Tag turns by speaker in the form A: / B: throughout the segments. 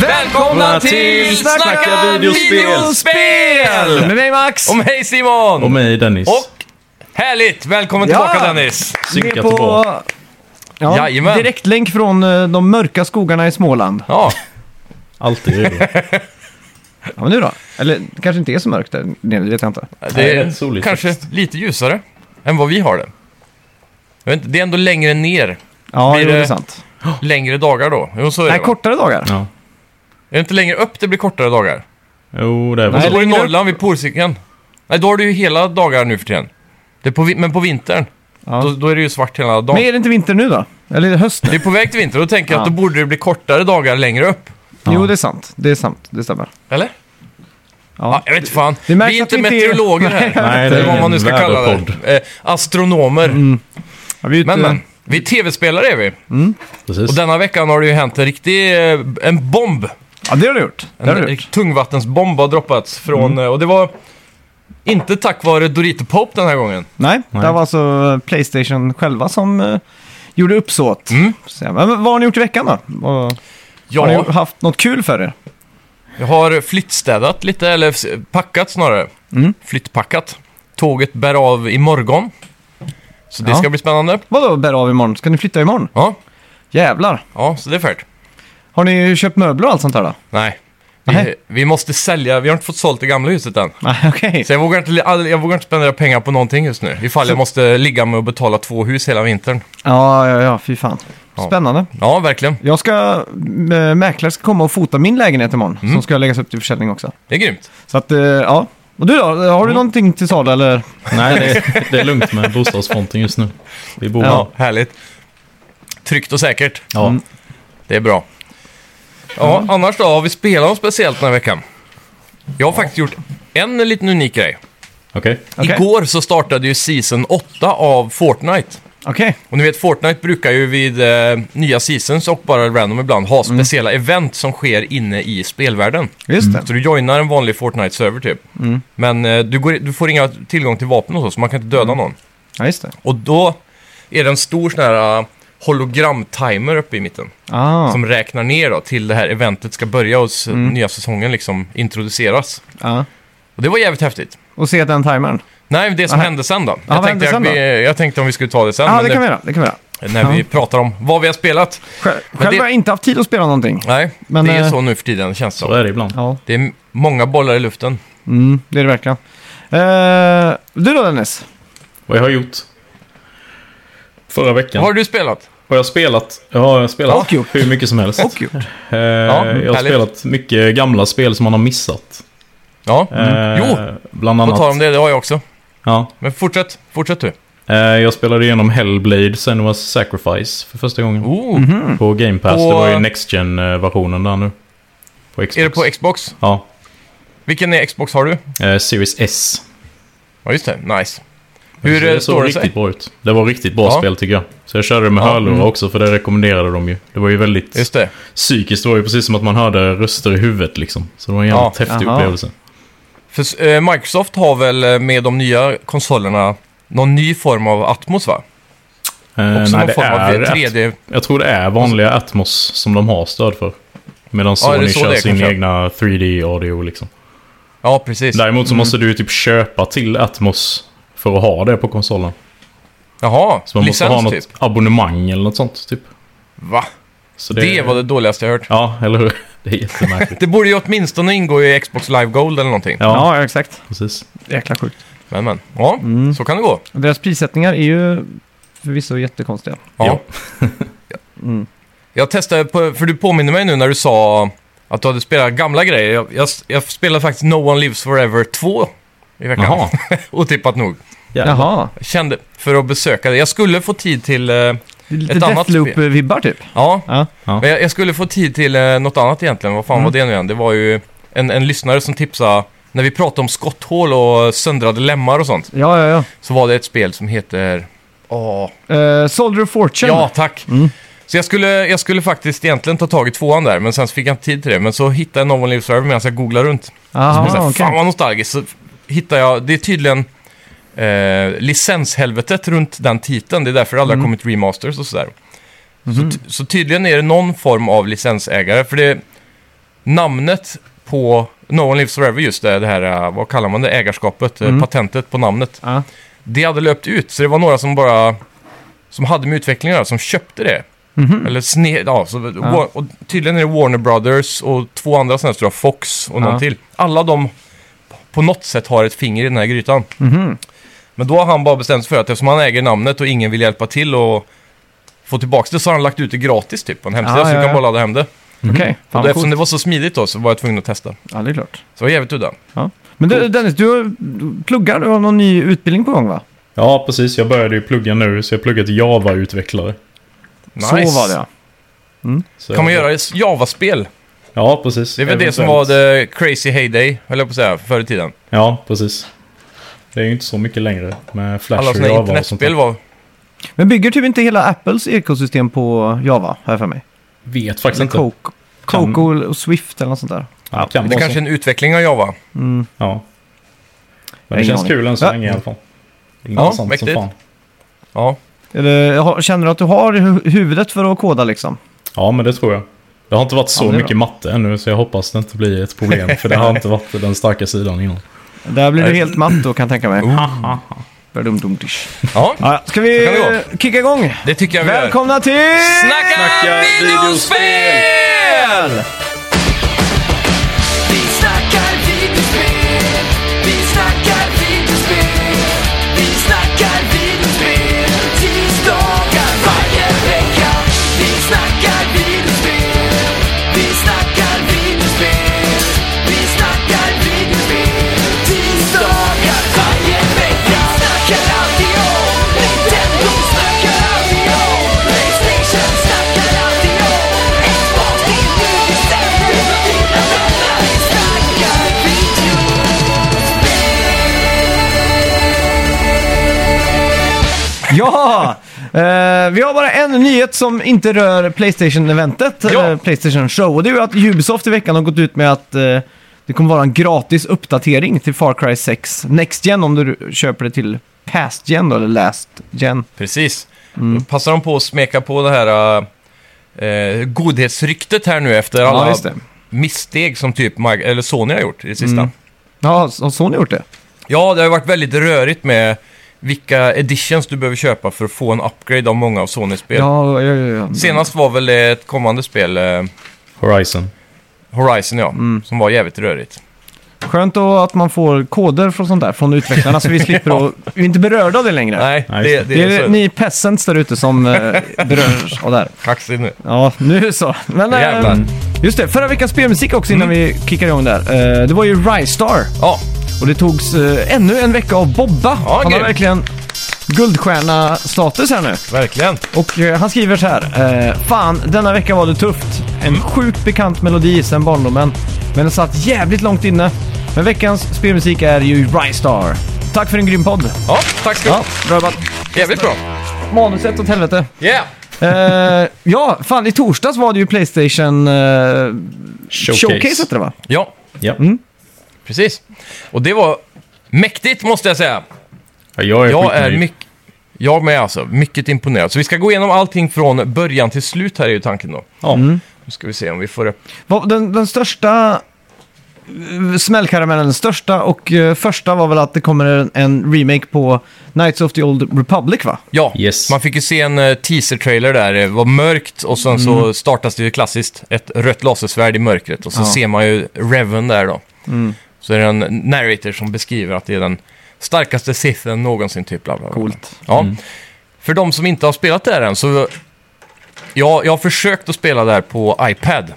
A: Välkomna till Snacka videospel!
B: Med mig Max!
A: Och mig Simon!
C: Och mig Dennis.
A: Och härligt! Välkommen
B: Ja.
A: tillbaka Dennis!
C: Synkat
B: Vi är
C: tillbaka.
B: på ja,
A: Jajamän.
B: direktlänk från eh, de mörka skogarna i Småland.
A: Ja,
C: Alltid är det.
B: Ja, men nu då? Eller det kanske inte är så mörkt där nere, det vet jag inte.
A: det
C: Nej,
A: är
C: rätt soligt
A: kanske
C: faktiskt.
A: lite ljusare än vad vi har det. Jag vet inte, det är ändå längre ner.
B: Ja,
A: Blir
B: jo, det är
A: det-
B: sant.
A: Längre dagar då. Jo, så är
B: eh, Nej,
A: det. va?
B: kortare dagar.
C: Ja.
A: Är det inte längre upp det blir kortare dagar?
C: Jo, det är
A: Och så
B: Nej,
C: väl.
A: går det i
B: längre upp.
A: Norrland vid polcirkeln. Nej, då har du ju hela dagar nu för tiden. Det är på, vi- men på vintern,
B: Ja.
A: då, då är det ju svart hela dagen.
B: Men är det inte vinter nu då? Eller är det höst nu?
A: Det är på väg till vinter, då tänker jag att
B: Ja.
A: då borde det bli kortare dagar längre upp.
B: Jo, det är sant. Det är sant. Det stämmer.
A: Eller? Ja,
B: Ja.
A: jag vet fan.
B: det märks
A: vi är inte
B: att vi inte är-
A: meteorologer här.
C: Nej, det
A: Eller
C: är
A: vad man
C: ingen
A: nu ska kalla det.
C: väderpodd.
A: Eh, astronomer.
B: Mm. Ja, vi är ute-
A: Men, men. Vi är tv-spelare är vi. Och
C: Precis.
A: denna veckan har det ju hänt en riktig... eh, En bomb.
B: Ja, det har du gjort. Det Mm. har
A: En
B: du
A: eh,
B: gjort.
A: tungvattensbomb har droppats från... eh, Och det var inte tack vare Dorito Pope den här gången.
B: Nej,
C: Nej.
B: det var alltså Playstation själva som eh, gjorde uppsåt.
A: Mm.
B: Så, men, vad har ni gjort i veckan då? Vad, Har
A: Ja,
B: ni haft något kul för er?
A: jag har flyttstädat lite, eller s- packat snarare.
B: Mm.
A: Flyttpackat. Tåget bär av imorgon. Så det
B: Ja.
A: ska bli spännande.
B: Vadå bär av imorgon? Ska ni flytta imorgon?
A: Ja,
B: Jävlar!
A: ja så det är färdigt.
B: Har ni köpt möbler och allt sånt här då?
A: Nej. Vi,
B: Nej.
A: vi måste sälja, vi har inte fått sålt det gamla huset än.
B: Nej, okej.
A: Så jag vågar, inte, all- jag vågar inte spendera pengar på någonting just nu. Ifall jag måste ligga med och betala två hus hela vintern.
B: Ja, ja, ja, fy fan.
A: Ja.
B: Spännande.
A: Ja, verkligen.
B: Jag ska, m- mäklare ska komma och fota min lägenhet imorgon. Som ska läggas upp till försäljning också.
A: Det är grymt.
B: Så att, eh, ja. Och du då? Har du någonting till salu eller?
C: Nej, det är, det är lugnt med bostadsfronten just nu. Vi bor
A: Ja, Mm. härligt. Tryggt och säkert.
C: Ja.
A: Det är bra. Ja,
B: Mm.
A: annars då? Har vi spelat något speciellt den här veckan? Jag har faktiskt gjort en liten unik grej.
C: Okej.
B: Okej.
A: Igår så startade ju Season 8 av Fortnite.
B: Okej.
A: Och ni vet, Fortnite brukar ju vid eh, nya seasons och bara random ibland ha
B: Mm.
A: speciella event som sker inne i spelvärlden.
B: Just det.
A: Så Alltså, du joinar en vanlig Fortnite-server typ.
B: Mm.
A: Men eh, du, går, du får inga tillgång till vapen och så, så man kan inte
B: Mm.
A: döda någon.
B: Ja, just det.
A: Och då är det en stor sån här eh, hologram-timer uppe i mitten.
B: Ah,
A: Som räknar ner då till det här eventet ska börja och s-
B: Mm.
A: nya säsongen liksom introduceras.
B: ja.
A: Och det var jävligt häftigt.
B: Och se den timern.
A: Nej, det som
B: Aha.
A: hände sen då.
B: vad
A: jag,
B: hände
A: tänkte att
B: sen då?
A: vi, jag tänkte om vi skulle ta det sen.
B: Ja,
A: men
B: Ah, det kan vi
A: det-
B: göra. Det kan vi göra.
A: När vi pratar om vad vi har spelat.
B: Själv,
A: det-
B: själv har jag inte haft tid att spela någonting.
A: Nej,
B: Men,
A: det är ju
B: eh,
A: så nu för tiden känns det
C: Så
A: som.
C: är det ibland.
B: Ja,
A: Det är många bollar i luften.
B: mm, det är det verkligen. Eh, du då Dennis?
C: Vad jag har gjort? Förra veckan
A: Vad har du spelat?
C: har jag spelat, ja, jag har spelat
B: Och gjort.
C: hur mycket som helst.
B: Och gjort.
C: Eh, jag har
A: mm, härligt.
C: spelat mycket gamla spel som man har missat.
A: Ja,
C: Eh,
A: Mm. Jo.
C: Bland
A: på
C: annat.
A: tal om det, det har jag också.
C: Ja.
A: Men fortsätt, fortsätt du.
C: Eh, jag spelade igenom Hellblade, Senua's Sacrifice för första gången.
A: Oh,
C: På Game Pass,
A: På-
C: det var ju Next Gen-versionen där nu. På Xbox.
A: Är det på Xbox?
C: Ja,
A: Vilken är Xbox har du?
C: eh, Series S.
A: Ja, just det. Nice.
C: Så
A: Hur eh,
C: det
A: står
C: såg
A: det
C: riktigt
A: sig?
C: bra ut. Det var riktigt bra
A: Ja.
C: spel tycker jag. Så jag körde det med
A: Ja,
C: hörlurar
A: mm.
C: också för det rekommenderade de ju. Det var ju väldigt
A: Just det.
C: psykiskt. Det var ju precis som att man hörde röster i huvudet liksom. Så det var en jävligt
A: Ja,
C: häftig
B: aha.
C: upplevelse.
A: För eh, Microsoft har väl eh, med de nya konsolerna någon ny form av Atmos, va?
C: Eh,
A: Också
C: nej,
A: någon
C: det
A: form av
C: är At-
A: 3D.
C: jag tror det är vanliga Atmos som de har stöd för. Medan
A: Ja, är det
C: Sony
A: så
C: kör
A: det är
C: sin
A: kanske?
C: egna 3D-audio liksom.
A: Ja, precis.
C: Däremot så måste du ju typ köpa till Atmos för att ha det på konsolen.
A: Jaha,
C: Så man måste ha
A: licens
C: något
A: typ.
C: abonnemang eller något sånt typ.
A: Va?
C: Så
A: Det... var det dåligaste jag hört.
C: Ja, eller hur? Det är jättemärkligt.
A: Det borde ju åtminstone ingå i Xbox Live Gold eller någonting.
C: Ja,
B: ja exakt.
C: precis.
B: Jäkla sjukt. Mm.
A: Men, men. Ja, så kan det gå.
B: Och Deras prissättningar är ju förvisso jättekonstiga.
A: Ja.
C: Ja.
A: Jag testade, på, för du påminner mig nu när du sa att du hade spelat gamla grejer. Jag, jag, jag spelade faktiskt No One Lives Forever 2 i veckan.
C: Jaha.
A: Otippat nog.
C: Jävlar.
B: Jaha,
A: Jag kände för att besöka det. Jag skulle få tid till... eh,
B: det är lite
A: Ett annat
B: Deathloop-vibbar typ.
A: ja,
B: Ja.
A: men jag, jag skulle få tid till eh, något annat egentligen. Vad fan var det nu igen? Det var ju en, en lyssnare som tipsade... När vi pratade om skotthål och söndrade lemmar och sånt.
B: ja, ja, ja.
A: Så var det ett spel som heter... Åh,
B: Eh, Soldier of Fortune.
A: Ja, tack. Så jag skulle, jag skulle faktiskt egentligen ta tag i tvåan där, men sen så fick jag inte tid till det. Men så hittade jag någon Live Server medan jag googlade runt.
B: Aha,
A: Och så här,
B: okej.
A: Fan vad nostalgiskt. Så hittade jag, det är tydligen eh, licenshelvetet runt den titeln. Det är därför det
B: Mm.
A: aldrig har kommit
B: Mhm.
A: remasters och sådär. Så, ty- så tydligen är det någon form av licensägare, för det... namnet på No One Lives Forever, just det, det här, eh, vad kallar man det, ägarskapet, eh,
B: Mm.
A: patentet på namnet.
B: Ja.
A: Det hade löpt ut, så det var några som bara, som hade med utvecklingen att göra, som köpte det.
B: Mhm.
A: Eller sne, ja, så,
B: Ja.
A: Wa- och tydligen är det Warner Brothers och två andra sådana här stora, Fox och någon
B: Ja.
A: till. Alla de på något sätt har ett finger i den här grytan.
B: Mhm.
A: Men då har han bara bestämt sig för att eftersom han äger namnet och ingen vill hjälpa till och få tillbaka det så har han lagt ut det gratis typ på en hemsida
B: Ja,
A: så du
B: Ah, ja,
A: kan
B: ja.
A: bara ladda hem det.
B: Okej, fan
A: och då,
B: vad
A: eftersom
B: coolt.
A: det var så smidigt då så var jag tvungen att testa.
B: Ja, det är klart.
A: Så det var jävligt udda.
B: Ja. Men du, Dennis, du du pluggar, du har någon ny utbildning på gång va?
C: Ja, precis. Jag började ju plugga nu, så jag pluggar till Java-utvecklare.
A: Nice.
B: Så var det ja.
C: Så
A: Kan man
C: jag-
A: göra ett Java-spel?
C: Ja, precis.
A: Det är väl det som var
C: Eventuellt.
A: the crazy heyday, höll jag på att säga, förr i tiden.
C: Ja, precis. Det är ju inte så mycket längre med Flash
A: Alla
C: och
A: sådana
C: Java och sånt.
A: internetspel
C: där.
A: var...
B: Men bygger typ inte hela Apples ekosystem på Java, har jag för mig?
C: Vet faktiskt
B: Eller
C: inte.
B: Coco,
C: Kan-
B: Coco och Swift eller något sånt där.
C: Ja, kan
A: Det
C: vara
A: kanske
C: så.
A: är en utveckling av Java.
B: Mm.
C: Ja. Men det
B: Ingen
C: känns
B: aning.
C: kul än så
B: Ja.
C: länge i alla fall. Intressant som
A: mäktigt.
C: fan.
A: Ja.
B: Eller, har- känner du att du har hu- huvudet för att koda liksom?
C: Ja, men det tror jag. Det har inte varit så
B: Ja, men det är
C: mycket matte ännu, så jag hoppas det inte blir ett problem. För det har inte varit den starka sidan innan.
B: Där blir
A: Äh.
B: du helt matt då kan jag tänka mig. Badum-dum-dish.
A: ja,
B: Ja, ska
A: Oh. Så
B: vi
A: kan det
B: eh, kicka igång?
A: det tycker jag vi gör.
B: Välkomna till...
A: Snacka,
C: Snacka
A: videospel!
D: Vi snackar videospel, vi snackar videospel, vi snackar videospel tisdagar varje vecka. Vi snackar videospel, vi snackar videospel, vi snackar videospel tisdagar varje vecka. Vi snackar alltid om Nintendo, vi snackar alltid om Playstation, snackar alltid om Xbox, det är nu vi sänder. Dina vänner, vi snackar video.
B: Ja! Eh, vi har bara en nyhet som inte rör Playstation-eventet,
A: Ja.
B: eller Playstation Show. Och det är ju att Ubisoft i veckan har gått ut med att eh, det kommer vara en gratis uppdatering till Far Cry 6 Next Gen om du köper det till Past Gen då, eller Last Gen.
A: Precis.
B: Mm.
A: Då passar de på att smeka på det här eh, godhetsryktet här nu efter alla missteg som typ Mag- eller Sony har gjort i det sista.
B: Mm. Ja, så- har Sony gjort det?
A: Ja, det har ju varit väldigt rörigt med vilka editions du behöver köpa för att få en upgrade av många av Sonys spel.
B: Ja, ja, ja. ja.
A: Senast var väl ett kommande spel, eh,
C: Horizon.
A: Horizon ja,
B: Mm.
A: som var jävligt rörigt.
B: Skönt då att man får koder från sånt där från utvecklarna så vi slipper att... Vi är inte berörda av det längre.
A: Nej,
C: Nej,
A: det,
C: just
A: det,
B: Det är,
A: är så
B: ni peasants där ute som eh, berörs av det här.
A: kaxigt nu.
B: Ja, nu så. Men, eh,
A: Jävlar. Mm.
B: just det, förra veckans spelmusik också innan vi kickar igång där. Eh, det var ju Rise Star
A: Ja,
B: och det togs eh, ännu en vecka av Bobba.
A: Ja,
B: han har
A: grymt.
B: verkligen guldstjärna-status här nu.
A: verkligen.
B: Och eh, han skriver så här. Eh, Fan, denna vecka var det tufft. En sjukt bekant melodi sedan barndomen. Men den satt jävligt långt inne. Men veckans spelmusik är ju Rise Star. Tack för en grym podd.
A: Ja, tack ska du ha.
B: Ja, bra jobbat.
A: Jävligt bra.
B: Manuset åt helvete.
A: Yeah!
B: Eh, ja, fan i torsdags var det ju Playstation eh,
C: Showcase.
B: Showcase heter det va? Mm.
A: Ja,
C: Ja.
A: precis. Och det var mäktigt måste jag säga.
C: Ja, jag är,
A: Jag är
C: skitnöjd.
A: mycket... Jag med alltså, mycket imponerad. Så vi ska gå igenom allting från början till slut här är ju tanken då.
C: Ja.
B: Mm.
A: Nu ska vi se om vi får upp...
B: Vad- Den, den största eh, smällkaramellen, den största och eh, första var väl att det kommer en, en remake på Knights of the Old Republic va?
A: Ja,
C: Yes.
A: man fick ju se en eh, teaser-trailer där. Det var mörkt och sen så startas det ju klassiskt ett rött lasersvärd i mörkret. Och så
B: Ja.
A: ser man ju Reven där då. Så är det en narrator som beskriver att det är den starkaste Sithen någonsin typ. Bla bla bla.
B: Coolt.
A: Ja. Mm. För de som inte har spelat det här än så... Jag, jag har försökt att spela det här på iPad.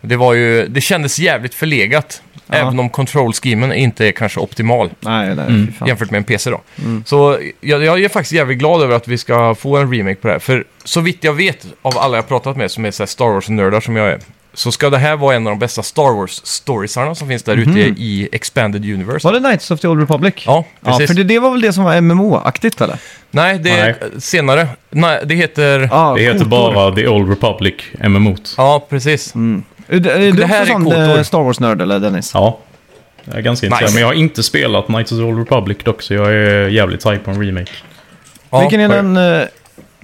A: Det, var ju, det kändes jävligt förlegat.
B: Ja.
A: Även om control-schemen inte är kanske optimal
B: Nej, nej, fy fan.
A: jämfört med en PC då. Så jag, jag är faktiskt jävligt glad över att vi ska få en remake på det här. För så vitt jag vet av alla jag pratat med som är så här Star Wars-nördar som jag är, så ska det här vara en av de bästa Star Wars-storiesarna som finns där ute i Expanded Universe.
B: Var det Knights of the Old Republic?
A: Ja,
B: Ja,
A: precis.
B: för det, det var väl det som var MMO-aktigt eller?
A: Nej, det är senare. Nej, det heter... Ja,
B: Ja,
C: Det heter
B: kotor.
C: bara The Old Republic MMO.
A: precis.
B: Är du- Är
A: Det
B: du
A: här
B: också
A: är
B: sån
A: kotor.
B: eh, Star Wars-nörd eller Dennis?
C: Ja. Jag är ganska intresserad,
A: Nice.
C: men jag har inte spelat Knights of the Old Republic dock, så jag är jävligt hype på en remake.
A: Ja,
B: Vilken är
A: för-
B: den eh,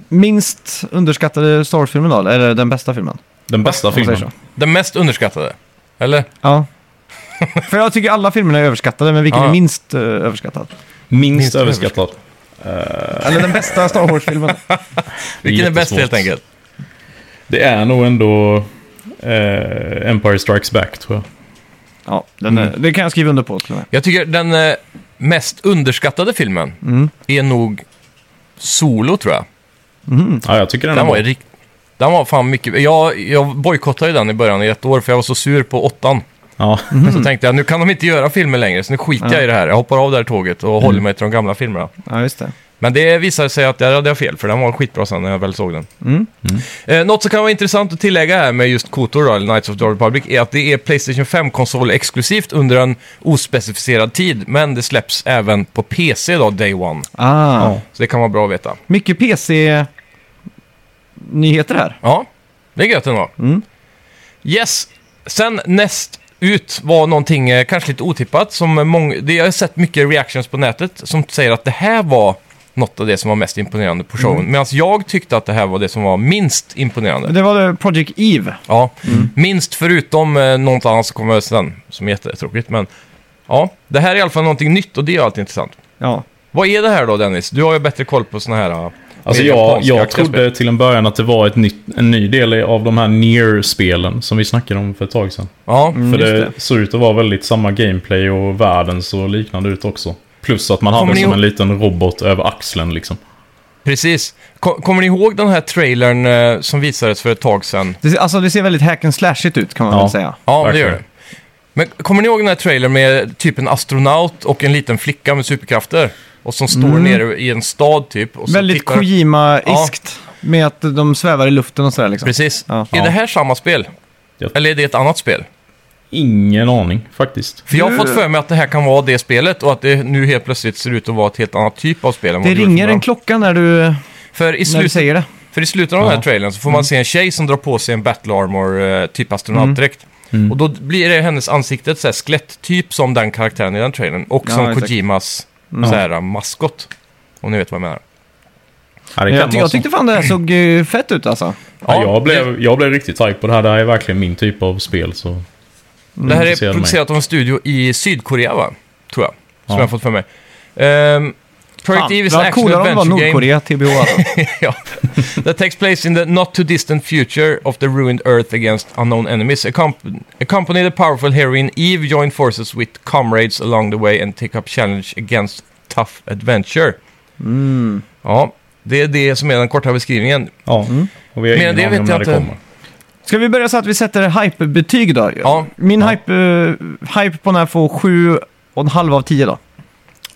B: minst underskattade Star Wars-filmen då? Eller den bästa filmen?
C: Den bästa
B: Om man säger
C: filmen.
B: så.
A: Den mest underskattade. Eller?
B: Ja. För jag tycker alla filmerna är överskattade, men vilken
A: Ja.
B: är minst eh, överskattad?
C: Minst,
A: Minst
C: överskattad.
B: Eller den bästa Star Wars-filmen?
A: Vilken är bäst
C: Jättesvårt.
A: helt enkelt?
C: Det är nog ändå eh, Empire Strikes Back tror jag.
B: Ja, den
A: Mm.
B: är, det kan jag skriva under på till och med.
A: Jag tycker den eh, mest underskattade filmen
B: Mm.
A: är nog Solo, tror jag.
C: Ja, jag tycker den,
A: Mm. Den var,
C: är bra.
A: ju rikt... den var fan mycket... Jag, jag bojkottade ju den i början i ett år, för jag var så sur på åttan.
C: Ja.
A: Men
B: Mm.
A: så tänkte jag, nu kan de inte göra filmer längre, så nu skiter jag i det här. Jag hoppar av det här tåget och håller mig till de gamla filmerna.
B: Ja, just det.
A: Men det visade sig att där hade jag fel, för den var skitbra sen när jag väl såg den.
B: Mm.
A: Eh, något som kan vara intressant att tillägga här med just KOTOR, då, eller Knights of the Old Republic, är att det är Playstation 5-konsol exklusivt under en ospecificerad tid, men det släpps även på PC då, day one.
B: Ah,
A: Så det kan vara bra att veta.
B: Mycket PC-nyheter här.
A: Ja, det är gött ändå.
C: Mm.
A: Yes, sen näst ut var någonting eh, kanske lite otippat. Som mång- det, jag har sett mycket reactions på nätet som säger att det här var något av det som var mest imponerande på
C: Mm.
A: showen. Medan jag tyckte att det här var det som var minst imponerande.
B: Det var det Project Eve.
A: Ja,
C: Mm.
A: minst förutom eh, något annat som kommer sen, som är jättetråkigt. Men ja, det här är i alla fall någonting nytt och det är alltid intressant.
B: Ja.
A: Vad är det här då Dennis? Du har ju bättre koll på såna här... eh,
C: Alltså
A: mer
C: jag,
A: japanska
C: jag
A: aktiga spel.
C: trodde till en början att det var ett nytt, en ny del av de här near-spelen som vi snackade om för ett tag sedan.
A: Ja,
C: För
B: just
C: det,
B: det.
C: såg ut att vara väldigt samma gameplay och världen så liknande ut också. Plus att man
A: Kommer
C: hade
A: ni
C: som
A: ihåg-
C: en liten robot över axeln liksom.
A: precis. Ko- kommer ni ihåg den här trailern eh, som visades för ett tag sedan?
B: Det, ser- alltså det ser väldigt hack and slashigt ut kan man
C: Ja.
B: väl säga.
A: Ja,
C: Verkligen.
A: det gör det. Men kommer ni ihåg den här trailern med typ en astronaut och en liten flicka med superkrafter? Och som står nere i en stad typ. Och så
B: Mm. Väldigt
A: tittar...
B: Kojima-iskt. Med att de svävar i luften och sådär liksom.
A: Precis.
B: Ja.
A: Är det här samma spel?
C: Jag-
A: Eller är det ett annat spel?
C: Ingen aning faktiskt.
A: För jag har
B: Nu-
A: fått för mig att det här kan vara det spelet och att det nu helt plötsligt ser ut att vara ett helt annat typ av spel. Än
B: Det
A: vad gjorde
B: ringer
A: från
B: en klocka när du,
A: början. för i,
B: när du
A: slut,
B: säger det.
A: för i slutet av den här
C: Ja.
A: trailern så får man se en tjej som drar på sig en battle armor, eh, typ astronautdräkt. Och då blir det hennes ansikte ett så här skeletttyp som den karaktären i den trailern. Och
B: Ja,
A: som
B: exakt.
A: Kojimas
B: Mm.
A: så här, maskott. Om ni vet vad jag menar.
C: Ja, det
B: Jag,
C: kan
B: ty-
C: vara
B: jag
C: så.
B: tyckte fan det här såg eh, fett ut alltså.
C: ja,
A: Ja,
C: jag, blev, jag blev riktigt tajt på det här. Det här är verkligen min typ av spel. Så.
A: Det här är
C: intresserade mig.
A: producerat av en studio i Sydkorea, va? Tror jag. Som
C: Ja.
A: jag har fått för mig. Ehm, Project
B: Fan,
A: Eve is
B: det
A: an
B: var
A: action
B: coolare om det var
A: adventure game.
B: Nordkorea, TBH alltså.
A: ja. That takes place in the not too distant future of the ruined Earth against unknown enemies. Accomp- accompany the powerful heroine Eve, join forces with comrades along the way and take up challenge against tough adventure. Ja, det är det som är den korta beskrivningen.
C: Ja. Och vi har
A: Mm. Men
C: ingen
A: det
C: aning
A: vet
C: om
A: jag
C: när det
A: inte.
C: kommer.
B: Ska vi börja så att vi sätter hype-betyg då?
A: Ja.
B: Min Hype, eh, hype på den här får 7,5 av 10 då.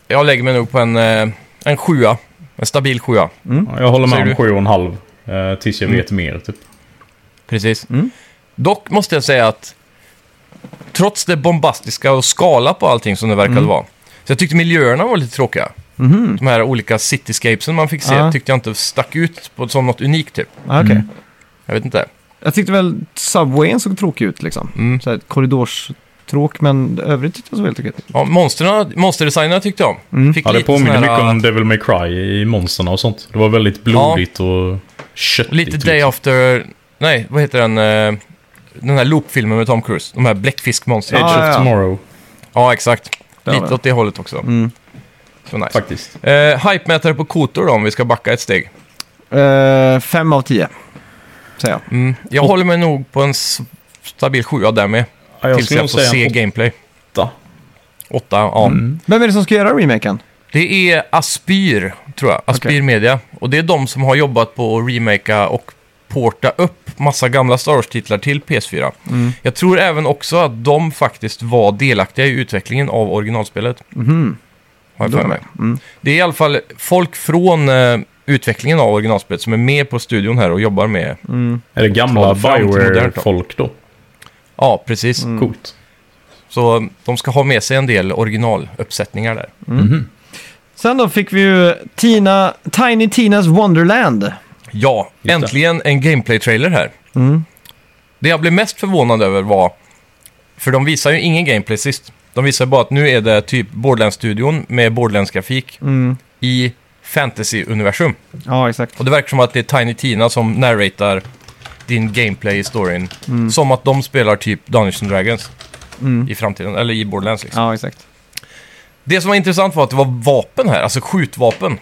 A: Jag lägger mig nog på en, eh, en sjua. En stabil sjua.
C: Ja, Jag håller
A: Säger
C: med
A: du? Mm.
C: om 7,5 eh, tills jag vet mer. Typ.
A: Precis. Dock måste jag säga att trots det bombastiska och skala på allting som det verkade vara. Så jag tyckte miljöerna var lite tråkiga. De här olika cityscapesen man fick se
B: Ja.
A: tyckte jag inte stack ut på, som något unikt typ.
B: Ah, okej.
A: Jag vet inte.
B: Jag tyckte väl Subwayen såg tråkig ut liksom.
A: Mm.
B: Så här, korridorstråk, men övrigt tyckte jag såg väldigt tråkigt ut.
A: Ja, monsterna, monsterdesignerna tyckte jag om. Fick
C: Ja, det
A: lite
C: påminner
A: sån här, äh,
C: mycket om Devil May Cry i monsterna och sånt. Det var väldigt blodigt och köttigt.
A: Lite Day
C: liksom.
A: After... Nej, vad heter den? eh, Den här loop-filmen med Tom Cruise. De här bläckfiskmonstren.
C: Age
A: Ja,
B: Ja, ja,
C: of
B: ja.
C: Tomorrow,
A: exakt.
B: Där var
A: Lite
B: det.
A: åt det hållet också. Mm. Så nice.
C: faktiskt.
A: Eh, Hype-mätare på kotor då, om vi ska backa ett steg.
B: Eh, 5 av 10, säger jag.
A: Mm. Jag håller mig nog på en s- stabil sjua där med.
C: Ja, jag
A: tills
C: skulle nog
A: jag får se
C: säga en Mm.
A: gameplay.
C: åtta.
A: Åtta, ja.
B: Vem är det som ska göra remaken?
A: Det är Aspyr, tror jag. Aspyr
B: Okej.
A: Media. Och det är de som har jobbat på att remakea och porta upp massa gamla Star Wars-titlar till PS4. Jag tror även också att de faktiskt var delaktiga i utvecklingen av originalspelet.
B: Mhm,
A: Har jag för mig. Det är i alla fall folk från eh, utvecklingen av originalspelet som är med på studion här och jobbar med...
C: Är det
A: Ta
C: gamla
A: det fram till modernt då.
C: Bioware-folk då? Mm.
A: Ja, precis.
C: Coolt.
A: Så eh, de ska ha med sig en del originaluppsättningar där.
C: Mm.
A: Mhm.
B: Sen då fick vi ju Tina, Tiny Tinas Wonderland.
A: Ja,
C: Just det.
A: äntligen en gameplay-trailer här. Det jag blev mest förvånad över var, för de visar ju ingen gameplay sist. De visar bara att nu är det typ Borderlands-studion med Borderlands-grafik i fantasy-universum.
B: Ja, exakt.
A: Och det verkar som att det är Tiny Tina som narratar lagt in gameplay i storyn. Som att de spelar typ Dungeons and Dragons
B: Mm.
A: i framtiden, eller i Borderlands liksom.
B: Ja, exakt.
A: Det som var intressant var att det var vapen här, alltså skjutvapen.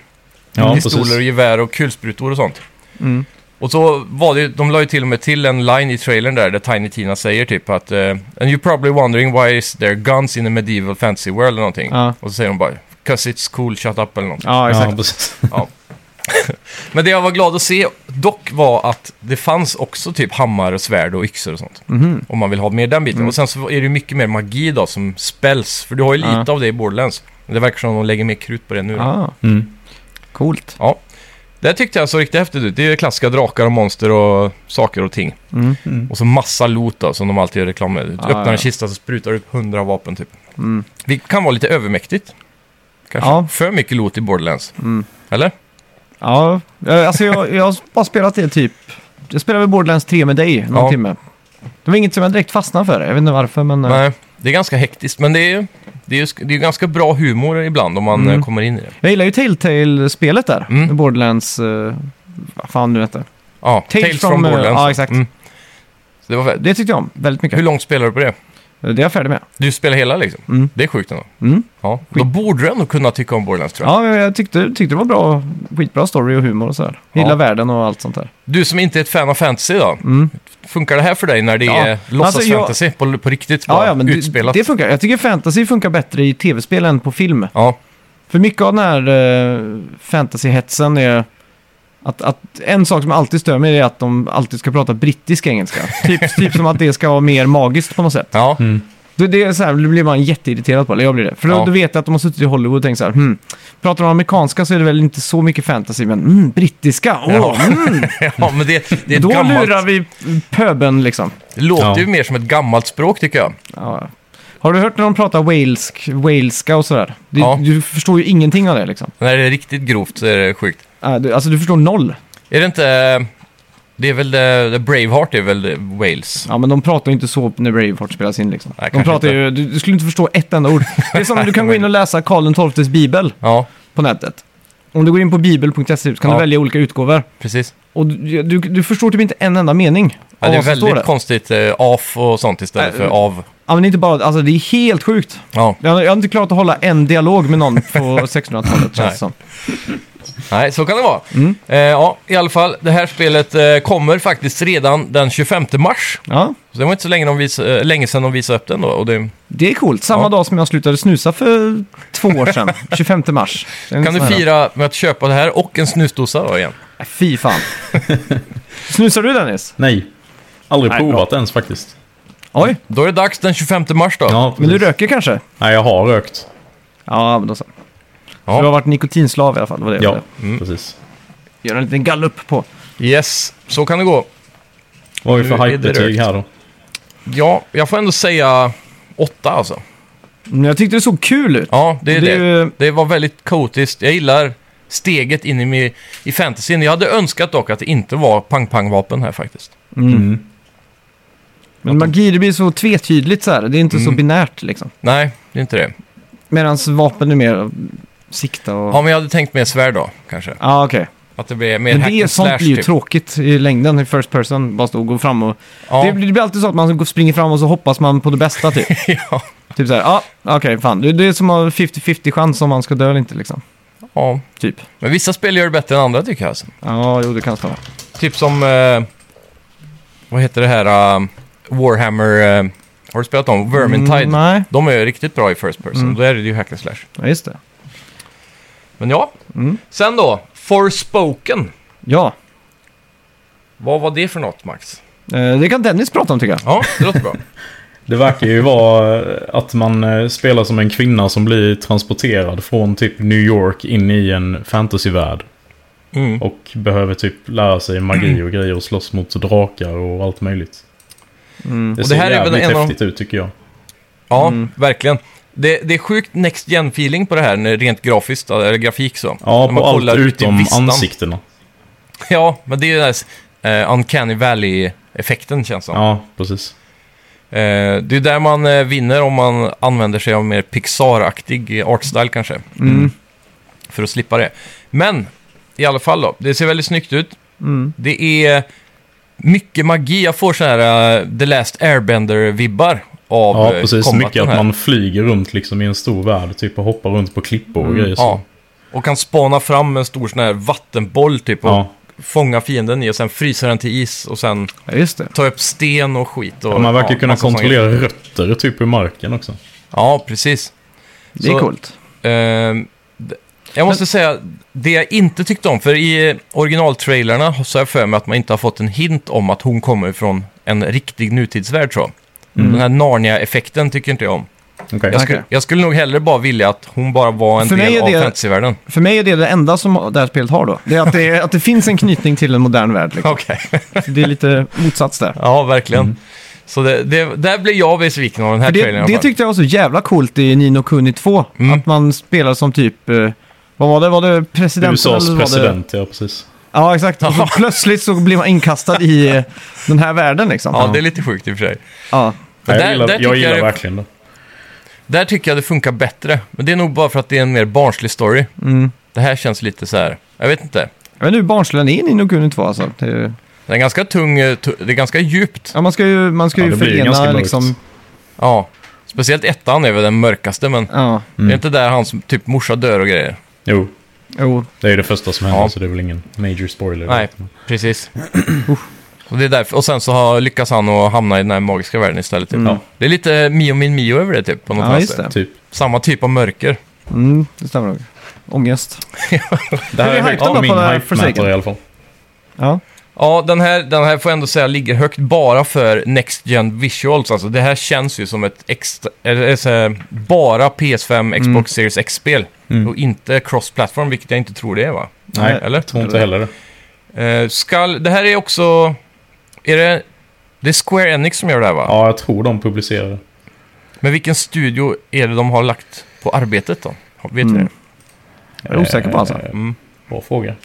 C: Ja,
A: Pistoler och
C: precis.
A: gevär och kulsprutor och sånt.
B: Mm.
A: Och så var det, ju- de la ju till och med till en line i trailern där, där Tiny Tina säger typ att eh, And you're probably wondering why is there guns in a medieval fantasy world eller någonting.
B: Ja.
A: Och så säger de bara 'Cause it's cool, shut up' eller någonting.
B: Ja, exakt.
C: Ja, precis.
A: Men det jag var glad att se dock var att det fanns också typ hammare och svärd och yxor och sånt.
B: Mhm.
A: Om man vill ha mer den biten. Och sen så är det ju mycket mer magi då som spells. För du har ju lite
B: Ja.
A: av det i Borderlands. Men det verkar som de lägger mer krut på det nu. då.
B: Ah,
C: Mm.
B: coolt.
A: Det här tyckte jag såg riktigt häftigt ut. Det är ju klassiska drakar och monster och saker och ting.
B: Mm.
C: Mm.
A: Och så massa loot då, som de alltid gör reklam med. Du
B: Ja,
A: öppnar
B: Ah, ja.
A: en kista så sprutar det upp hundra vapen typ.
B: Mm.
A: Det kan vara lite övermäktigt. Kanske.
B: Ja.
A: För mycket loot i Borderlands.
B: Mm.
A: Eller?
B: Ja, eh, alltså jag, jag har bara spelat det typ... Jag spelade väl Borderlands 3 med dig någon
A: Ja.
B: timme. Det var inget som jag direkt fastnade för. Jag vet inte varför, men... eh,
A: Nej. Det är ganska hektiskt, men det är ju det är, ju sk- det är ju ganska bra humor ibland om man
B: Mm.
A: eh, kommer in i det.
B: Jag gillar ju Telltale-spelet där.
A: Mm.
B: Borderlands... eh, vad fan nu heter.
A: Ja,
B: Tales
A: Tales,
B: from,
A: from,
B: eh,
A: Borderlands.
B: ja, exakt.
A: Mm. Så det var fett.
B: Det tyckte jag om väldigt mycket.
A: Hur långt spelar du på det?
B: Det är jag färdig med.
A: Du spelar hela liksom?
B: Mm.
A: Det är sjukt ändå.
B: Mm.
A: Ja. Då borde du ändå kunna tycka om Borderlands tror jag.
B: Ja, men jag tyckte, tyckte det var bra. Skitbra story och humor och sådär. Gillar
A: Ja.
B: världen och allt sånt där.
A: Du som inte är ett fan av fantasy då,
B: Mm.
A: funkar det här för dig när det
B: Ja.
A: är låtsas
B: Alltså, jag-
A: fantasy på, på riktigt? Bara
B: Ja, ja, men det,
A: utspelat?
B: det funkar. Jag tycker fantasy funkar bättre i tv-spel än på film.
A: Ja,
B: För mycket av den här eh, fantasyhetsen är... Att, att en sak som alltid stör mig är att de alltid ska prata brittisk engelska. typ, typ som att det ska vara mer magiskt på något sätt.
A: ja.
C: Mm.
B: Det, det är så här, då blir man jätteirriterad på, eller jag blir det. För då,
A: Ja.
B: då vet jag att de har suttit i Hollywood och tänkt så här, hmm, pratar de amerikanska så är det väl inte så mycket fantasy, men mm, brittiska, åh,
A: Ja.
B: mm,
A: ja men det, det är ett
B: då
A: gammalt...
B: lurar vi pöben liksom.
A: Det låter
C: Ja.
A: ju mer som ett gammalt språk tycker jag.
B: Ja. Har du hört när de pratar walesk, waleska och sådär? Du,
A: Ja.
B: du förstår ju ingenting av det liksom.
A: När det är riktigt grovt så är det sjukt.
B: Äh, du, alltså du förstår noll.
A: Är det inte... eh, Det är väl... eh, The Braveheart är väl eh, Wales?
B: Ja, men de pratar ju inte så när Braveheart spelas in liksom.
A: Nej,
B: de
A: kanske
B: pratar
A: inte.
B: ju, du, du skulle inte förstå ett enda ord. Det är som du kan gå in och läsa Karl XIIs bibel
A: Ja,
B: på nätet. Om du går in på bibel.se så kan
A: Ja.
B: du välja olika utgåvor.
A: precis.
B: Och du, du, du förstår typ inte en enda mening
A: Ja,
B: av
A: det är
B: vad som står
A: väldigt
B: där.
A: konstigt. Eh, af och sånt istället
B: Äh,
A: för av.
B: Ja, men inte bara, alltså det är helt sjukt.
A: Ja.
B: Jag, jag har inte klarat att hålla en dialog med någon på 1600-talet känns det
A: Nej.
B: som.
A: Nej, så kan det vara.
B: Mm.
A: Eh, ja, i alla fall. Det här spelet eh, kommer faktiskt redan den 25 mars.
B: Ja,
A: Så det var inte så länge, de vis- eh, länge sedan de visade upp den då. Och det,
B: det är coolt. Samma
A: Ja.
B: dag som jag slutade snusa för två år sedan, 25 mars. Det är
A: kan
B: en
A: du
B: sån här-
A: fira med att köpa det här och en snusdosa då igen?
B: Nej, Fy fan. Snusar du Dennis?
C: Nej. Aldrig
B: Nej,
C: provat ens faktiskt.
B: Oj,
A: Då är det dags den 25 mars då.
C: Ja,
B: men du
C: precis.
B: röker kanske?
C: Nej, jag har rökt.
B: Ja, men då så. Så
A: Ja.
B: Du har varit nikotinslav i alla fall. Var det
C: Ja,
A: Mm.
C: precis.
B: Gör en liten gallup på.
A: Yes, så kan det gå.
C: Vad har vi
A: Nu
C: för
A: är det
C: hypebetyg
A: rökt.
C: här då?
A: Ja, jag får ändå säga åtta alltså.
B: Men jag tyckte det såg kul ut.
A: Ja, det är
B: Det
A: det.
B: är
A: Det,
B: ju-
A: var väldigt kaotiskt. Jag gillar steget in i, i fantasyn. Jag hade önskat dock att det inte var pang-pang-vapen här faktiskt.
C: Mm.
B: Men magi, det blir så tvetydligt så här. Det är inte så
A: Mm.
B: binärt liksom.
A: Nej, det är inte det.
B: Medan vapen är mer sikta och...
A: Ja,
B: Ja,
A: men jag hade tänkt mer svärd då, kanske.
B: okej.
A: Att det blir mer
B: Men
A: hack
B: det är
A: and slash
B: sånt blir ju
A: typ.
B: tråkigt i längden i first person. Bara stå och gå fram och...
A: Ja,
B: Det, blir, det blir alltid så att man går- springer fram och så hoppas man på det bästa typ.
A: ja,
B: typ så här, ja, okej, fan. Det, det är som att ha 50-50 chans om man ska dö eller inte liksom.
A: ja.
B: Typ.
A: Men vissa spel gör det bättre än andra tycker jag. Alltså.
B: Ja, jo, det kan stämma.
A: Typ som... Eh, vad heter det här? eh, Warhammer... Eh, har du spelat dem? Vermintide.
B: Mm, nej,
A: De är ju riktigt bra i First Person.
B: Mm.
A: Då är det ju hack and slash.
B: ja, just det.
A: Men ja.
B: Mm.
A: Sen då, Forspoken.
B: Ja,
A: Vad var det för något, Max?
B: eh, det kan Dennis prata om tycker jag.
A: Ja, det låter bra.
C: Det verkar ju vara eh, att man eh, spelar som en kvinna som blir transporterad från typ New York in i en fantasyvärld.
A: Mm.
C: Och behöver typ lära sig magi och grejer och slåss mot drakar och allt möjligt.
B: Mm.
C: Det
A: Och
C: ser
A: det här är väl
C: jävligt
A: en av-
C: häftigt ut tycker jag.
A: Ja, verkligen. Det, det är sjukt next gen feeling på det här, när- rent grafiskt, eller grafik så.
C: Ja,
A: När man
C: på allt
A: kollar ut i
C: utom
A: vistan.
C: ansiktena.
A: Ja, men det är ju den här eh, Uncanny Valley-effekten känns som.
C: Ja, precis.
A: Eh, det är där man eh, vinner om man använder sig av mer Pixar-aktig eh, artstyle kanske.
B: Mm.
A: För att slippa det. Men, i alla fall då. Det ser väldigt snyggt ut.
B: Mm.
A: Det är mycket magi. Jag får sådana här eh, The Last Airbender-vibbar av
C: Ja,
A: eh,
C: precis.
A: combaten
C: Mycket att
A: här.
C: man flyger runt liksom i en stor värld. Typ och hoppar runt på klippor och grejer. Så.
A: Mm. Ja. Och kan spana fram en stor sån här vattenboll typ och
C: Ja.
A: fånga fienden i och sen frysa den till is och sen
B: Ja, just det.
A: ta upp sten och skit. Och,
C: Ja, man verkar
A: ja,
C: kunna
A: massa såna grejer.
C: kontrollera rötter typ i marken också.
A: Ja, precis.
B: Det är
A: Så-
B: coolt.
A: Ehm, d- jag måste säga, det jag inte tyckte om, för i eh, originaltrailerna så har jag för mig att man inte har fått en hint om att hon kommer från en riktig nutidsvärld tror jag. Den här Narnia-effekten tycker inte jag om.
C: Okej.
A: Jag, skulle,
B: Mm. Okej.
A: jag skulle nog hellre bara vilja att hon bara var en
B: För mig
A: del
B: är
A: av
B: det-
A: fantasyvärlden.
B: För mig är det det enda som det här spelet har då. Det är att det, är, att det finns en knytning till en modern värld. Liksom.
A: Okej,
B: Så Det är lite motsats där.
A: ja verkligen. Så det, det, där blev jag besviken av den här
B: Mm. För
A: trailern. i
B: det,
A: alla
B: det
A: fall.
B: tyckte jag var så jävla coolt i Nino Kuni 2.
A: Mm.
B: Att man spelar som typ, eh, vad var det, var det presidenten? eller
C: USAs
B: var Det?
C: president, ja precis.
B: Ja, exakt. Och så plötsligt så blir man inkastad i eh, den här världen liksom.
A: Ja, det är lite sjukt i och för sig.
B: Ja.
A: Men
C: Nej,
A: där-
C: jag gillar,
A: där tycker
C: jag gillar
A: jag det-
C: verkligen det.
A: Där tycker jag det funkar bättre. Men det är nog bara för att det är en mer barnslig story.
B: Mm.
A: Det här känns lite så här, jag vet inte.
B: Jag vet inte hur barnslig den är i Nino Kuni 2 alltså. Det är,
A: Det är ganska tung, eh, tu- det är ganska djupt.
B: ja, man ska ju, man ska
C: Ja,
B: ju
C: det blir ju ganska
B: förena
C: mörkt.
B: liksom...
A: Ja. Speciellt ettan är väl den mörkaste, men
B: Ja,
A: det är inte där hans typ morsa dör och grejer.
C: Jo,
B: jo.
C: det är ju det första som händer
A: Ja.
C: så det är väl ingen major spoiler.
A: Nej, precis. och, det är därför. och sen så har, lyckas han att hamna i den här magiska världen istället. Typ.
C: Ja.
A: Det är lite Mio min Mio över det typ, på något
B: Mm. Ja, just
A: vänster.
B: det.
C: Typ.
A: Samma typ av mörker.
B: Mm, det stämmer nog. Ångest.
C: Det här
B: Hur är
C: är högt
B: hypen
C: på
B: då
C: min
B: på Forsaken?
C: hype-mätare i alla fall.
B: Ja.
A: Ja, den här, den här får jag ändå säga ligger högt bara för Next Gen Visuals. Alltså, det här känns ju som ett extra, eller, eller så här, bara PS5, Xbox
B: Mm.
A: Series X-spel. Och inte cross-platform, vilket jag inte tror det är va?
C: Mm. Nej,
A: Eller?
C: jag tror inte heller det.
A: Eh, skall, det här är också... Är det, det är Square Enix som gör det här va?
C: Ja, jag tror de publicerar det.
A: Men vilken studio är det de har lagt på arbetet då? Vet vi
B: Mm.
A: det?
B: Jag är osäker på alltså.
C: Eh,
A: Mm.
C: Bra fråga.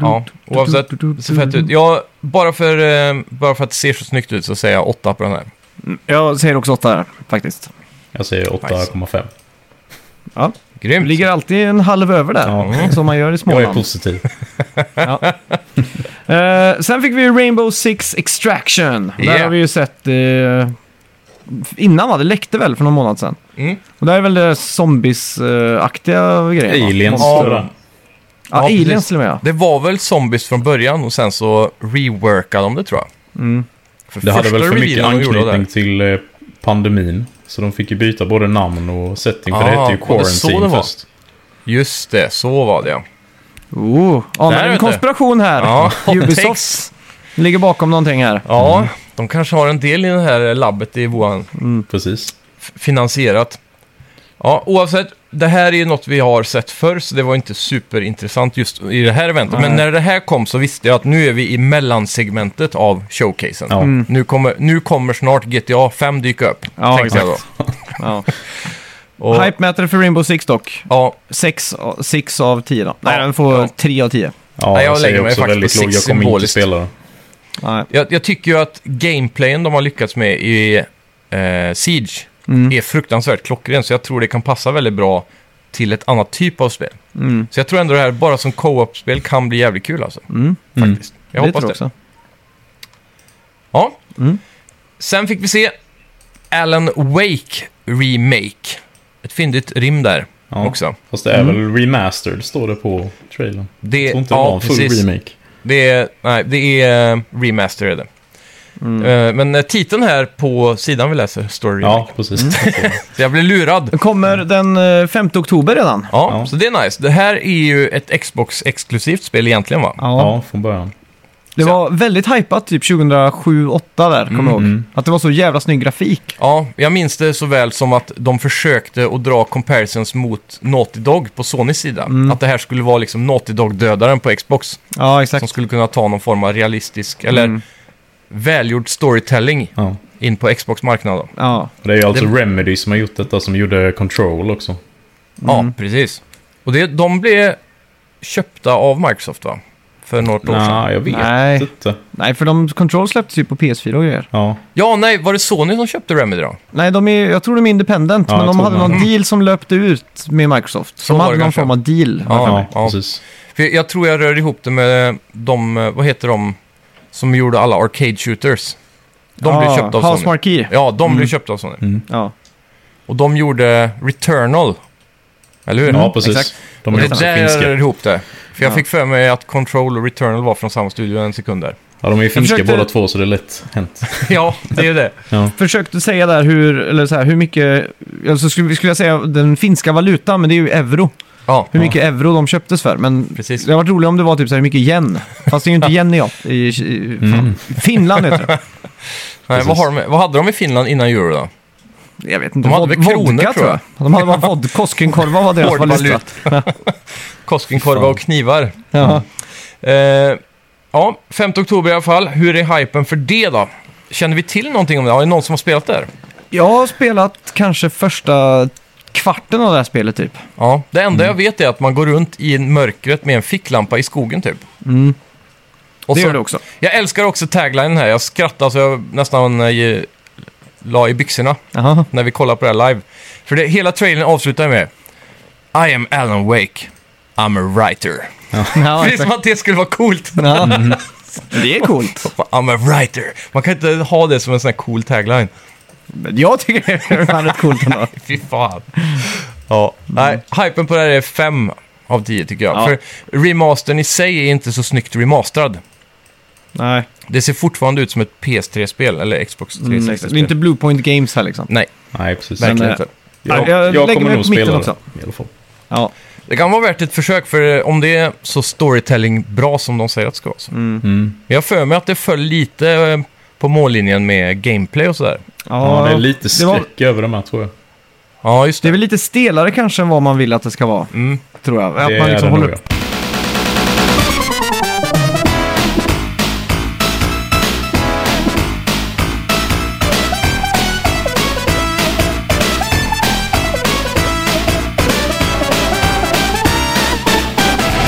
A: Ja, oavsett. Det ser fett ut. Ja, bara för, eh, bara för att det ser så snyggt ut så säger jag åtta på den här.
B: Mm, Jag säger också åtta här, faktiskt.
C: Jag säger 8,5.
B: Ja. Du
A: Grymt!
B: ligger alltid en halv över där,
C: Ja.
B: som man gör i
C: Jag är
B: Småland.
C: positiv.
B: Eh, sen fick vi Rainbow Six Extraction. Där
A: Yeah.
B: har vi ju sett eh, innan, va? Det läckte väl för någon månad sedan.
A: Mm.
B: Och där är väl det zombies-aktiga grejer? va?
C: Aliens.
A: Ja.
C: tror jag.
B: Ja,
A: Ja,
B: aliens
A: precis.
B: till och med ja.
A: Det var väl zombies från början och sen så reworkade de det tror jag. Mm. För
C: Det hade
A: första
C: väl för mycket
A: revealen de gjorde
C: anknytning
A: där-
C: till eh, pandemin. Så de fick ju byta både namn och setting. För
A: Ah,
C: det hette ju
A: var det så
C: Quarantine
A: det var?
C: först.
A: Just det, så var det ja.
B: Oh, anar
A: Där,
B: en
A: vet du.
B: konspiration här.
A: Ja,
B: Ubisoft
A: takes.
B: ligger bakom någonting här.
A: Ja, Mm. de kanske har en del i det här labbet i Wuhan.
C: Precis.
A: F- Finansierat. Ja, oavsett. Det här är ju något vi har sett förr, så det var inte superintressant just i det här eventet. Men när det här kom så visste jag att nu är vi i mellansegmentet av showcasen.
C: Ja. Mm.
A: Nu, kommer, nu kommer snart GTA 5 dyka upp,
B: Ja,
A: tänkte jag
B: exakt. Ja.
A: då. Och,
B: Hype-mätare för Rainbow Six dock.
A: Ja,
B: 6 6 av 10 då. Nej,
A: Ja,
B: den får
A: ja.
B: 3 av 10.
C: Ja, alltså,
A: Nej, jag
C: jag säger
A: lägger mig
C: också
A: faktiskt
C: väldigt
A: på
C: låg.
A: sex
C: Jag kommer inte
A: symboliskt.
C: spela det.
B: Nej.
A: Jag, jag tycker ju att gameplayen de har lyckats med i eh, Siege
B: Mm.
A: är fruktansvärt klockren, så jag tror det kan passa väldigt bra till ett annat typ av spel.
B: Mm.
A: Så jag tror ändå det här bara som co-op-spel kan bli jävligt kul alltså.
B: Mm.
A: Faktiskt. Jag
B: det
A: hoppas
B: tror jag
A: det.
B: också.
A: Ja.
B: Mm.
A: Sen fick vi se Alan Wake Remake. Ett fyndigt rim där
C: Ja.
A: också. Mm.
C: Fast det är väl remastered står det på trailern.
A: Det,
C: Jag tror inte det var en full remake.
A: Det är, nej, det är eh, remaster är det. Eh, Men eh, titeln här på sidan vi läser står remake. Mm.
C: Ja, precis.
A: Så jag blev lurad.
B: Den kommer den eh, 5 oktober redan.
A: Ja,
C: Ja.
A: så det är nice. Det här är ju ett Xbox-exklusivt spel egentligen va?
C: ja, från början.
B: Det var väldigt hypat typ 2007-2008 där, kommer jag
A: Mm-hmm.
B: ihåg. Att det var så jävla snygg grafik.
A: Ja, jag minns det så väl som att de försökte att dra comparisons mot Naughty Dog på Sonys sida.
C: Mm.
A: Att det här skulle vara liksom Naughty Dog-dödaren på Xbox.
B: Ja, exakt.
A: Som skulle kunna ta någon form av realistisk, eller
B: Mm.
A: välgjord storytelling
C: Ja.
A: in på Xbox-marknaden.
B: Ja.
C: Och Det är ju alltså Remedy som har gjort detta, som gjorde Control också.
A: Ja, precis. Och det, de blev köpta av Microsoft va? För något år sedan.
C: Nej, jag vet
B: Nej.
C: inte.
B: Nej, för de Control släpptes ju på PS4 och grejer.
C: Ja,
A: Ja, nej, var det Sony som köpte Remedy då?
B: Nej, de är, jag tror de är independent,
C: Ja,
B: men
C: jag
B: de
C: tror
B: hade
C: det.
B: någon deal som löpte ut med Microsoft.
A: Så
B: de
A: var
B: hade
A: det
B: någon
A: kanske.
B: form av deal.
A: Ja,
C: ja,
A: ja.
C: precis.
A: För jag tror jag rör ihop det med de, eh, vad heter de, som gjorde alla Arcade Shooters. De blev
B: Ah,
A: köpta av
B: House
A: Sony.
B: Marquee.
A: Ja, de blev köpta av Sony.
C: Mm.
B: Ja.
A: Och de gjorde Returnal. Eller hur?
C: Ja, precis.
B: exakt.
C: De
A: Och
C: är
A: det
C: också
A: där är
C: finska.
A: ihop det. För jag
B: Ja.
A: fick för mig att Control och Returnal var från samma studio en sekund där.
C: Ja, de är ju finska
B: försökte-
C: båda två så det är lätt hänt.
A: ja, det är ju det.
C: Ja.
B: Försökte säga där hur, eller så här, hur mycket, alltså skulle, skulle jag säga den finska valutan, men det är ju euro.
A: Ja,
B: Hur mycket euro de köptes för, men
A: Precis.
B: det hade varit roligt om det var typ så här, hur mycket yen. Fast det är ju inte yen i, i, i
A: Mm.
B: fan, Finland heter det.
A: Nej, vad, har de, vad hade de i Finland innan euro då?
B: Jag vet inte,
A: De hade
B: vod-
A: väl kronor,
B: vodka
A: tror jag.
B: De hade bara vodka, Koskenkorva var deras
A: Hårdvaluta.
B: valuta.
A: Koskenkorva
C: Fan.
A: och knivar.
B: Ja.
A: Eh, ja, 5 oktober i alla fall. Hur är hypen för det då? Känner vi till någonting om det? Är det någon som har spelat där?
B: Jag har spelat kanske första kvarten av det här spelet typ.
A: Ja, det enda jag vet är att man går runt i mörkret med en ficklampa i skogen typ. Och
B: det
A: så,
B: gör det också.
A: Jag älskar också taglinen här. Jag skrattade så jag nästan eh, la i byxorna
B: Jaha.
A: när vi kollar på det här live. För det, hela trailern avslutar med I am Alan Wake. I'm a writer.
B: Ja,
A: Precis som
B: exakt.
A: att det skulle vara coolt.
B: ja. Mm. Det är coolt.
A: I'm a writer. Man kan inte ha det som en sån här cool tagline.
B: Men Jag tycker det är fan rätt coolt ändå.
A: Fy fan. Ja, nej, hypen på det här är 5 av 10 tycker jag.
B: Ja.
A: För remastern i sig är inte så snyggt remasterad.
B: Nej,
A: Det ser fortfarande ut som ett PS3-spel eller Xbox
B: mm, exakt.
A: 360-spel.
B: det är inte Bluepoint Games här liksom.
A: Nej,
C: Nej, precis.
B: Men,
A: verkligen
B: eh,
A: inte.
B: jag-
C: jag,
B: jag
C: jag,
B: lägger mig
C: kommer nog
B: på mitten
C: spela
B: också.
C: det. I alla fall.
B: Ja.
A: Det kan vara värt ett försök, för eh, om det är så storytelling bra som de säger att det ska vara. så.
C: Mm.
A: Jag har för mig att det föll lite eh, på mållinjen med gameplay och sådär.
C: Ja, det är lite
B: det, var,
C: skräck över de här tror jag.
A: Ja, just
B: det är
A: det.
B: väl lite stelare kanske än vad man vill att det ska vara.
A: Mm.
B: Tror jag. Att
C: det
B: man
C: är
B: liksom
C: det
B: håller
C: nog,
B: upp.
C: ja.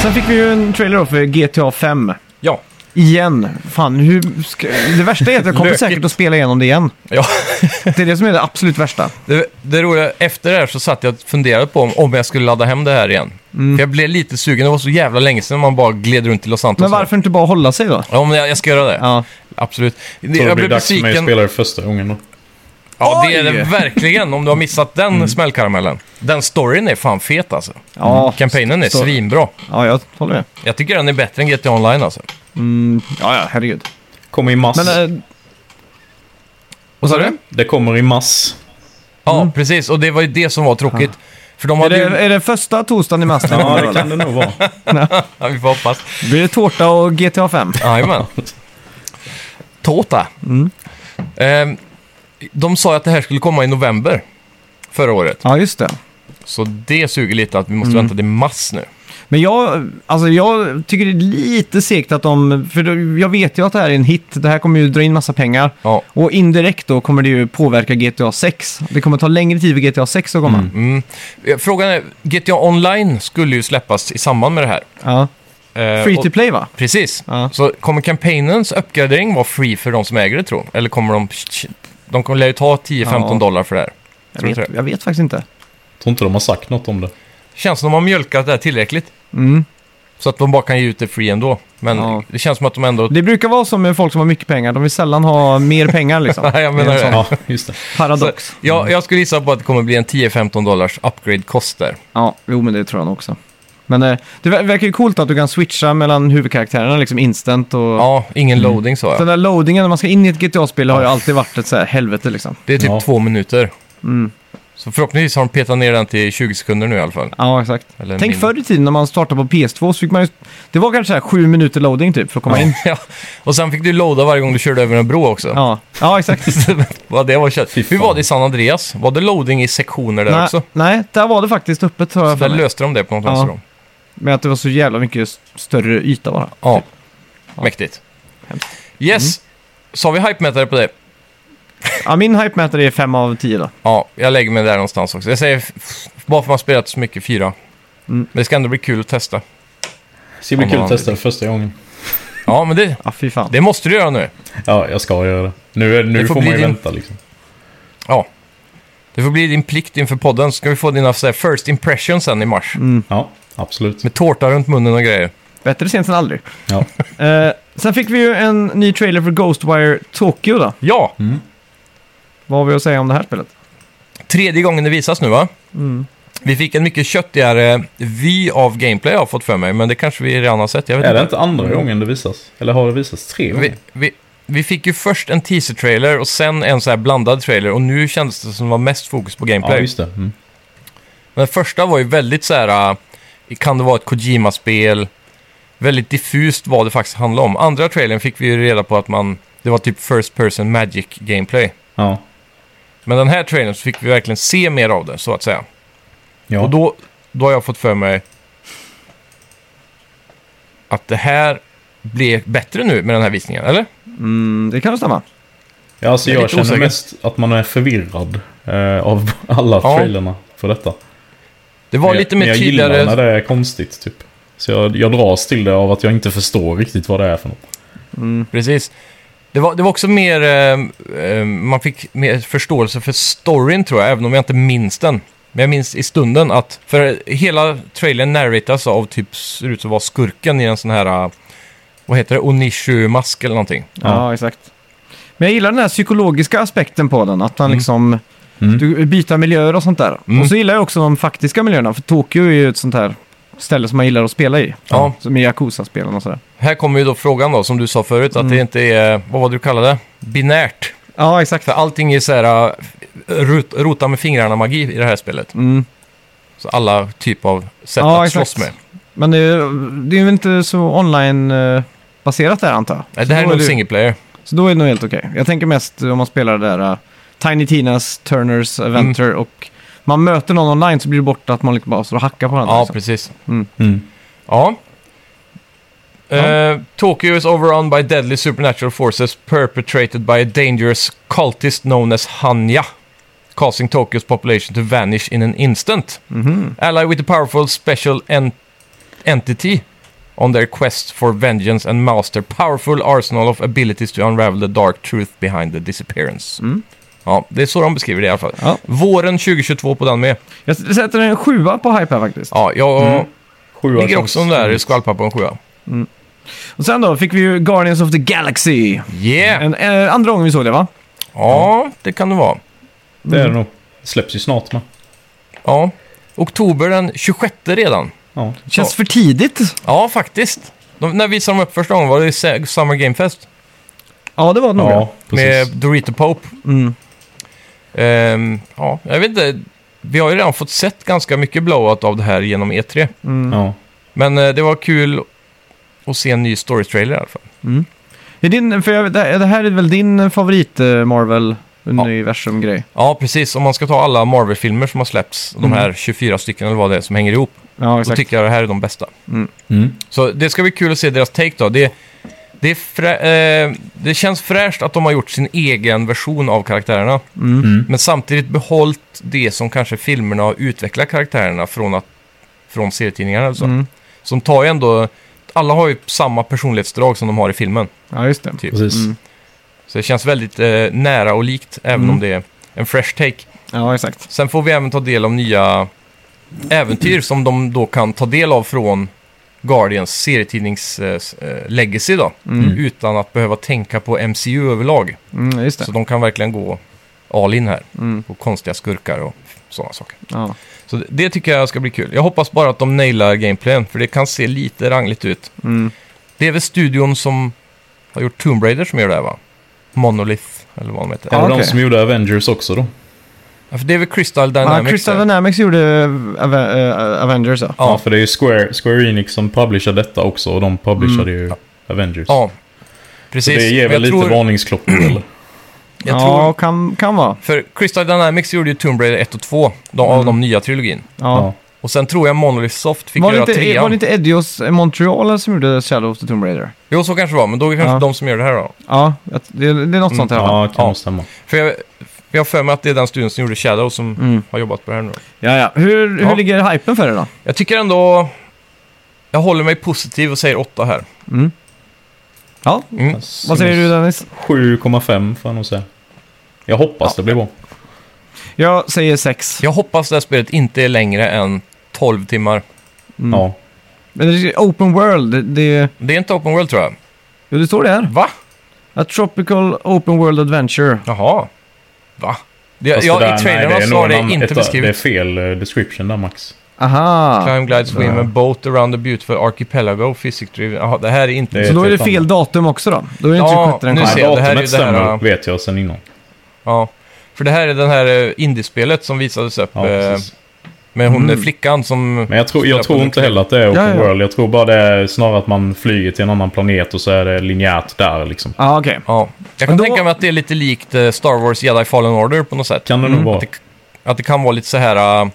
B: Sen fick vi ju en trailer då för GTA 5.
A: Ja.
B: Igen. Fan, hur ska... Det värsta är att jag kommer
A: Lökigt.
B: säkert att spela igenom det igen.
A: ja.
B: Det är det som är det absolut värsta.
A: Det, det roliga, efter det här så satt jag och funderade på om, om jag skulle ladda hem det här igen.
B: Mm.
A: För jag blev lite sugen, det var så jävla länge sedan man bara gled runt i Los Santos.
B: Men varför inte bara hålla sig då?
A: Ja, men jag, jag ska göra det.
B: Ja.
C: Mm,
A: Absolut. Det,
C: Så det
A: jag
C: blir
A: blev
C: dags för mig att
A: besviken.
C: spela det första gången då.
A: Ja, det är det
B: Oj!
A: verkligen, om du har missat den
C: Mm.
A: smällkaramellen. Den storyn är fan fet alltså.
B: Ja,
A: Kampanjen är
B: så-
A: svinbra.
B: ja jag håller med.
A: Jag tycker den är bättre än GTA Online alltså.
B: Ja, ja, herregud.
C: Kommer i mars.
B: Men eh,
A: Vad sa du?
C: Det kommer i mars.
A: Mm. Ja, precis. Och det var ju det som var tråkigt. För de
B: Mm. är,
A: hade
B: det,
A: ju...
B: är det första torsdagen i mars?
C: Ja, det kan det nog vara.
A: Ja, vi får hoppas.
B: Blir det tårta och GTA 5?
A: Jajamän.
B: Tota.
A: Tårta.
B: Mm.
A: Ehm, de sa ju att det här skulle komma i november förra året.
B: Ja, just det.
A: Så det suger lite att vi
B: Mm.
A: måste vänta till mass nu.
B: Men jag, alltså jag tycker det är lite segt att de... För då- jag vet ju att det här är en hit. Det här kommer ju dra in massa pengar.
A: Ja.
B: Och indirekt då kommer det ju påverka GTA 6. Det kommer ta längre tid för GTA 6 att komma.
A: Mm. Eh, Frågan är, GTA Online skulle ju släppas i samband med det här.
B: Ja.
A: Eh,
B: Free
A: och-
B: to play va?
A: Precis.
B: Ja.
A: Så kommer kampanjens uppgradering vara free för de som äger det, tror du? Eller kommer de... De kommer lär ju ta 10-15
B: Ja.
A: dollar för det här.
B: Jag
A: Tror du
B: vet,
A: det?
B: jag vet faktiskt inte.
C: Tror inte de har sagt något om det.
A: Känns som de har mjölkat det här tillräckligt.
B: Mm.
A: Så att de bara kan ge ut det free ändå. Men
B: Ja.
A: det känns som att de ändå...
B: Det brukar vara som med folk som har mycket pengar. De vill sällan ha mer pengar liksom.
A: Nej, jag
B: Det är en
A: menar
B: sån
A: det.
C: Ja, just det.
B: Paradox.
A: Så, ja, jag skulle gissa på att det kommer bli en 10-15 dollars upgrade-kost där.
B: Ja, jo men det tror jag nog också. Men eh, det ver- verkar ju coolt att du kan switcha mellan huvudkaraktärerna liksom instant och...
A: Ja, ingen
B: Mm.
A: loading sa
B: Den
A: jag.
B: där loadingen när man ska in i ett GTA-spel har ju alltid varit ett så här helvete liksom.
A: Det är typ
C: Ja.
A: två minuter.
B: Mm.
A: Så förhoppningsvis har de petat ner den till 20 sekunder nu i alla fall.
B: Ja, exakt.
A: Eller
B: Tänk
A: min-
B: förr i tiden när man startade på PS2 så fick man ju... Det var kanske så här sju minuter loading typ för att komma in.
A: Ja. Och sen fick du loada varje gång du körde över en bro också.
B: Ja, ja exakt.
A: Vad det var kött.
C: Fy fan.
A: Hur var det i San Andreas? Var det loading i sektioner där
B: nej,
A: också?
B: nej, där var det faktiskt öppet tror jag.
A: Där
B: för mig.
A: löste de det på något
B: Ja.
A: vänster om.
B: Men att det var så jävla mycket s- större yta bara.
A: Ja, mäktigt.
B: Hemskt. Mm.
A: Yes, sa vi hype-mätare på det?
B: Ja, min hype-mätare är 5 av 10 då.
A: Ja, jag lägger mig där någonstans också. Jag säger, f- bara för att man har spelat så mycket, fyra.
C: Mm.
A: Men det ska ändå bli kul att testa.
C: Ska bli
A: Om
C: kul
A: man-
C: att testa det första gången.
A: Ja, men det,
B: Ja, fy fan.
A: det måste du göra nu.
C: Ja, jag ska göra det. Nu, är- nu
A: Det får
C: får,
A: bli
C: man ju
A: din-
C: vänta liksom.
A: Ja. Det får bli din plikt inför podden. Ska vi få dina så här, first impressions sen i mars?
C: Mm. Ja, absolut.
A: Med tårta runt munnen och grejer.
B: Bättre sent än aldrig.
C: Ja.
B: Eh, Sen fick vi ju en ny trailer för Ghostwire Tokyo då.
A: Ja,
C: Mm.
B: Vad har vi att säga om det här spelet?
A: tredje gången det visas nu va?
C: Mm.
A: Vi fick en mycket köttigare vy av gameplay jag har fått för mig, men det kanske vi redan har sett. Jag vet
C: Är det
A: inte.
C: inte andra gången det visas? Eller har det visats tre gånger?
A: Vi, vi, vi fick ju först en teaser-trailer och sen en så här blandad trailer och nu kändes det som det var mest fokus på
C: Ja,
A: gameplay.
C: just det. Mm.
A: Men den första var ju väldigt så här, äh, kan det vara ett Kojima-spel? Väldigt diffust vad det faktiskt handlade om. Andra trailern fick vi ju reda på att man, det var typ First Person Magic Gameplay.
C: Ja.
A: Men den här trailern så fick vi verkligen se mer av det, så att säga.
C: Ja.
A: Och då, då har jag fått för mig att det här blev bättre nu med den här visningen, eller?
B: Mm, det kan nog stämma.
C: ja, alltså
A: Jag är
C: jag,
A: lite
C: känner
A: osäker.
C: mest att man är förvirrad eh, av alla
A: Ja.
C: trailerna för detta.
A: Det var
C: Men jag,
A: lite
C: men
A: mer
C: jag gillar när
A: tydligare...
C: det är konstigt, typ. Så jag, jag dras till det av att jag inte förstår riktigt vad det är för något.
A: Precis. Det var, det var också mer... eh, eh, man fick mer förståelse för storyn, tror jag, även om jag inte minns den. Men jag minns i stunden att... För hela trailern narratas av typ... Ser ut som att vara skurken i en sån här... eh, Vad heter det? Onishu-mask eller någonting.
B: Ja. exakt. Men jag gillar den här psykologiska aspekten på den. Att man
A: Mm.
B: liksom...
C: Mm.
B: Du byter miljöer och sånt där.
A: Mm.
B: Och så gillar jag också de faktiska miljöerna. För Tokyo är ju ett sånt här ställe som man gillar att spela i.
A: Ja.
B: Som i Yakuza-spelen och sådär.
A: Här kommer ju då frågan då, som du sa förut, att
B: Mm.
A: det inte är... Vad var det du kallade det? Binärt.
B: Ja, exakt.
A: För allting är så här... eh, Rot, rota med fingrarna-magi i det här spelet.
B: Mm.
A: Så alla typ av sätt
B: Ja,
A: att
B: exakt.
A: slåss med.
B: Men det är, det är ju inte så online-baserat där antar jag.
A: Nej,
B: Så
A: Det här är
B: då
A: nog
B: det-
A: single player.
B: Så då är det nog helt okej. Jag tänker mest om man spelar det där eh, Tiny Tinas, Turners,
A: Mm.
B: Eventer och man möter någon online så blir det borta att man liksom bara står och hackar på varandra.
A: Ja,
B: liksom.
A: precis.
C: Mm.
A: Ja. Eh, Tokyo is overrun by deadly supernatural forces perpetrated by a dangerous cultist known as Hanya, causing Tokyo's population to vanish in an instant.
B: Mhm.
A: Allied with a powerful special en entity on their quest for vengeance and master powerful arsenal of abilities to unravel the dark truth behind the disappearance.
B: Mm.
A: Ja, det är så de beskriver det i alla fall.
B: Ja.
A: Våren 2022 på den med.
B: Jag s- sätter en sjua på Hype här faktiskt.
A: Ja, jag
B: Mm.
C: Sjua
A: ligger
C: känns-
A: också där i skvalpar på en sjua.
B: Och sen då fick vi ju Guardians of the Galaxy.
A: Yeah!
B: En, eh, andra gången vi såg det va?
A: Ja, det kan det vara.
C: Det
A: Mm.
C: är det nog. Det släpps ju snart med.
A: Ja. Oktober den 26 redan.
C: Ja.
B: Känns för tidigt.
A: Ja, faktiskt. De, när visade de upp första gången? Var det Sa- Summer Game Fest?
B: Ja, det var det nog.
C: Ja,
A: Med
C: precis.
A: Dorito Pope.
B: Mm.
A: Ehm, ja, jag vet inte. Vi har ju redan fått sett ganska mycket blowout av det här genom E3.
B: Mm.
C: Ja.
A: Men eh, det var kul att se en ny story-trailer i alla fall.
B: Är din, för jag, vet- det det här är väl din favorit eh, Marvel-universum-grej?
A: Ja, precis. Om man ska ta alla Marvel-filmer som har släppts, de här 24 stycken eller vad det är som hänger ihop,
B: Ja,
A: då
B: exakt.
A: tycker jag det här är de bästa.
C: Mm.
A: Så det ska bli kul att se deras take då. Det, det, är frä, eh, det känns fräscht att de har gjort sin egen version av karaktärerna.
C: Mm.
A: Men samtidigt behållit det som kanske filmerna har utvecklat karaktärerna från, att, från serietidningarna. Eller så.
B: Mm.
A: Som tar ju ändå... Alla har ju samma personlighetsdrag som de har i filmen.
B: Ja, just det.
A: Typ.
C: Precis.
B: Mm.
A: Så det känns väldigt eh, nära och likt, även
B: Mm.
A: om det är en fresh take.
B: Ja, exakt.
A: Sen får vi även ta del av nya äventyr som de då kan ta del av från Guardians serietidnings eh, s- eh, legacy då.
B: Mm.
A: Utan att behöva tänka på MCU överlag.
B: Mm, just
A: Så
B: det.
A: de kan verkligen gå all in här.
B: Mm.
A: På konstiga skurkar och sådana saker.
B: Ja.
A: Så det, det tycker jag ska bli kul. Jag hoppas bara att de nailar gameplayen. För det kan se lite rangligt ut.
B: Mm.
A: Det är väl studion som har gjort Tomb Raider som gör det här va? Monolith eller vad de heter.
C: Är
A: Ja.
C: det
B: okej.
C: de som gjorde Avengers också då?
A: för det är väl Crystal Dynamics.
B: Ja, Crystal
A: där.
B: Dynamics gjorde Ave- eh, Avengers ja.
A: Ja.
C: Ja, för det är ju Square, Square Enix som publicerar detta också och de publicerade ju Avengers.
A: Mm. Ja,
C: Så
A: precis.
C: det ger
A: Men
C: väl
A: jag
C: lite
A: tror-
C: varningsklockor eller?
A: Jag
B: ja,
A: tror
B: kan, kan vara.
A: För Crystal Dynamics gjorde ju Tomb Raider 1 och 2, de,
B: Mm.
A: av de nya trilogin.
B: Ja.
A: Och sen tror jag Monolith Soft fick
B: Var, det
A: göra
B: inte,
A: trean.
B: var det inte Edios eh, Montreal som gjorde Shadow of the Tomb Raider?
A: Jo, så kanske det var, men då är det kanske
B: Ja.
A: de som gör det här då.
B: Ja, att- det, det är något sånt i alla fall.
C: Ja, kan
A: Ja.
C: nog stämma.
A: För jag, jag har för mig att det är den studion som gjorde Shadow som
C: Mm.
A: har jobbat på det här nu.
B: Ja, Mm. ja. Hur, hur
A: Ja.
B: ligger hypen för det då?
A: Jag tycker ändå... Jag håller mig positiv och säger 8 här.
B: Mm. Ja,
A: Mm.
B: vad säger du Dennis?
C: 7,5 får jag nog säga. Jag hoppas det blir
A: Mm.
C: bra.
B: Jag säger sex.
A: Jag hoppas det här spelet inte är längre än 12 timmar.
C: Ja.
B: Men det är open world, det, det,
A: Det är inte Open World tror jag.
B: Jo, det står det här.
A: Va?
B: A Tropical Open World Adventure.
A: Jaha. Va? Det,
C: Fast
A: ja,
C: det där-
A: I
C: nej,
A: trailern
C: är
A: så
C: nog
A: har det
C: namn-
A: inte
C: ett- Det är
A: beskrivits.
C: fel eh, description där Max.
B: Aha!
A: Climb, glide, swim
C: Ja.
A: and boat around the beautiful archipelago, physics driven. Jaha, det här är inte...
C: Det-
B: Så då är det
C: helt
B: fel
C: annat.
B: datum också då? Då är det inte
A: Ja,
B: 26 den
A: nu
B: kommer.
A: ser
C: Nej,
A: jag, det här är
C: datumet
A: ju det här,
C: stämmer,
A: ja.
C: vet jag sen innan.
A: Ja. För det här är den här eh, indiespelet som visades upp eh,
C: Ja, precis. Mm.
A: med hon eh, flickan som...
C: Men jag tror, jag
A: spelar på
C: tror
A: en
C: inte
A: kniv.
C: heller att det är open
B: Ja, ja.
C: world. Jag tror bara det är snarare att man flyger till en annan planet och så är det linjärt där liksom.
B: Ja, okej.
A: Ja. Jag kan
B: Men då-
A: tänka mig att det är lite likt eh, Star Wars Jedi Fallen Order på något sätt.
C: Kan det nog vara.
A: Att det, att det kan vara lite så här uh,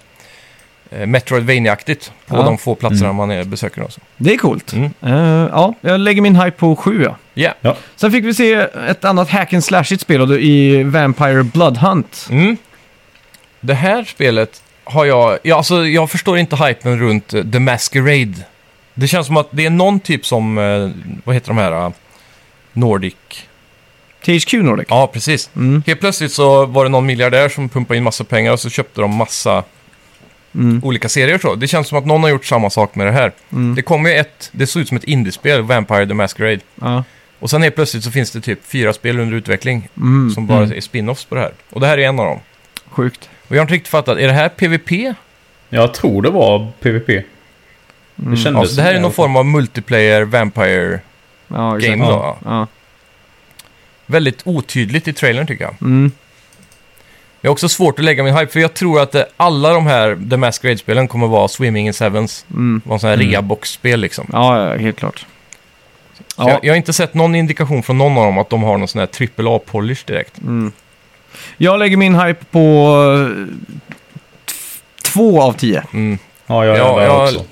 A: Metroidvania-aktigt på
B: Ja.
A: de få platserna man eh, besöker. Också.
B: Det är coolt.
A: Mm.
B: Eh, ja, jag lägger min hype på 7 ja.
A: Yeah.
B: Sen fick vi se ett annat hack and slashigt spel och det är i Vampire Blood Hunt.
A: Mm. Det här spelet har jag... Ja, alltså, jag förstår inte hypen runt eh, The Masquerade. Det känns som att det är någon typ som... eh, Vad heter de här? eh, Nordic...
B: THQ Nordic.
A: Ja, precis.
B: Mm.
A: Helt plötsligt så var det någon miljardär som pumpade in massa pengar och så köpte de massa
B: Mm.
A: olika serier. Så. Det känns som att någon har gjort samma sak med det här.
B: Mm.
A: Det kom ju ett... Det såg ut som ett indiespel, Vampire The Masquerade.
B: Ja.
A: Och sen helt plötsligt så finns det typ fyra spel under utveckling
B: Mm.
A: som bara
C: Mm.
A: är spin-offs på det här. Och det här är en av dem.
B: Sjukt.
A: Och jag har inte riktigt fattat, är det här PVP
C: Jag tror det var PVP.
B: Mm.
C: Det
A: Mm. Ja,
C: kändes
A: så Alltså, det här är någon form av multiplayer vampire.
B: Ja, exakt.
A: Game då,
B: ja. Ja.
A: Väldigt otydligt i trailern tycker jag.
B: Mm.
A: Jag har också svårt att lägga min hype för jag tror att eh, alla de här The Masquerade-spelen kommer vara Swimming in Sevens.
B: Mm.
A: Vara sådana här
C: Mm.
A: reabox-spel liksom.
B: ja, ja, helt klart.
A: Så Jag, jag har inte sett någon indikation från någon av dem att de har någon sån här AAA-polish direkt.
B: Mm. Jag lägger min hype på eh, t- två av tio.
A: Mm.
C: Ja, jag är
A: Ja,
C: där
A: jag-
C: också.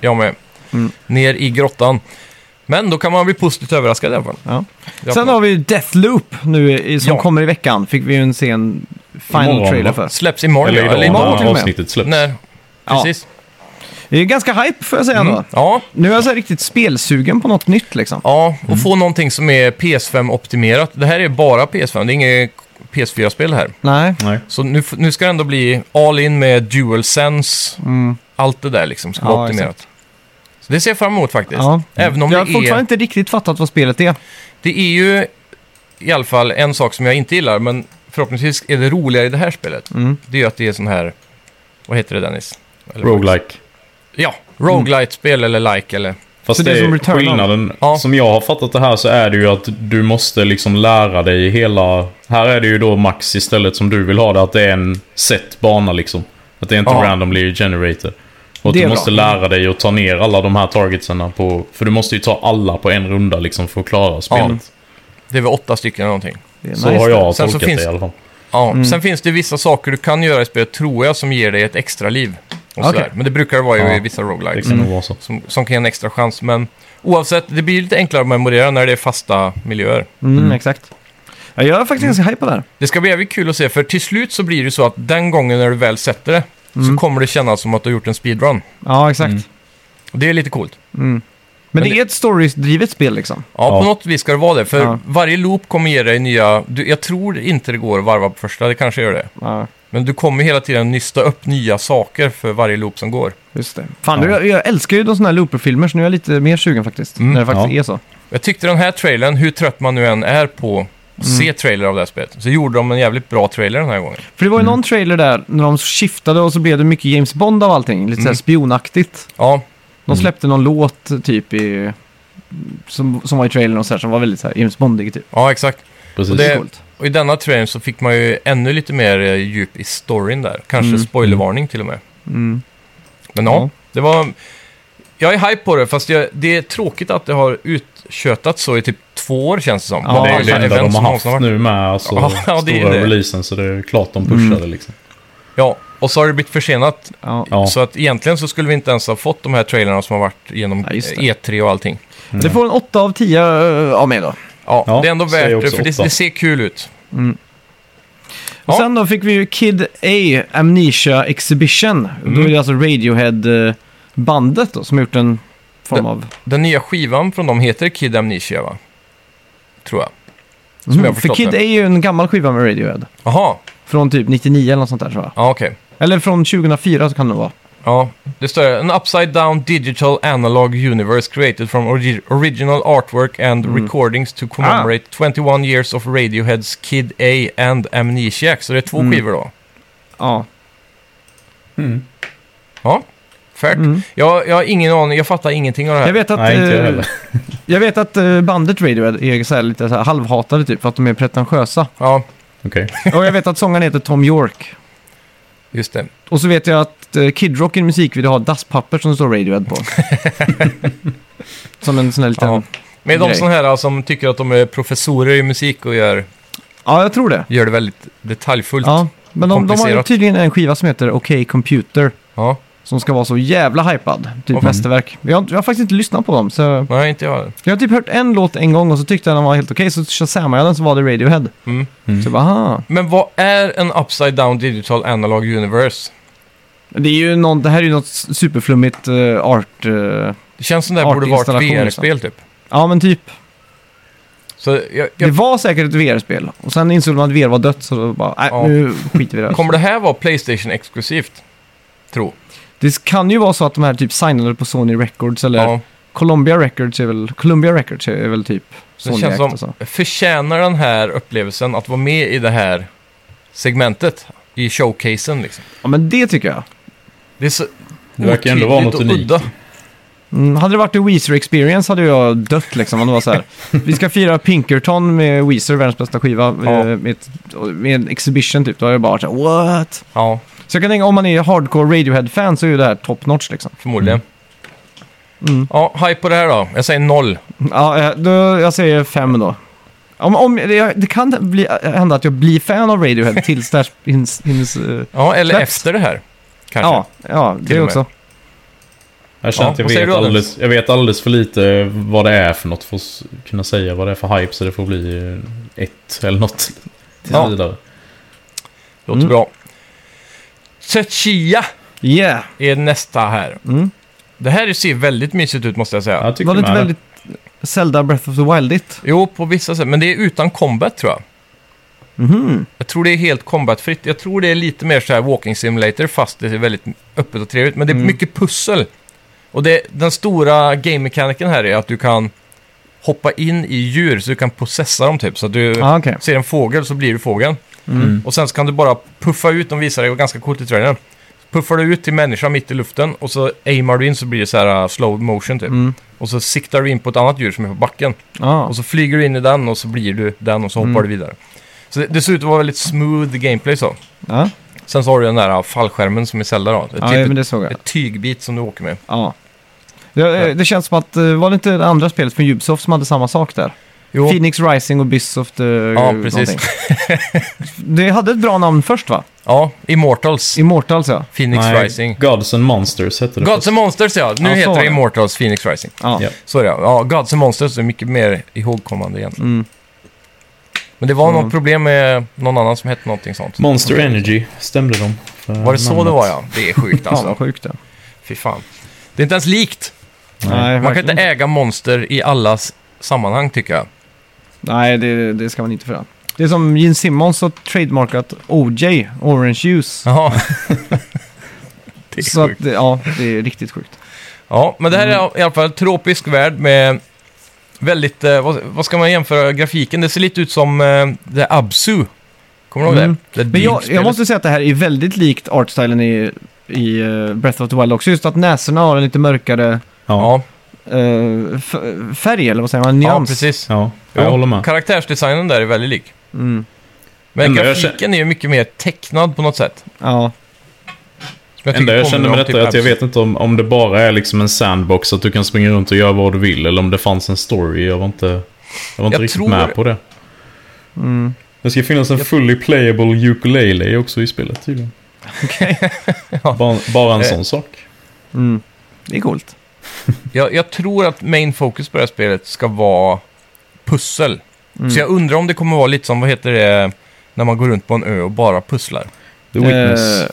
A: Jag med.
B: Mm.
A: Ner i grottan. Men då kan man bli positivt överraskad i alla fall.
B: Ja.
A: Jag-
B: Sen har vi ju Deathloop nu i, som
A: Ja.
B: kommer i veckan. Fick vi ju en sen final
C: Imorgon,
B: trailer
C: va?
B: för.
A: Släpps imorgon.
C: Eller
A: ja,
C: idag
B: imorgon till
C: när
B: och med.
C: avsnittet släpps.
A: Nej,
B: Ja.
A: precis.
B: Det är ganska hype får jag säga
A: Mm.
B: då.
A: Ja,
B: Nu är jag så här riktigt spelsugen på något nytt liksom.
A: Ja, och få någonting som är PS5-optimerat. Det här är bara PS5, det är inget PS4-spel här.
B: Nej.
C: Nej.
A: Så nu, f- nu ska det ändå bli all in med DualSense,
B: Mm.
A: allt det där liksom ska
B: Ja,
A: vara optimerat. Så det ser jag fram emot faktiskt.
B: Ja.
A: Även om det
B: jag har
A: är,
B: fortfarande inte riktigt fattat vad spelet är.
A: det är ju i alla fall en sak som jag inte gillar, men förhoppningsvis är det roligare i det här spelet.
B: Mm.
A: Det är ju att det är sån här, vad heter det Dennis? Eller-
C: Roguelike.
A: Ja, roguelite-spel eller like eller...
C: Fast
B: Så
C: det,
B: det är som
C: är
B: Returnal?
C: skillnaden.
A: Ja.
C: Som jag har fattat det här så är det ju att du måste liksom lära dig hela... Här är det ju då Max istället som du vill ha det. Att det är en set bana liksom. Att det är inte
A: Ja.
C: randomly generated. Och att
B: Det
C: du
B: är bra.
C: måste lära dig att ta ner alla de här targetsen på... För du måste ju ta alla på en runda liksom för att klara spelet.
A: Det är väl åtta stycken eller någonting.
B: Det är
C: Så
B: nice
C: har
B: det.
C: jag
A: Sen så
C: tolkat
A: finns-
C: det i alla fall.
A: Ja,
B: Mm.
A: sen finns det vissa saker du kan göra i spelet, tror jag, som ger dig ett extra liv. Och
B: Okej.
A: sådär. Men det brukar det vara ju
C: Ja.
A: i vissa
C: Det
A: roguelikes.
C: kan nog vara så.
A: Som, som kan ge en extra chans, men oavsett, det blir lite enklare att memorera när det är fasta miljöer.
B: Mm, exakt. Ja, jag är faktiskt ganska hype på det här.
A: Det ska bli jävligt kul att se, för till slut så blir det så att den gången när du väl sätter det,
B: Mm.
A: så kommer det kännas som att du har gjort en speedrun.
B: Ja, exakt.
A: Mm. Och det är lite coolt.
B: Men,
A: Men
B: det är ett storydrivet spel liksom.
A: Ja,
C: Ja.
A: på något vis ska det vara det, för
B: Ja.
A: varje loop kommer ge dig nya... Du, jag tror inte det går att varva på första, det kanske gör det.
B: Ja,
A: Men du kommer hela tiden nysta upp nya saker för varje loop som går.
B: just det. Fan,
C: Ja.
B: du, jag, jag älskar ju de sådana här looper-filmer så nu är jag lite mer sugen faktiskt.
A: Mm,
B: när det faktiskt
C: ja.
B: är så.
A: Jag tyckte den här trailern, hur trött man nu än är på att
B: Mm.
A: se trailer av det här spelet, så gjorde de en jävligt bra trailer den här gången.
B: För det var ju någon trailer där när de skiftade och så blev det mycket James Bond av allting. Lite såhär
A: Mm.
B: spionaktigt.
A: Ja,
B: De släppte någon låt typ i... Som, som var i trailern och så här, som var väldigt så här James Bondig typ.
A: ja exakt.
C: Precis.
A: Och
B: Det är
A: det-
B: coolt.
A: Och i denna trailern så fick man ju ännu lite mer eh, djup i storyn där. Kanske
B: Mm.
A: spoilervarning till och med.
B: Mm.
A: Men ja,
B: Ja.
A: det var... Jag är hype på det, fast jag, det är tråkigt att det har utkötat så i typ två år känns det som.
B: Ja,
C: det är ju
A: Alla
C: det enda
A: event
C: de
A: som
C: har
A: någonsin
C: haft nu med. Alltså,
A: Ja, ja, det är
C: stora
A: det. Mm.
C: releasen. Så det är klart de pushade liksom.
A: Ja, och så har det blivit försenat.
B: Ja.
C: Ja.
A: Så att egentligen så skulle vi inte ens ha fått de här trailerna som har varit genom
B: Ja, just det.
A: eh, E3 och allting.
B: Det får en 8 av 10 eh, av mig då.
A: Ja,
C: Ja,
A: det är ändå
C: säger
A: värt det,
C: också
A: för det,
C: åtta.
A: det ser kul ut.
B: Och
A: Ja.
B: sen då fick vi ju Kid A Amnesia Exhibition. Då är det alltså Radiohead-bandet då som har gjort en form
A: Det-
B: av...
A: Den nya skivan från dem heter Kid Amnesia, va? Tror jag. Som jag
B: Mm,
A: har
B: för
A: förstått
B: Kid A
A: det.
B: är ju en gammal skiva med Radiohead.
A: Jaha,
B: Från typ 99 eller något sånt där tror jag.
A: ja okej.
B: Eller från 2004 så kan det vara.
A: Ja, det står här. An upside down digital analog universe created from orgi- original artwork and
B: Mm.
A: recordings to commemorate
B: Ah.
A: 21 years of Radioheads Kid A and Amnesiac. Så det är två
B: Mm.
A: skivor då.
B: Ja.
C: Mm.
A: Ja, fairt.
B: Mm.
A: Jag, jag har ingen aning, jag fattar ingenting av det här.
B: Jag vet att,
C: Nej, inte jag
B: eh,
C: heller.
B: jag vet att eh, bandet Radiohead är så här lite så här halvhatade typ för att de är pretentiösa.
A: Ja,
C: Okej.
B: Och jag vet att sångaren heter Tom York.
A: just det.
B: Och så vet jag att eh, Kid Rock i en musikvideo har dasspapper som står Radiohead på. som en sån här liten...
A: Ja.
B: Ja.
A: Med de
B: Grej.
A: sådana här som tycker att de är professorer i musik och gör,
B: jag tror det.
A: gör det väldigt detaljfullt.
B: Ja. Men de, de har ju
A: Komplicerat.
B: tydligen en skiva som heter OK Computer.
A: Ja.
B: Som ska vara så jävla hypad. Typ
A: Mm.
B: mästerverk. Jag, har- jag har faktiskt inte lyssnat på dem. Så
A: Nej, inte jag.
B: jag har typ hört en låt en gång och så tyckte jag den var helt okej. så shazammade jag den så var det Radiohead.
A: Mm.
B: Så jag bara, aha.
A: Men vad är en upside down digital analog universe?
B: Det, är ju någon, det här är ju något superflummigt eh, art... eh,
A: Det känns som det här
B: Art
A: borde vara ett
B: installation, liksom.
A: VR-spel typ.
B: ja men typ.
A: Så jag,
B: Det
A: jag,
B: var säkert ett VR-spel. Och sen insåg man att VR var dött så då bara, nej
A: Ja.
B: nu skiter vi i det. här.
A: kommer det här vara Playstation-exklusivt? Tro.
B: Det kan ju vara så att de här typ signade på Sony Records eller
A: Ja.
B: Columbia Records är väl, Columbia Records är väl typ
A: Det
B: Sony
A: känns
B: ägt
A: som,
B: och så.
A: förtjänar den här upplevelsen att vara med i det här segmentet? I showcasen liksom.
B: Ja men det tycker jag.
A: Det är så
C: Det verkar ändå vara
A: otydligt
C: något
A: och
C: unikt.
A: udda.
B: Mm, hade det varit en Weezer Experience hade jag dött liksom om det var så här. Vi ska fira Pinkerton med Weezer, världens bästa skiva,
A: Ja.
B: eh, med, ett, med en exhibition typ. Då har jag bara så här, what?
A: Ja,
B: Så jag kan tänka, om man är hardcore Radiohead-fan så är ju det här top notch liksom.
A: förmodligen.
B: Mm.
A: Ja, hype på det här då. Jag säger noll.
B: Ja, eh, då, jag säger fem då. Om, om, det, det kan bli, eh, hända att jag blir fan av Radiohead tills det här hinns... hinns eh,
A: Ja, eller
B: Släpps.
A: efter det här. Kanske.
B: ja, ja,
A: Till
B: det
A: och med.
B: också.
C: Jag känner
A: Ja,
C: att jag
A: vad säger du,
C: vet,
A: Adam?
C: alldeles, jag vet alldeles för lite vad det är för något för att s- kunna säga vad det är för hype så det får bli eh, ett eller något tills
A: Ja.
C: vidare.
A: Låter
B: Mm.
A: bra. Tsuchiya
B: Yeah.
A: är nästa här.
B: Mm.
A: Det här ser väldigt mysigt ut måste jag säga.
C: Jag tycker
B: Var det inte
C: med det.
B: väldigt Zelda Breath of the Wild-igt?
A: Jo, på vissa sätt. Men det är utan combat tror jag.
B: Mhm.
A: Jag tror det är helt combatfritt. Jag tror det är lite mer så här walking simulator fast det är väldigt öppet och trevligt. Men det är
B: Mm.
A: mycket pussel. Och det, den stora game-mekaniken här är att du kan hoppa in i djur så du kan processa dem typ. Så att du
B: Ah, okej.
A: ser en fågel så blir du fågeln.
B: Mm.
A: Och sen så kan du bara puffa ut, de visar det det var ganska coolt i trailern. Puffar du ut till människa mitt i luften och så aimar du in så blir det så här uh, slow motion typ.
B: Mm.
A: Och så siktar du in på ett annat djur som är på backen.
B: Ah.
A: Och så flyger du in i den och så blir du den och så hoppar
B: Mm.
A: du vidare. Så det, det ser ut att vara väldigt smooth gameplay så.
B: Ja,
A: Sen så har du den där uh, fallskärmen som är Zelda då. Det är
B: ja
A: typ
B: men
A: ett,
B: det såg jag.
A: ett tygbit som du åker med.
B: Ja. Det, eh, det känns som att, eh, var det inte det andra spelet från Ubisoft som hade samma sak där?
A: Jo,
B: Phoenix Rising och Ubisoft eh,
A: ja precis.
B: någonting. Det hade ett bra namn först va?
A: ja, Immortals.
B: Immortals ja.
A: Phoenix
C: Nej,
A: Rising.
C: Gods and Monsters hette det.
A: Gods and Monsters ja, nu
B: Ja, så
A: heter
B: var
A: det
B: det.
A: Immortals Phoenix Rising.
B: ja.
C: Ja.
A: Så är det, ja. ja. Gods and Monsters är mycket mer ihågkommande egentligen.
B: Mm.
A: Men det var
B: Mm.
A: något problem med någon annan som hette någonting sånt.
C: Monster Energy stämde de. för
A: Var det så det
C: namnet.
A: var ja? Det är sjukt
B: Fan vad
A: alltså.
B: sjukt det.
A: Fy fan. Det är inte ens likt.
C: Nej.
A: Man kan
B: verkligen
A: inte äga monster i alla s- sammanhang tycker jag.
B: Nej, det, det ska man inte föra. Det är som Gene Simmons har trademarkat OJ, Orange Juice.
A: Jaha. det är
B: så
A: sjukt.
B: att, det- ja, det är riktigt sjukt.
A: Ja, men det här är i alla fall en tropisk värld med väldigt, eh, vad, vad ska man jämföra grafiken? Det ser lite ut som eh, The Absu. Kommer du ihåg
B: Mm.
A: det? det?
B: Men jag,
A: dykspelet.
B: jag måste säga att det här är väldigt likt artstylen i, i eh, Breath of the Wild också. Just att näsorna har en lite mörkare
C: Ja,
A: Ja,
B: eh, f- färg, eller vad säger man?
A: ja
B: Nyans.
A: precis.
C: ja. jag
A: Jo,
C: håller med.
A: Karaktärsdesignen där är väldigt lik.
B: Mm.
A: Men
C: Ändå, jag
A: grafiken är ju mycket mer tecknad på något sätt.
B: Ja.
A: Som jag
C: enda
A: tycker
C: jag kände
A: påminner
C: med
A: om
C: detta
A: typ
C: är att jag
A: Abzu.
C: vet inte om, om det bara är liksom en sandbox, att du kan springa runt och göra vad du vill, eller om det fanns en story. Jag var inte, jag var inte
A: Jag
C: riktigt
A: tror-
C: med på det.
B: Mm.
C: Det ska finnas en fully playable ukulele också i spelet tydligen. bara, bara en
A: Eh,
C: sån sak.
B: Mm. Det är coolt.
A: Jag, jag tror att main focus på det här spelet ska vara pussel.
B: Mm.
A: Så jag undrar om det kommer vara lite som, vad heter det, när man går runt på en ö och bara pusslar.
C: The Witness.
B: Eh,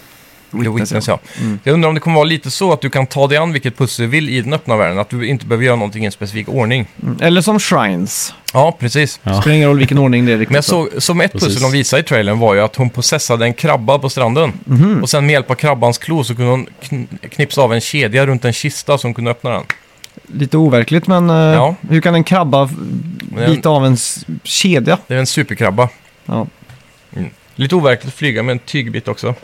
A: The Witness, ja. Jag undrar om det kommer vara lite så att du kan ta dig an vilket pussel du vill i den öppna världen. Att du inte behöver göra någonting i en specifik ordning.
B: Eller som shrines.
A: Ja, precis.
C: Ja.
B: Spelar ingen roll vilken ordning det är riktigt.
A: Men jag såg, som ett
C: Precis.
A: pussel de visade i trailern var ju att hon possessade en krabba på stranden.
B: Mhm.
A: Och sen med hjälp av krabbans klo så kunde hon kn- knipsa av en kedja runt en kista som kunde öppna den.
B: Lite overkligt, men eh,
A: Ja.
B: hur kan en krabba f-
A: Men-
B: bita av en s- kedja?
A: Det är en superkrabba.
B: Ja.
A: Lite overkligt att flyga med en tygbit också.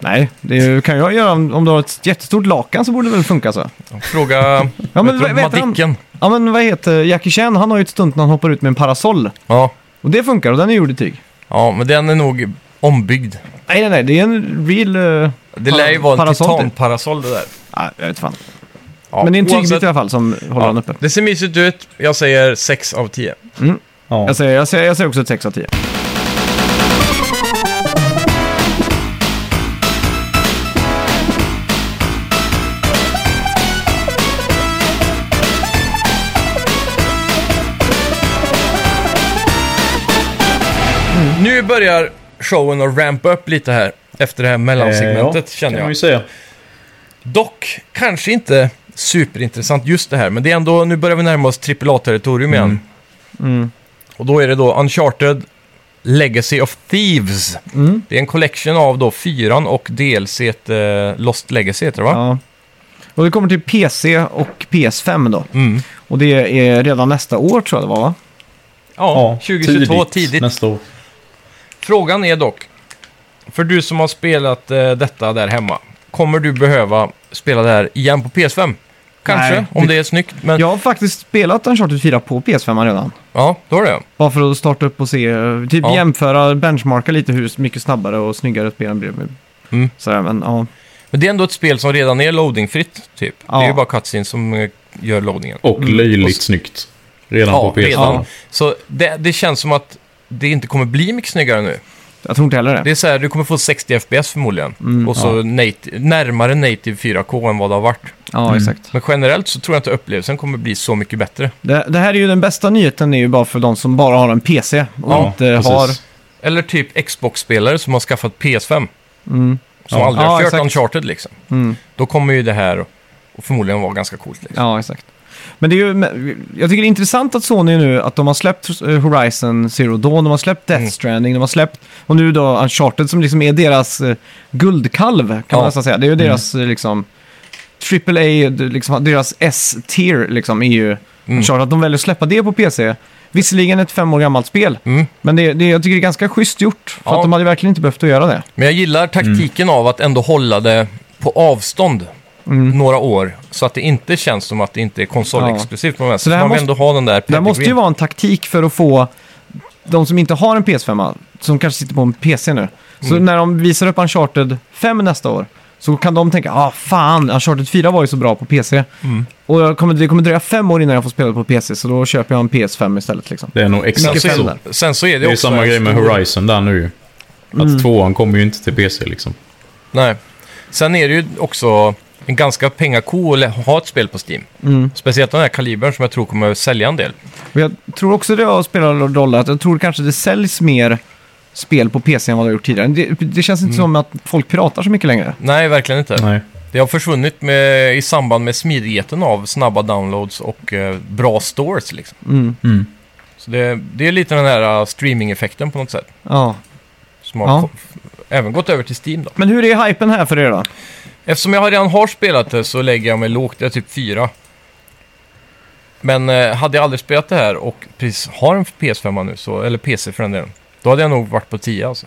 B: Nej, det kan jag göra om, om du har ett jättestort lakan så borde det väl funka så.
A: Fråga
B: Ja, men
A: vet du,
B: vad heter han?
A: Madicken.
B: Ja, men vad heter Jackie Chan? Han har ju ett stunt när han hoppar ut med en parasoll.
A: Ja.
B: Och det funkar och den är gjord i tyg.
A: ja, men den är nog ombyggd.
B: Nej, nej, nej, det är en real... eh,
A: Det
B: Para-
A: lär ju vara en
B: parasoll, typ.
A: titanparasoll det där.
B: ja, jag vet fan.
A: Ja,
B: men det är en tygbit
A: oavsett-
B: i alla fall som håller den uppe.
A: Det ser mysigt ut. Jag säger 6 av 10.
C: Ja.
B: Jag säger, jag, säger, jag säger också ett 6 av 10.
A: Nu börjar showen att rampa upp lite här. Efter det här mellansegmentet
C: Eh, ja,
A: känner
C: Kan man
A: jag.
C: ju säga.
A: Dock, kanske inte superintressant just det här. Men det är ändå, nu börjar vi närma oss AAA-territorium igen.
B: Mm.
A: Och då är det då Uncharted Legacy of Thieves.
B: Mm.
A: Det är en collection av då fyran och DLC ett, eh, Lost Legacy heter det va?
B: Ja. Och det kommer till PC och PS5 då.
A: Mm.
B: Och det är redan nästa år tror jag det var va?
A: Ja, 2022 tidigt.
C: Nästa år.
A: Frågan är dock, för du som har spelat eh, detta där hemma, kommer du behöva spela det här igen på PS5? Kanske,
B: Nej.
A: om det är snyggt. Men
B: Jag har faktiskt spelat Uncharted 4 på PS5 redan.
A: ja, då har det.
B: Bara för att starta upp och se, eh, typ
A: Ja.
B: jämföra, benchmarka lite hur mycket snabbare och snyggare spelen blev.
A: Mm.
B: Sådär, men ja.
A: Men det är ändå ett spel som redan är loadingfritt, typ. Det
B: Ja.
A: är ju bara cutscenes som eh, gör loadingen.
C: Och
A: Och
C: löjligt
A: s-
C: snyggt. Redan
A: Mm. Ja,
C: på PS5.
A: redan.
C: Ja.
A: Så det, det känns som att det inte kommer bli mycket snyggare nu.
B: Jag tror inte heller det. Mm.
A: Det är så här, du kommer få 60 FPS förmodligen. och så
C: ja.
A: nat- närmare native 4K än vad det har varit.
B: Ja, exakt.
A: Men generellt så tror jag inte upplevelsen kommer bli så mycket bättre.
B: Det, det här är ju den bästa nyheten, är ju bara för de som bara har en PC och
A: Ja,
B: inte
C: precis.
B: har...
A: Eller typ Xbox-spelare som har skaffat PS5.
B: Mm,
A: Som
C: Ja.
A: aldrig
B: Ja,
A: har kört
B: exakt.
A: Uncharted liksom.
B: mm,
A: Då kommer ju det här och förmodligen vara ganska coolt. Liksom.
B: ja, exakt. Men det är ju, jag tycker det är intressant att Sony nu, att de har släppt eh, Horizon Zero Dawn, de har släppt Death
A: Mm.
B: Stranding, de har släppt, och nu då Uncharted som liksom är deras eh, guldkalv,
A: Ja.
B: kan
A: Mm.
B: man nästan säga. Det är ju deras eh, liksom, triple A, liksom, deras S-tier liksom, är ju
A: Mm.
B: Uncharted. Att de väljer att släppa det på PC, visserligen ett fem år gammalt spel,
A: Mm.
B: men det, det, jag tycker det är ganska schysst gjort, för
A: Ja.
B: att de hade verkligen inte behövt att göra det.
A: Men jag gillar taktiken av att ändå hålla det på avstånd
B: Mm.
A: några år. Så att det inte känns som att det inte är konsolexklusivt. på något sätt.
B: Så
A: Så
B: det här
A: man vill
B: måste-
A: ändå ha den där
B: Det här måste ju
A: pedigreenen.
B: vara en taktik för att få de som inte har en PS5, som kanske sitter på en PC nu. Så när de visar upp Uncharted 5 nästa år så kan de tänka, ah fan, Uncharted 4 var ju så bra på PC. Och jag kommer, det kommer dröja fem år innan jag får spela på PC, så då köper jag en PS5 istället liksom.
C: Det är nog exakt
B: Mycket
C: så.
B: fem
C: Det
B: där.
A: sen, så, sen så är det,
C: är ju
A: också
C: samma
A: en Mm.
C: grej med
A: stor-
C: Horizon där nu ju. Att tvåan kommer ju inte till PC liksom.
A: Mm. Nej. Sen är det ju också en ganska pengako att lä- ha ett spel på Steam.
B: Mm.
A: Speciellt den här kalibern som jag tror kommer sälja en del.
B: Och jag tror också det har spelat en roll att jag tror kanske det säljs mer spel på PC än vad det har gjort tidigare. Det, det känns inte som att folk piratar så mycket längre.
A: Nej, verkligen inte.
C: Nej.
A: Det har försvunnit med, i samband med smidigheten av snabba downloads och eh, bra stores. Liksom.
C: Mm.
A: Så det, det är lite den här eh, streaming-effekten på något sätt.
B: Ja.
A: Som har
B: Ja.
A: ko- även gått över till Steam då.
B: Men hur är hypen här för er då?
A: Eftersom jag redan har spelat det så lägger jag mig lågt, jag är typ 4. Men eh, hade jag aldrig spelat det här och precis har en PS5 nu, så, eller PC för den delen, då hade jag nog varit på 10 alltså.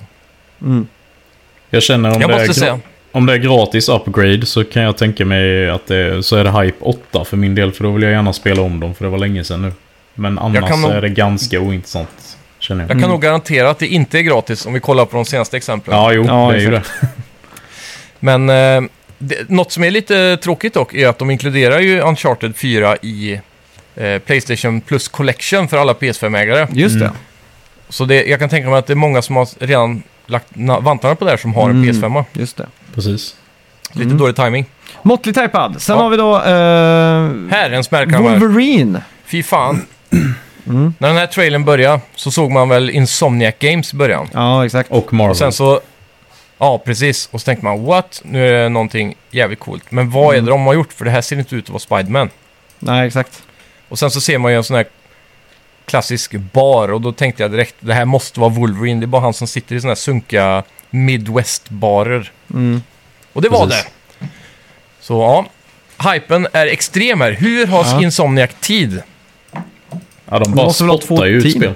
C: Jag känner om
A: Jag
C: det,
A: måste
C: är
A: säga.
C: gra- om det är gratis upgrade så kan jag tänka mig att det, så är det Hype 8 för min del. För då vill jag gärna spela om dem för det var länge sedan nu. Men annars
A: kan
C: så
A: nog-
C: är det ganska ointressant. Känner jag.
A: Jag kan nog garantera att det inte är gratis om vi kollar på de senaste exemplen.
C: Mm. Ja, jo,
B: Ja,
C: det är ju det.
A: Men eh, det, något som är lite tråkigt dock är att de inkluderar ju Uncharted 4 i eh, Playstation Plus Collection för alla PS5-ägare.
B: Just
C: Mm.
B: det.
A: Så det, jag kan tänka mig att det är många som har redan lagt na- vantarna på det här som har en
B: Mm.
A: PS5.
B: Just det.
C: Precis.
A: Lite dålig timing.
B: Måttlig typad. Sen
A: Ja.
B: har vi då eh,
A: Här, en smällkammare.
B: Wolverine.
A: Fy fan.
B: Mm.
A: När den här trailern började så såg man väl Insomniac Games i början.
B: Ja, exakt.
C: Och Marvel.
A: Och sen så... Ja, precis. Och så tänker man what? Nu är det någonting jävligt coolt. Men vad
B: Mm.
A: är det de har gjort? För det här ser inte ut att vara Spiderman.
B: Nej, exakt.
A: Och sen så ser man ju en sån här klassisk bar och då tänkte jag direkt det här måste vara Wolverine. Det är bara han som sitter i såna här sunkiga Midwest-barer.
B: Mm.
A: Och det var
C: Precis.
A: det. Så ja, hypen är extrem här. Hur har
B: Ja.
A: Insomniac tid?
C: Ja, de
B: De
C: bara
B: måste väl ha två
C: spottar ju ut
B: team.
C: spel.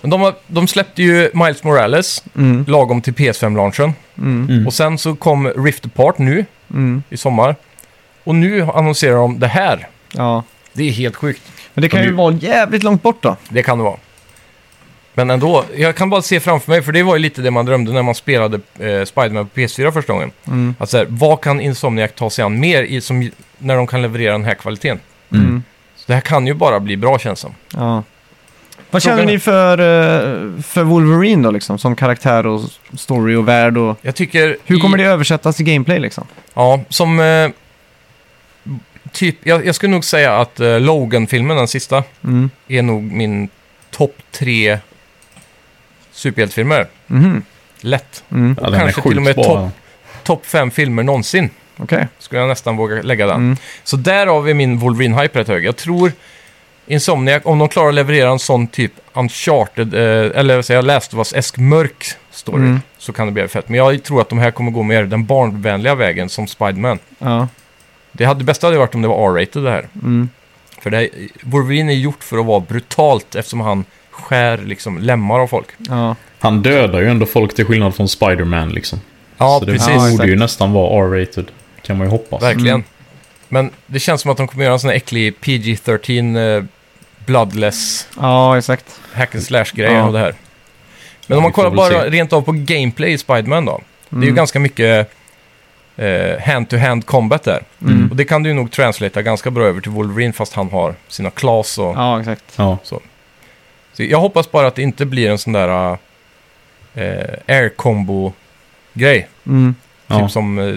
A: Men De, har- de släppte ju Miles Morales
B: Mm.
A: lagom till PS5-launchen.
B: Mm.
C: Mm.
A: Och sen så kom Rift Apart nu
B: Mm.
A: i sommar. Och nu annonserar de det här.
B: Ja.
A: Det är helt sjukt.
B: Men det kan
C: De är
B: ju
C: ju-
B: vara jävligt långt bort då.
A: Det kan det vara. Men ändå, jag kan bara se framför mig, för det var ju lite det man drömde när man spelade eh, Spider-Man på PS4 första gången.
B: Mm.
A: Att så här, vad kan Insomniac ta sig an mer i, som, när de kan leverera den här kvaliteten?
C: Mm.
B: Mm.
A: Så det här kan ju bara bli bra känns det som.
B: Ja. Vad
A: Frågan
B: känner
A: är-
B: ni för, eh, för Wolverine då liksom? Som karaktär och story och värld och...
A: Jag tycker...
B: Hur kommer
A: i,
B: det översättas i gameplay liksom?
A: Ja, som... Eh, typ, jag, jag skulle nog säga att eh, Logan-filmen, den sista,
B: Mm.
A: är nog min topp tre superhjältefilmer.
B: Mhm.
A: Lätt.
B: Mm.
C: Ja, den
A: Kanske
C: är
A: till
C: sjukt
A: och med
C: bra.
A: topp. Topp fem filmer någonsin,
B: Okej.
A: skulle jag nästan våga lägga den.
B: Mm.
A: Så därav är min Wolverine-hype rätt hög. Jag tror Insomniac, om de klarar att leverera en sån typ Uncharted, eh, eller vad säger jag, Last of Us-esk mörk story,
B: Mm.
A: så kan det bli fett. Men jag tror att de här kommer gå mer den barnvänliga vägen som Spiderman.
B: Ja.
A: Det, hade, det bästa hade varit om det var R-rated det här.
B: Mm.
A: För det här, Wolverine är gjort för att vara brutalt eftersom han skär liksom lemmar av folk.
B: Ja.
C: Han dödar ju ändå folk till skillnad från Spider-Man liksom.
A: Ja,
C: Så det
A: precis.
B: Ja,
C: borde
B: exakt.
C: ju nästan vara R-rated. Kan man ju hoppas.
A: Verkligen.
B: Mm.
A: Men det känns som att de kommer göra en sån här äcklig PG-13 eh, bloodless
B: ja, exakt.
A: hack and slash-grej
B: Ja.
A: av det här. Men om man
C: vi får
A: kollar
C: väl
A: bara
C: se.
A: rent av på gameplay i Spiderman då. Det är ju
B: Mm.
A: ganska mycket eh, hand-to-hand combat där.
B: Mm.
A: Och det kan du ju nog translata ganska bra över till Wolverine fast han har sina claws och...
B: Ja, exakt.
C: Ja.
A: Så jag hoppas bara att det inte blir en sån där eh, air combo grej
B: Mm.
C: ja.
A: Typ som eh,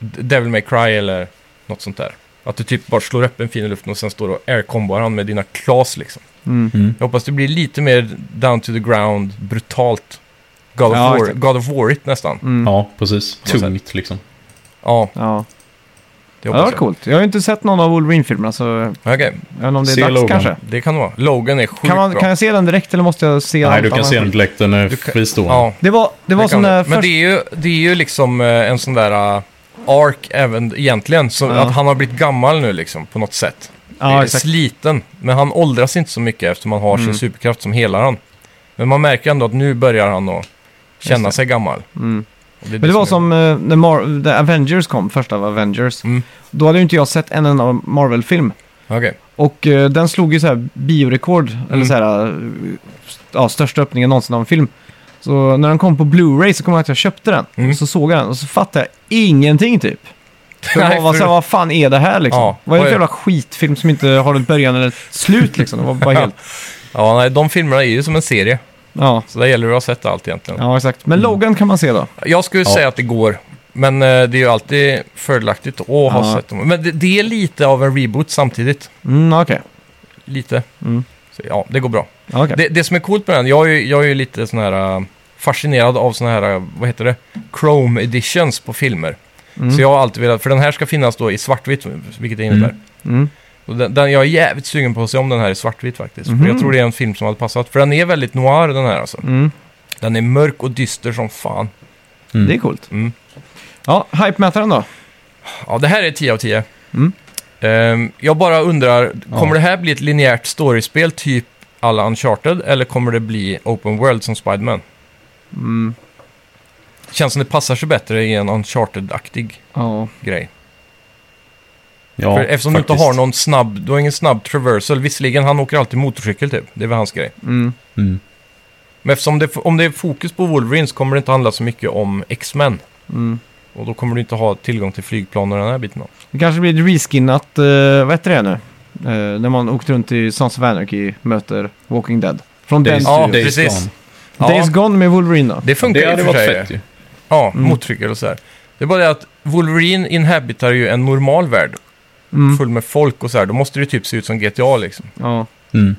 A: Devil May Cry eller något sånt där. Att du typ bara slår upp en fin i luften och sen står du och aircombar han med dina klas liksom.
B: Mm.
C: Mm.
A: Jag hoppas det blir lite mer down to the ground, brutalt. God of,
B: Ja,
A: war,
B: exakt.
A: God of war it nästan.
B: Mm. Ja.
C: ja, precis.
A: något sätt.
C: Tungt liksom.
A: Ja,
B: Ja,
A: det
B: det
A: hoppas
B: var coolt. Jag har ju inte sett någon av Wolverine-filmerna så jag
A: jag. Okej,
B: vet inte om det är
C: Se
B: dags
C: Logan.
B: kanske.
A: det kan det vara. Logan är sjukt
B: Kan, man,
A: bra.
B: kan jag se den direkt eller måste jag se
C: Nej,
B: allt
C: du kan
B: annat?
C: se den direkt. Den är
A: Du kan-
C: fristående.
A: Ja,
B: Det var, det var
A: det
B: som
A: kan
B: när
A: det. Men
B: först...
A: det är, ju, det är ju liksom eh, en sån där uh, ark även egentligen. Så
B: Ja.
A: Att han har blivit gammal nu liksom på något sätt.
B: Ja,
A: är
B: exakt.
A: sliten, men han åldras inte så mycket eftersom han har
B: Mm.
A: sin superkraft som helar han. Men man märker ändå att nu börjar han att
B: Just
A: känna
B: det.
A: sig gammal.
B: Mm.
A: Och är
B: Men det var
A: är-
B: som eh, när Mar- när Avengers kom, första av Avengers.
A: Mm.
B: Då hade ju inte jag sett en enda Marvel-film.
A: Okej.
B: Och eh, den slog ju så här biorekord, eller så här, eh, st- ja, största öppningen någonsin av en film. Så när den kom på Blu-ray så kom jag att jag köpte den.
A: Mm.
B: Och så såg jag den och så fattade jag ingenting typ. För
A: Nej,
B: jag var
A: för-
B: så här, vad fan är det här liksom?
A: Ja,
B: Vad är det för
A: oj.
B: jävla skitfilm som inte har ett början eller ett slut liksom? Det var bara helt...
A: Ja, nej, de filmerna är ju som en serie,
B: Ja,
A: så där gäller det att ha sett allt egentligen.
B: ja exakt.
A: Mm.
B: Men Logan kan man se då.
A: Jag skulle
C: Ja.
A: säga att det går, men eh, det är ju alltid fördelaktigt att ha
B: Ja.
A: sett dem. Men det, det är lite av en reboot samtidigt.
B: Mm, okej.
A: Lite.
B: Mm.
A: Så, ja, det går bra.
B: Ja, okej.
A: Det, det som är coolt med den, jag är ju, jag är ju lite sån här eh, fascinerad av såna här, eh, vad heter det, Chrome editions på filmer.
B: Mm.
A: Så jag har alltid velat, för den här ska finnas då i svartvitt, vilket det innebär.
B: Mm.
A: Och den, den, jag är jävligt sugen på att se om den här i svartvitt faktiskt. För
B: Mhm.
A: jag tror det är en film som hade passat. För den är väldigt noir den här alltså.
B: Mm.
A: Den är mörk och dyster som fan.
C: Mm.
B: Det är coolt.
A: Mm.
B: Ja, hype-mätaren då?
A: Ja, det här är 10 av 10.
B: Mm.
A: Ehm, jag bara undrar,
C: Ja.
A: kommer det här bli ett linjärt storiespel typ alla Uncharted? Eller kommer det bli Open World som Spiderman?
B: Mm.
A: Känns som det passar sig bättre i en Uncharted-aktig
B: Ja.
A: grej.
C: Ja,
A: för eftersom du inte
C: faktiskt.
A: har någon snabb, du har ingen snabb traversal. Visserligen, han åker alltid motorcykel typ. Det är väl hans grej.
B: Mm.
C: Mm.
A: Men eftersom det, om det är fokus på Wolverine så kommer det inte handla så mycket om X-Men.
B: Mm.
A: Och då kommer du inte ha tillgång till flygplan och den här biten av.
B: Det kanske blir ett reskinnat, eh, vad heter det nu? Eh, när man åkte runt i Sons of Anarchy möter Walking Dead. Från den
C: Days,
A: Ja,
B: studion.
C: Days
A: precis.
C: Gone.
A: Ja,
B: Days Gone med Wolverine då.
A: det funkar
C: Det hade
A: i och för
C: varit
A: sig.
C: fett ju.
A: Ja,
B: Mm.
A: motorcykel och sådär. Det är bara det att Wolverine inhabitar ju en normal värld.
B: Mm.
A: Full med folk och sådär. Då måste det ju typ se ut som GTA liksom.
B: Ja.
C: Mm.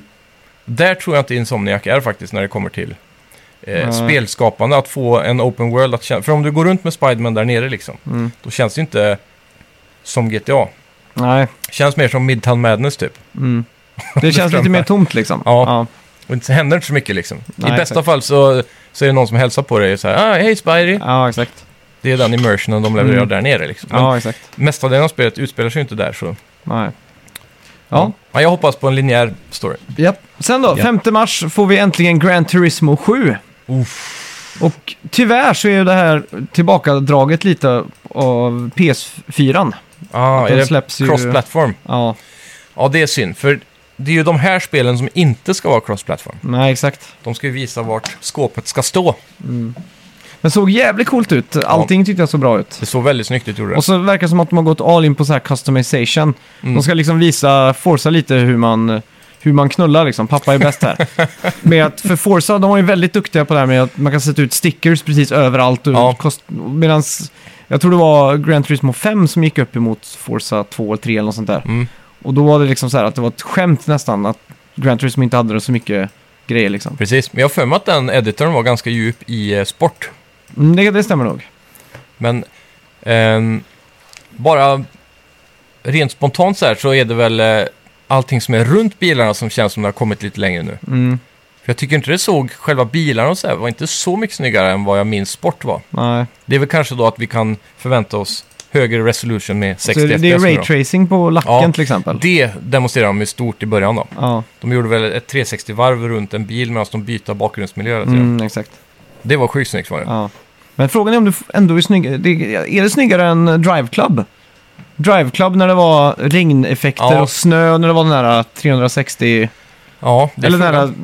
A: Där tror jag inte Insomniac är faktiskt när det kommer till eh, spelskapande att få en open world att känna. För om du går runt med Spiderman där nere liksom,
B: Mm.
A: då känns det ju inte som GTA.
B: Nej.
A: Känns mer som Midtown Madness typ.
B: Mm. Det känns lite
A: strömpa.
B: mer tomt liksom.
A: Ja. Och inte, händer inte så mycket liksom.
B: Nej,
A: I bästa
B: exakt.
A: fall så, så är det någon som hälsar på dig och säger ah, hej Spidey.
B: Ja, exakt.
A: Det är den immersionen de levererar
B: Mm.
A: där nere liksom. Men
B: Ja, exakt.
A: mestadelen av spelet utspelar sig ju inte där så.
B: Nej. Ja,
A: Men jag hoppas på en linjär story.
B: japp. Sen då,
C: Ja.
B: 5 mars får vi äntligen Gran Turismo 7. Och tyvärr så är ju det här tillbakadraget lite av PS4.
A: Ah,
B: Den
A: är det
B: släpps ju...
A: cross-platform?
B: Ja,
A: Ja, det är synd. För det är ju de här spelen som inte ska vara cross-platform.
B: nej exakt.
A: De ska ju visa vart skåpet ska stå.
B: Men såg jävligt coolt ut. Allting tyckte jag såg bra ut.
A: Det såg väldigt snyggt ut, gjorde det.
B: Och så verkar det som att de har gått all in på så här customization.
A: Mm.
B: De ska liksom visa Forza lite hur man, hur man knullar liksom. Pappa är bäst här. med att, för Forza, de var ju väldigt duktiga på det här med att man kan sätta ut stickers precis överallt. Och
A: Ja.
B: kost, medans, jag tror det var Gran Turismo 5 som gick upp emot Forza 2 eller 3 eller något sånt där.
A: Mm.
B: Och då var det liksom så här att det var ett skämt nästan att Gran Turismo inte hade så mycket grejer liksom.
A: Precis, men jag har för mig att den editorn var ganska djup i eh, sport.
B: Mm, det, det stämmer nog.
A: Men ehm, bara rent spontant så här så är det väl eh, allting som är runt bilarna som känns som det har kommit lite längre nu.
B: Mm,
A: För jag tycker inte det såg, själva bilarna och så här var inte så mycket snyggare än vad jag minns sport var.
B: nej.
A: Det är väl kanske då att vi kan förvänta oss högre resolution med
B: Så
A: 60
B: Alltså, det, det är
A: FPS nu då.
B: raytracing på lacken
A: Ja,
B: till exempel.
A: Det demonstrerar de ju stort i början då.
B: Ja,
A: De gjorde väl ett 360-varv runt en bil medan de byter bakgrundsmiljö hela tiden.
B: mm, exakt.
A: Det var sjukt snyggt var det.
B: Ja. Men frågan är om du f- ändå är snyggare. Det, är det snyggare än Drive Club? Drive Club när det var regneffekter
A: Ja.
B: och snö när det var den här 360...
A: Ja, det är
B: eller den
A: frågan.
B: här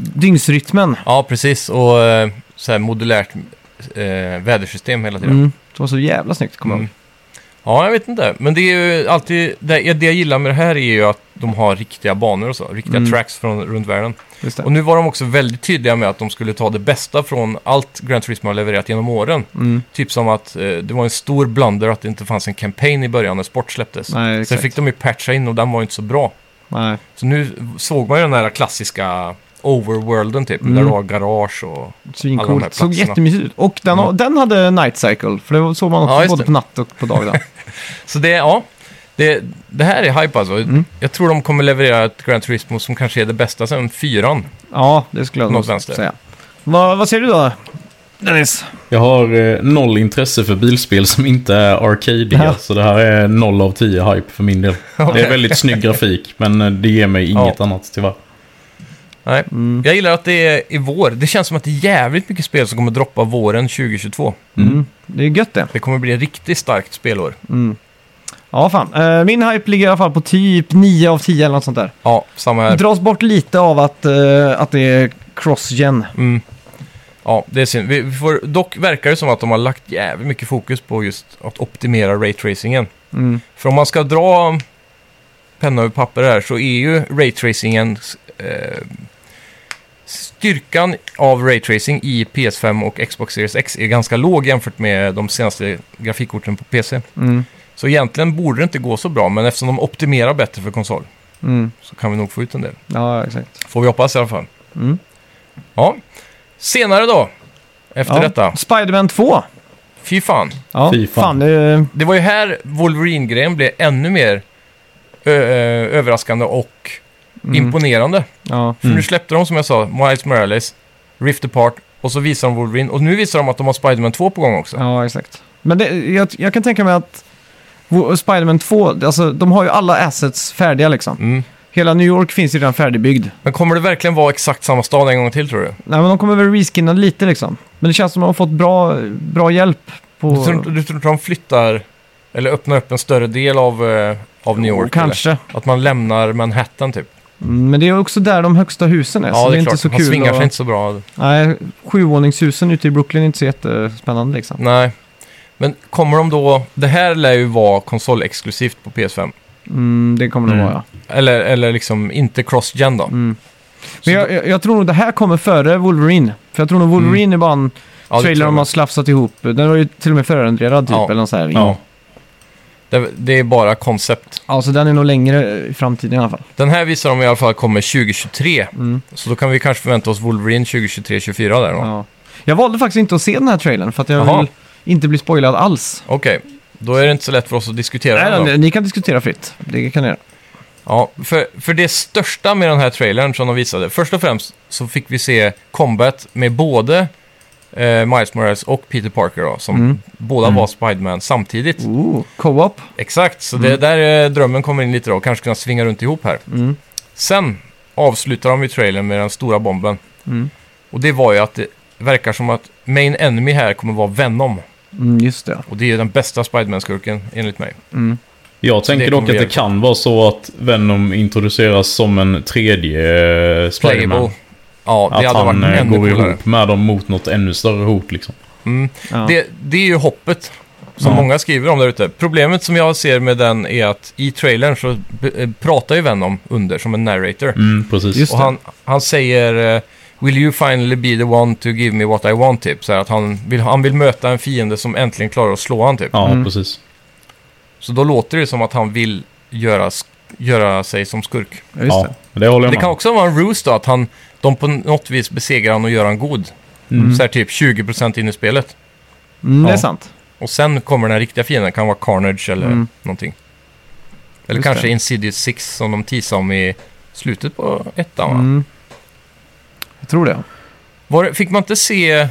B: dygnsrytmen.
A: Ja, precis. Och eh, så här modulärt eh, vädersystem hela tiden.
B: Mm. Det var så jävla snyggt, kommer jag
A: Mm. Ja, jag vet inte. Men det är ju alltid... Det, det jag gillar med det här är ju att de har riktiga banor och så. Riktiga
B: Mm.
A: tracks från runt världen.
B: ihåg. Just
A: Och
B: det.
A: nu var de också väldigt tydliga med att de skulle ta det bästa från allt Gran Turismo har levererat genom åren.
B: Mm.
A: Typ som att eh, det var en stor blunder att det inte fanns en campaign i början när sport släpptes.
B: Nej,
A: Sen
B: exakt.
A: fick de ju patcha in och den var ju inte så bra.
B: Nej.
A: Så nu såg man ju den här klassiska overworlden typ,
B: Mm.
A: där du har garage och... Alla de här
B: Svincoolt. Såg
A: platserna.
B: jättemysigt ut. Och den,
A: Mm.
B: den hade Night Cycle, för det var- såg man också
A: Ja, just
B: både
A: det.
B: på natt och på dag. där.
A: Så det, ja. Det, det här är hype alltså.
B: Mm.
A: Jag tror de kommer leverera ett Gran Turismo som kanske är det bästa sen fyran.
B: ja, det skulle jag
A: Något
B: nog
A: vänster.
B: säga. Vad, vad säger du då, Dennis?
C: Jag har eh, noll intresse för bilspel som inte är arcadiga.
B: Ja.
C: Så det här är noll av tio hype för min del. Det är väldigt snygg grafik, men eh, det ger mig inget
A: Ja.
C: annat tyvärr.
A: Nej.
B: Mm.
A: Jag gillar att det är i vår. Det känns som att det är jävligt mycket spel som kommer droppa våren 2022.
B: Mm. Det är gött det.
A: Det kommer bli ett riktigt starkt spelår.
B: Mm. Ja, fan. Eh, min hype ligger i alla fall på typ 9 av 10 eller något sånt där.
A: Ja, samma
B: Det
A: här.
B: dras bort lite av att, eh, att det är cross-gen.
A: Mm. Ja, det är synd. Vi vi får, dock verkar det som att de har lagt jävligt mycket fokus på just att optimera raytracingen.
B: Mm.
A: För om man ska dra penna över papper här så är ju raytracingen... Eh, styrkan av raytracing i PS5 och Xbox Series X är ganska låg jämfört med de senaste grafikkorten på PC.
B: Mm.
A: Så egentligen borde det inte gå så bra, men eftersom de optimerar bättre för konsol
B: Mm.
A: så kan vi nog få ut en del.
B: Ja, exakt.
A: Får vi hoppas i alla fall.
B: Mm.
A: Ja. Senare då, efter
B: Ja.
A: detta.
B: Spider-Man 2.
A: Fy fan.
B: Ja,
C: Fy fan.
B: fan eh,
A: Det var ju här Wolverine-grejen blev ännu mer ö- ö- överraskande och
B: Mm.
A: imponerande.
B: ja.
A: För nu släppte de, som jag sa, Miles Morales, Rift Apart och så visar de Wolverine. Och nu visar de att de har Spider-Man 2 på gång också.
B: ja, exakt. Men det, jag, jag kan tänka mig att Wo- Spider-Man 2, alltså, de har ju alla assets färdiga liksom.
A: Mm.
B: Hela New York finns ju redan färdigbyggd.
A: Men kommer det verkligen vara exakt samma stad en gång till tror du?
B: Nej, men de kommer väl reskinna lite liksom. Men det känns som att de har fått bra, bra hjälp. På...
A: Du tror, inte- du tror inte de flyttar eller öppnar upp en större del av, eh, av New York?
B: Kanske.
A: Eller? Att man lämnar Manhattan typ?
B: Mm, Men det är också där de högsta husen är,
A: Ja,
B: så
A: det
B: det
A: är,
B: är
A: klart.
B: inte så
A: Han
B: kul.
A: svingar
B: att-
A: sig inte så bra.
B: Nej, sjuvåningshusen ute i Brooklyn är inte så jättespännande liksom.
A: Nej. Men kommer de då... Det här lär ju vara konsolexklusivt på PS5.
B: Mm, det kommer det
C: Mm.
B: vara, ja.
A: Eller, eller liksom inte cross-gen då.
B: Mm.
A: Så Mm.
B: Men jag, jag, jag tror nog det här kommer före Wolverine. För jag tror nog Wolverine är bara en
A: Ja, det
B: trailer
A: tror
B: de
A: jag.
B: har slafsat ihop. Den var ju till och med förrenderad typ,
A: Ja.
B: eller något så här.
C: Ja.
A: Det, det är bara koncept.
B: Ja, så den är nog längre i framtiden i alla fall. Mm,
A: Den här visar de i alla fall kommer 2023. Så då kan vi kanske förvänta oss Wolverine 2023-2024 där då.
B: Ja. Jag valde faktiskt inte att se den här trailern för att jag
A: Jaha.
B: vill inte bli spoilad alls.
A: Okej, då är det inte så lätt för oss att diskutera
B: Nej,
A: den då.
B: nej, ni kan diskutera fritt. Det kan ni göra.
A: Ja, för, för det största med den här trailern som de visade, först och främst så fick vi se combat med både eh, Miles Morales och Peter Parker då, som
B: Mm.
A: båda var Spiderman samtidigt.
B: Ooh, co-op.
A: Exakt, så
C: Mm.
A: det är där eh, drömmen kommer in lite då, kanske kunna svinga runt ihop här.
B: Mm.
A: Sen avslutar de ju trailern med den stora bomben.
B: Mm.
A: Och det var ju att det verkar som att main enemy här kommer vara Venom.
B: Mm, just det.
A: Och det är ju den bästa Spiderman-skurken enligt mig.
C: Jag tänker dock
A: kommer
C: att det
A: hjälpa.
C: kan vara så att Venom introduceras som en tredje eh, Spiderman.
A: Playable. Ja, det
C: Att
A: hade
C: han
A: varit
C: eh,
A: ännu
C: går
A: coolare.
C: ihop med dem mot något ännu större hot liksom.
B: Ja.
A: Det, det är ju hoppet som många skriver om där ute. Problemet som jag ser med den är att i trailern så b- eh, pratar ju Venom under som en narrator.
C: Mm, precis.
B: Just
A: Och han, han säger eh, “Will you finally be the one to give me what I want?” typ. Så här, att han vill, han vill möta en fiende som äntligen klarar att slå han typ.
C: Ja,
B: Mm.
C: precis.
A: Så då låter det som att han vill göra, sk- göra sig som skurk.
B: Ja, just
C: Ja,
B: det.
C: det håller jag
A: Det
C: med
A: kan
C: om.
A: också vara en ruse då, att han, de på något vis besegrar han och gör han god. Så här typ 20% in i spelet.
B: Mm, Det är
C: Ja.
B: sant.
A: Och sen kommer den riktiga fienden, kan vara Carnage eller
B: Mm.
A: någonting. Eller
B: Just
A: kanske
B: det.
A: Insidious 6 som de teasade om i slutet på ettan va?
B: Mm. Jag tror det.
A: Var, det- fick man inte se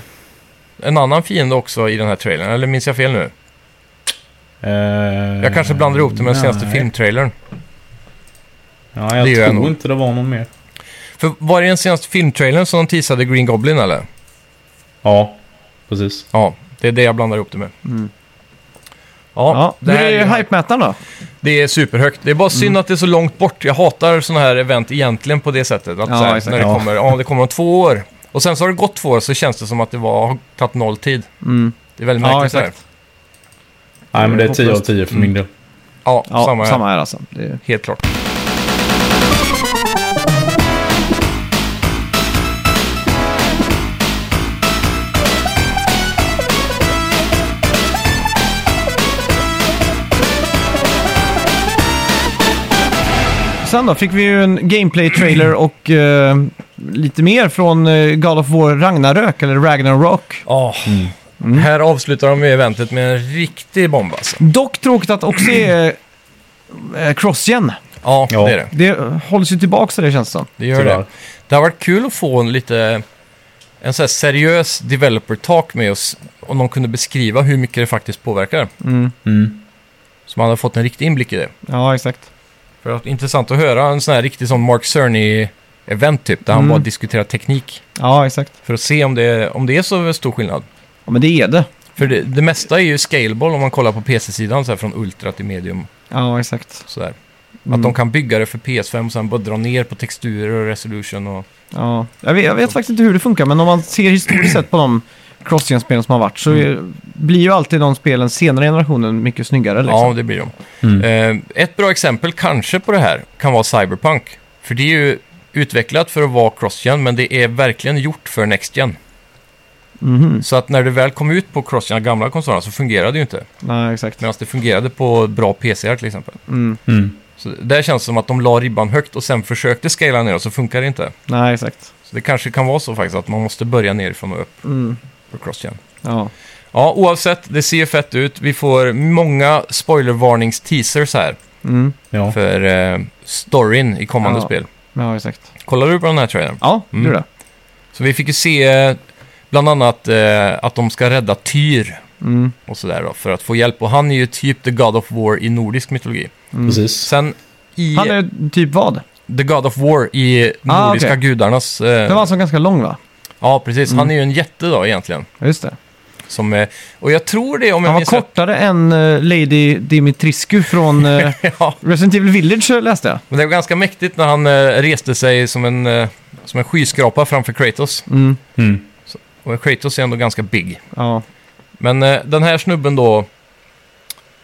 A: en annan fiende också i den här trailern? Eller minns jag fel nu?
C: Eh,
A: Jag
B: Eh,
A: kanske blandar ihop det med den senaste
C: nej.
A: filmtrailern.
C: Ja,
A: Det
C: jag
A: gör jag
C: tror
A: nog.
C: inte det var någon mer.
A: För var det den senaste filmtrailern som de teasade Green Goblin eller?
C: Ja, precis.
A: Ja, det är det jag blandar ihop det med.
B: Mm.
A: Ja,
B: Ja,
A: det,
B: Hur
A: här är
B: är Mm.
A: ju hype.
B: hype-mätaren då?
A: det är superhögt. Det är bara synd att det är så långt bort. Jag hatar sådana här event egentligen på det sättet. Att
B: Ja,
A: så här,
B: exakt.
A: när det
C: Ja.
A: kommer, ja det kommer om två år. Och sen så har det gått två år så känns det som att det var, har tagit noll tid.
B: Mm.
A: Det är väldigt
B: Ja,
A: märkligt.
B: exakt.
A: Ja,
C: Nej, men det är
B: hopplöst.
C: 10 av 10 för min del.
A: ja,
B: Ja,
A: samma,
B: samma,
A: här.
B: här alltså. Det är...
A: Helt klart.
B: Sen då fick vi ju en gameplay-trailer och eh, lite mer från eh, God of War Ragnarök, eller Ragnarok.
A: Ja, Ah.
C: Mm.
A: Här avslutar de ju eventet med en riktig bomb alltså.
B: Dock tråkigt att också är eh, cross-gen.
A: Ja,
C: Ja.
A: det är det.
B: Det eh, hålls ju tillbaka så det känns som.
A: Det gör
C: Tyvärr.
A: det. Det har varit kul att få en lite... En så här seriös developer-talk med oss. Om de kunde beskriva hur mycket det faktiskt påverkar.
C: Mm.
A: Så man hade fått en riktig inblick i det.
B: Ja, exakt.
A: För att, intressant att höra en sån här riktig sån Mark Cerny-event typ. Där han
B: Mm.
A: bara diskuterar teknik.
B: Ja, exakt.
A: För att se om det, är- om det är så stor skillnad.
B: Ja, men det är det.
A: För det, det mesta är ju scalable om man kollar på PC-sidan. Så här, från ultra till medium.
B: Ja, exakt.
A: Sådär.
B: Mm.
A: Att de kan bygga det för PS5 och sen bara dra ner på texturer och resolution och...
B: Ja. Jag, vet, jag vet faktiskt inte hur det funkar, men om man ser historiskt sett på de cross-gen-spelen som har varit så
A: Mm.
B: eh, blir ju alltid de spelen senare generationen mycket snyggare. Liksom.
A: Ja, det blir de.
C: Mm.
A: Eh, ett bra exempel kanske på det här kan vara Cyberpunk. För det är ju utvecklat för att vara cross-gen, men det är verkligen gjort för next-gen.
B: Mhm.
A: Så att när det väl kom ut på cross-gen, gamla konsolerna, så fungerade det ju inte.
B: Nej, exakt.
A: Medan det fungerade på bra PCR till exempel.
B: Mm.
C: Mm.
A: Så där känns det som att de la ribban högt och sen försökte scala ner och så funkar det inte.
B: Nej, exakt.
A: Så det kanske kan vara så faktiskt att man måste börja nerifrån och upp
B: Mm.
A: på cross-gen.
B: Ja.
A: Ja, oavsett, det ser fett ut. Vi får många spoilervarnings-teasers här
B: Mm.
C: Ja.
A: för eh, storyn i kommande
B: Ja.
A: spel.
B: ja, exakt.
A: Kollar du på den här trailern?
B: Ja, det
A: Mm.
B: är det.
A: Så vi fick ju se eh, bland annat eh, att de ska rädda Tyr
B: Mm.
A: och sådär då, för att få hjälp. Och han är ju typ The God of War i nordisk mytologi.
C: Precis.
A: Sen i
B: Mm. Han är typ vad?
A: The God of War i
B: Ah,
A: nordiska
B: okej.
A: gudarnas... eh,
B: Den var Mm. alltså ganska lång va?
A: Ja, precis. Han är ju en jätte då egentligen.
B: Ja, Just det.
A: Som, eh, och jag tror det om jag
B: Han var
A: minns rätt.
B: kortare än eh, Lady Dimitriscu från eh,
A: Ja,
B: Resident Evil Village eh, läste jag.
A: men det var ganska mäktigt när han eh, reste sig som en, eh, som en skyskrapa framför Kratos.
B: Mm.
C: Mm.
A: Och Kratos är ändå ganska big.
B: Ja.
A: Men eh, den här snubben då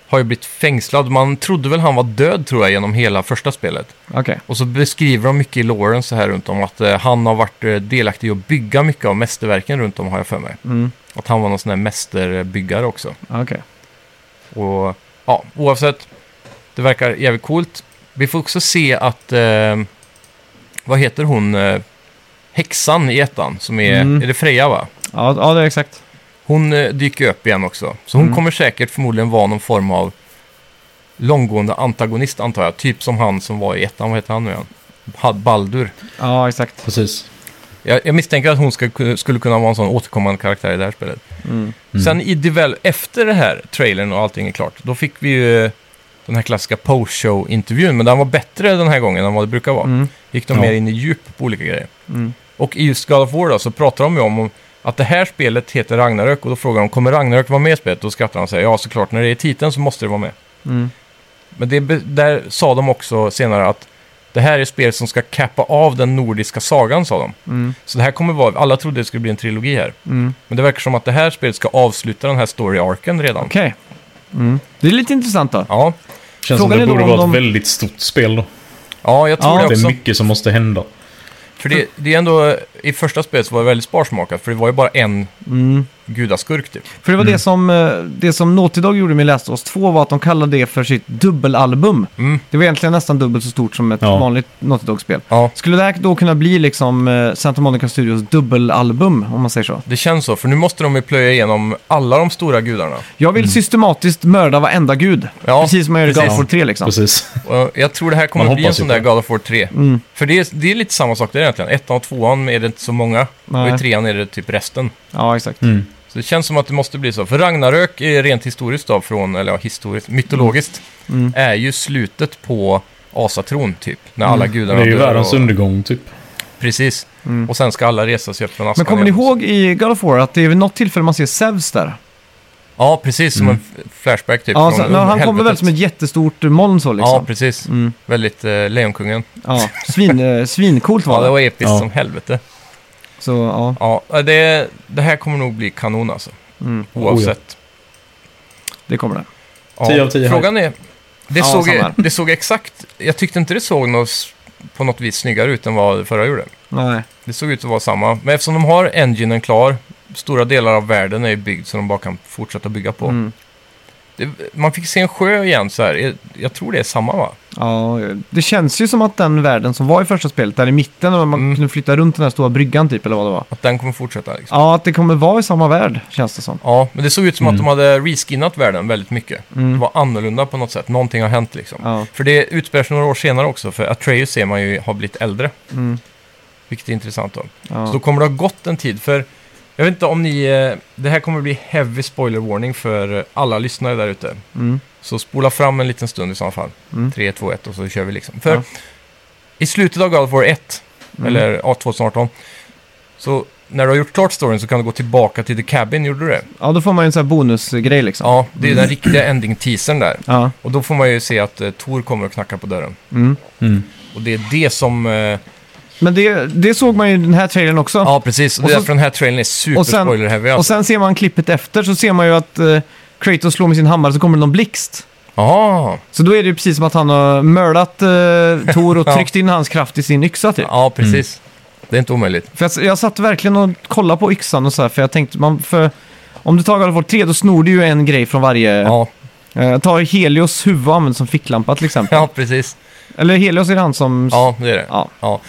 A: har ju blivit fängslad. Man trodde väl han var död tror jag genom hela första spelet.
B: Okej.
A: Och så beskriver de mycket i låren så här runt om att eh, han har varit eh, delaktig i att bygga mycket av mästerverken runt om har jag för mig.
B: Mm.
A: Att han var någon sån här mästerbyggare också.
B: Okej.
A: Och ja, oavsett. Det verkar jävligt coolt. Vi får också se att... Eh, vad heter hon? Eh, häxan i ettan, som är...
B: Mm.
A: Är det Freja, va?
B: Ja, ja det är exakt.
A: Hon eh, dyker upp igen också. Så hon
B: Mm.
A: kommer säkert förmodligen vara någon form av långgående antagonist, antar jag. Typ som han som var i ettan. Vad heter han nu igen? Had Baldur.
B: Ja, exakt.
C: Precis.
A: Jag, jag misstänker att hon ska, ku- skulle kunna vara en sån återkommande karaktär i det här spelet.
B: Mm.
A: Sen i devel- efter det här trailern och allting är klart, då fick vi ju eh, den här klassiska post-show-intervjun. Men den var bättre den här gången än vad det brukar vara.
B: Mm.
A: Gick de
C: Ja.
A: mer in i djup på olika grejer.
B: Mm.
A: Och i just God of War då, så pratar de ju om att det här spelet heter Ragnarök. Och då frågar de, kommer Ragnarök vara med i spelet? Då skrattar de och säger, ja såklart, när det är i titeln så måste det vara med.
B: Mm.
A: Men det, be- där sa de också senare att det här är spel som ska kappa av den nordiska sagan, sa de.
B: Mm.
A: Så det här kommer vara, alla trodde det skulle bli en trilogi här.
B: Mm.
A: Men det verkar som att det här spelet ska avsluta den här story-arken redan.
B: Okej. Mm. Det är lite intressant då.
A: Ja.
C: Känns
B: Frågan är
C: som
B: då
C: det borde
B: om
C: vara
B: de-
C: ett väldigt stort spel då.
A: ja, jag tror
B: Ja.
A: det
C: Det
A: också.
C: är mycket som måste hända.
A: För det, det är ändå, i första spelet så var det väldigt sparsmakat, för det var ju bara en
B: Mm.
A: gudaskurk typ.
B: För det var det som, eh, det som Naughty Dog gjorde med Last of Us 2 var att de kallade det för sitt dubbelalbum.
A: Mm.
B: Det var egentligen nästan dubbelt så stort som ett
C: Ja.
B: vanligt Naughty Dog-spel.
A: Ja,
B: Skulle det här då kunna bli liksom eh, Santa Monica Studios dubbelalbum, om man säger så?
A: det känns så, för nu måste de ju plöja igenom alla de stora gudarna.
B: Jag vill systematiskt mörda varenda gud.
A: Mm. Ja,
B: precis som jag gör i God of
A: precis.
B: War 3 liksom.
C: Precis.
A: Och jag tror det här kommer
C: Man
A: att bli en
C: hoppas ju
A: sån
C: på
A: där
C: det.
A: God of War 3.
B: Mm.
A: För det är, det är lite samma sak där egentligen. Ettan och tvåan är det inte så många, och
B: Nej.
A: i trean är det typ resten.
B: Ja, exakt.
C: Mm.
A: Så det känns som att det måste bli så. För Ragnarök är rent historiskt då, från, eller ja, historiskt, mytologiskt,
B: Mm.
A: är ju slutet på Asatron typ. När alla
C: Mm. Det
A: gudarna
C: är ju
A: dör
C: världens
A: och,
C: undergång typ.
A: Precis.
B: Mm.
A: Och sen ska alla resa sig upp från askan
B: Men kommer ni
A: igen.
B: ihåg i God of War att det är vid något tillfälle man ser Zeus där?
A: Ja, precis. Som en f- flashback typ.
B: Mm. Ja,
A: från
B: så, men han kommer väl
A: helvetet.
B: som ett jättestort moln så
A: Ja,
B: liksom.
A: precis.
B: Mm.
A: Väldigt eh, Lejonkungen.
B: Ja, svin, eh, svincoolt
A: Ja,
B: var
A: det
B: det.
A: var episkt
C: Ja.
A: som helvete.
B: Så, ja.
A: Ja, eh, det, det här kommer nog bli kanon alltså.
C: Oh,
B: Mm.
A: Oavsett.
B: Det kommer det.
A: Ja.
C: 10 av 10
A: Frågan är... Det,
B: Ja,
A: såg,
B: samma här.
A: det såg exakt... Jag tyckte inte det såg något, s- på något vis snyggare ut än vad det förra gjorde.
B: Nej.
A: Det såg ut att vara samma. Men eftersom de har enginen klar, stora delar av världen är ju byggd så de bara kan fortsätta bygga på.
B: Mm.
A: Det, man fick se en sjö igen så här. Jag, jag tror det är samma va?
B: Ja, det känns ju som att den världen som var i första spelet, där i mitten, när man
A: Mm.
B: kunde flytta runt den här stora bryggan typ, eller vad det var.
A: Att den kommer fortsätta liksom.
B: Ja, att det kommer vara i samma värld, känns det som.
A: Ja, men det såg ut som att
C: Mm.
A: de hade reskinnat världen väldigt mycket. Det
B: Mm.
A: var annorlunda på något sätt. Någonting har hänt liksom.
B: Ja,
A: För det utspelar sig några år senare också, för Atreus ser man ju har blivit äldre.
B: mm.
A: Vilket är intressant då. Så då
B: ja.
A: kommer det ha gått en tid, för jag vet inte om ni... eh, Det här kommer bli heavy spoiler warning för eh, alla lyssnare där ute.
B: Mm.
A: Så spola fram en liten stund i så fall.
B: Mm.
A: 3, 2, 1 och så kör vi liksom. För
B: Ja.
A: i slutet av God of War 1,
B: Mm.
A: eller ja, 2018, så när du har gjort klart storyn så kan du gå tillbaka till The Cabin, gjorde du det?
B: ja, då får man ju en sån här bonusgrej liksom.
A: Ja, det är den riktiga ending-teasern där.
B: Ja.
A: Och då får man ju se att eh, Tor kommer och knackar på dörren.
B: Mm.
C: Mm.
A: Och det är det som... Eh,
B: Men det, det såg man ju i den här trailern också.
A: ja, precis. Och,
B: Och
A: det är
B: så-
A: därför den här trailern är
B: och sen-
A: superspoiler-heavy.
B: Och
A: Alltså.
B: sen ser man klippet efter, så ser man ju att eh, Kratos slår med sin hammare så kommer det någon blixt.
A: Aha,
B: Så då är det ju precis som att han har mördat eh, Tor och
A: Ja.
B: tryckt in hans kraft i sin yxa typ.
A: ja, precis. Det är inte omöjligt.
B: För jag, jag satt verkligen och kollade på yxan och så här, för jag tänkte, man, för om du tar God of War 3 då snor du ju en grej från varje...
A: Ja,
B: Eh, ta Helios huvud och använd som ficklampa till exempel.
A: ja precis.
B: Eller Helios är han som...
A: Ja, det är det.
B: Ja.
A: Ja,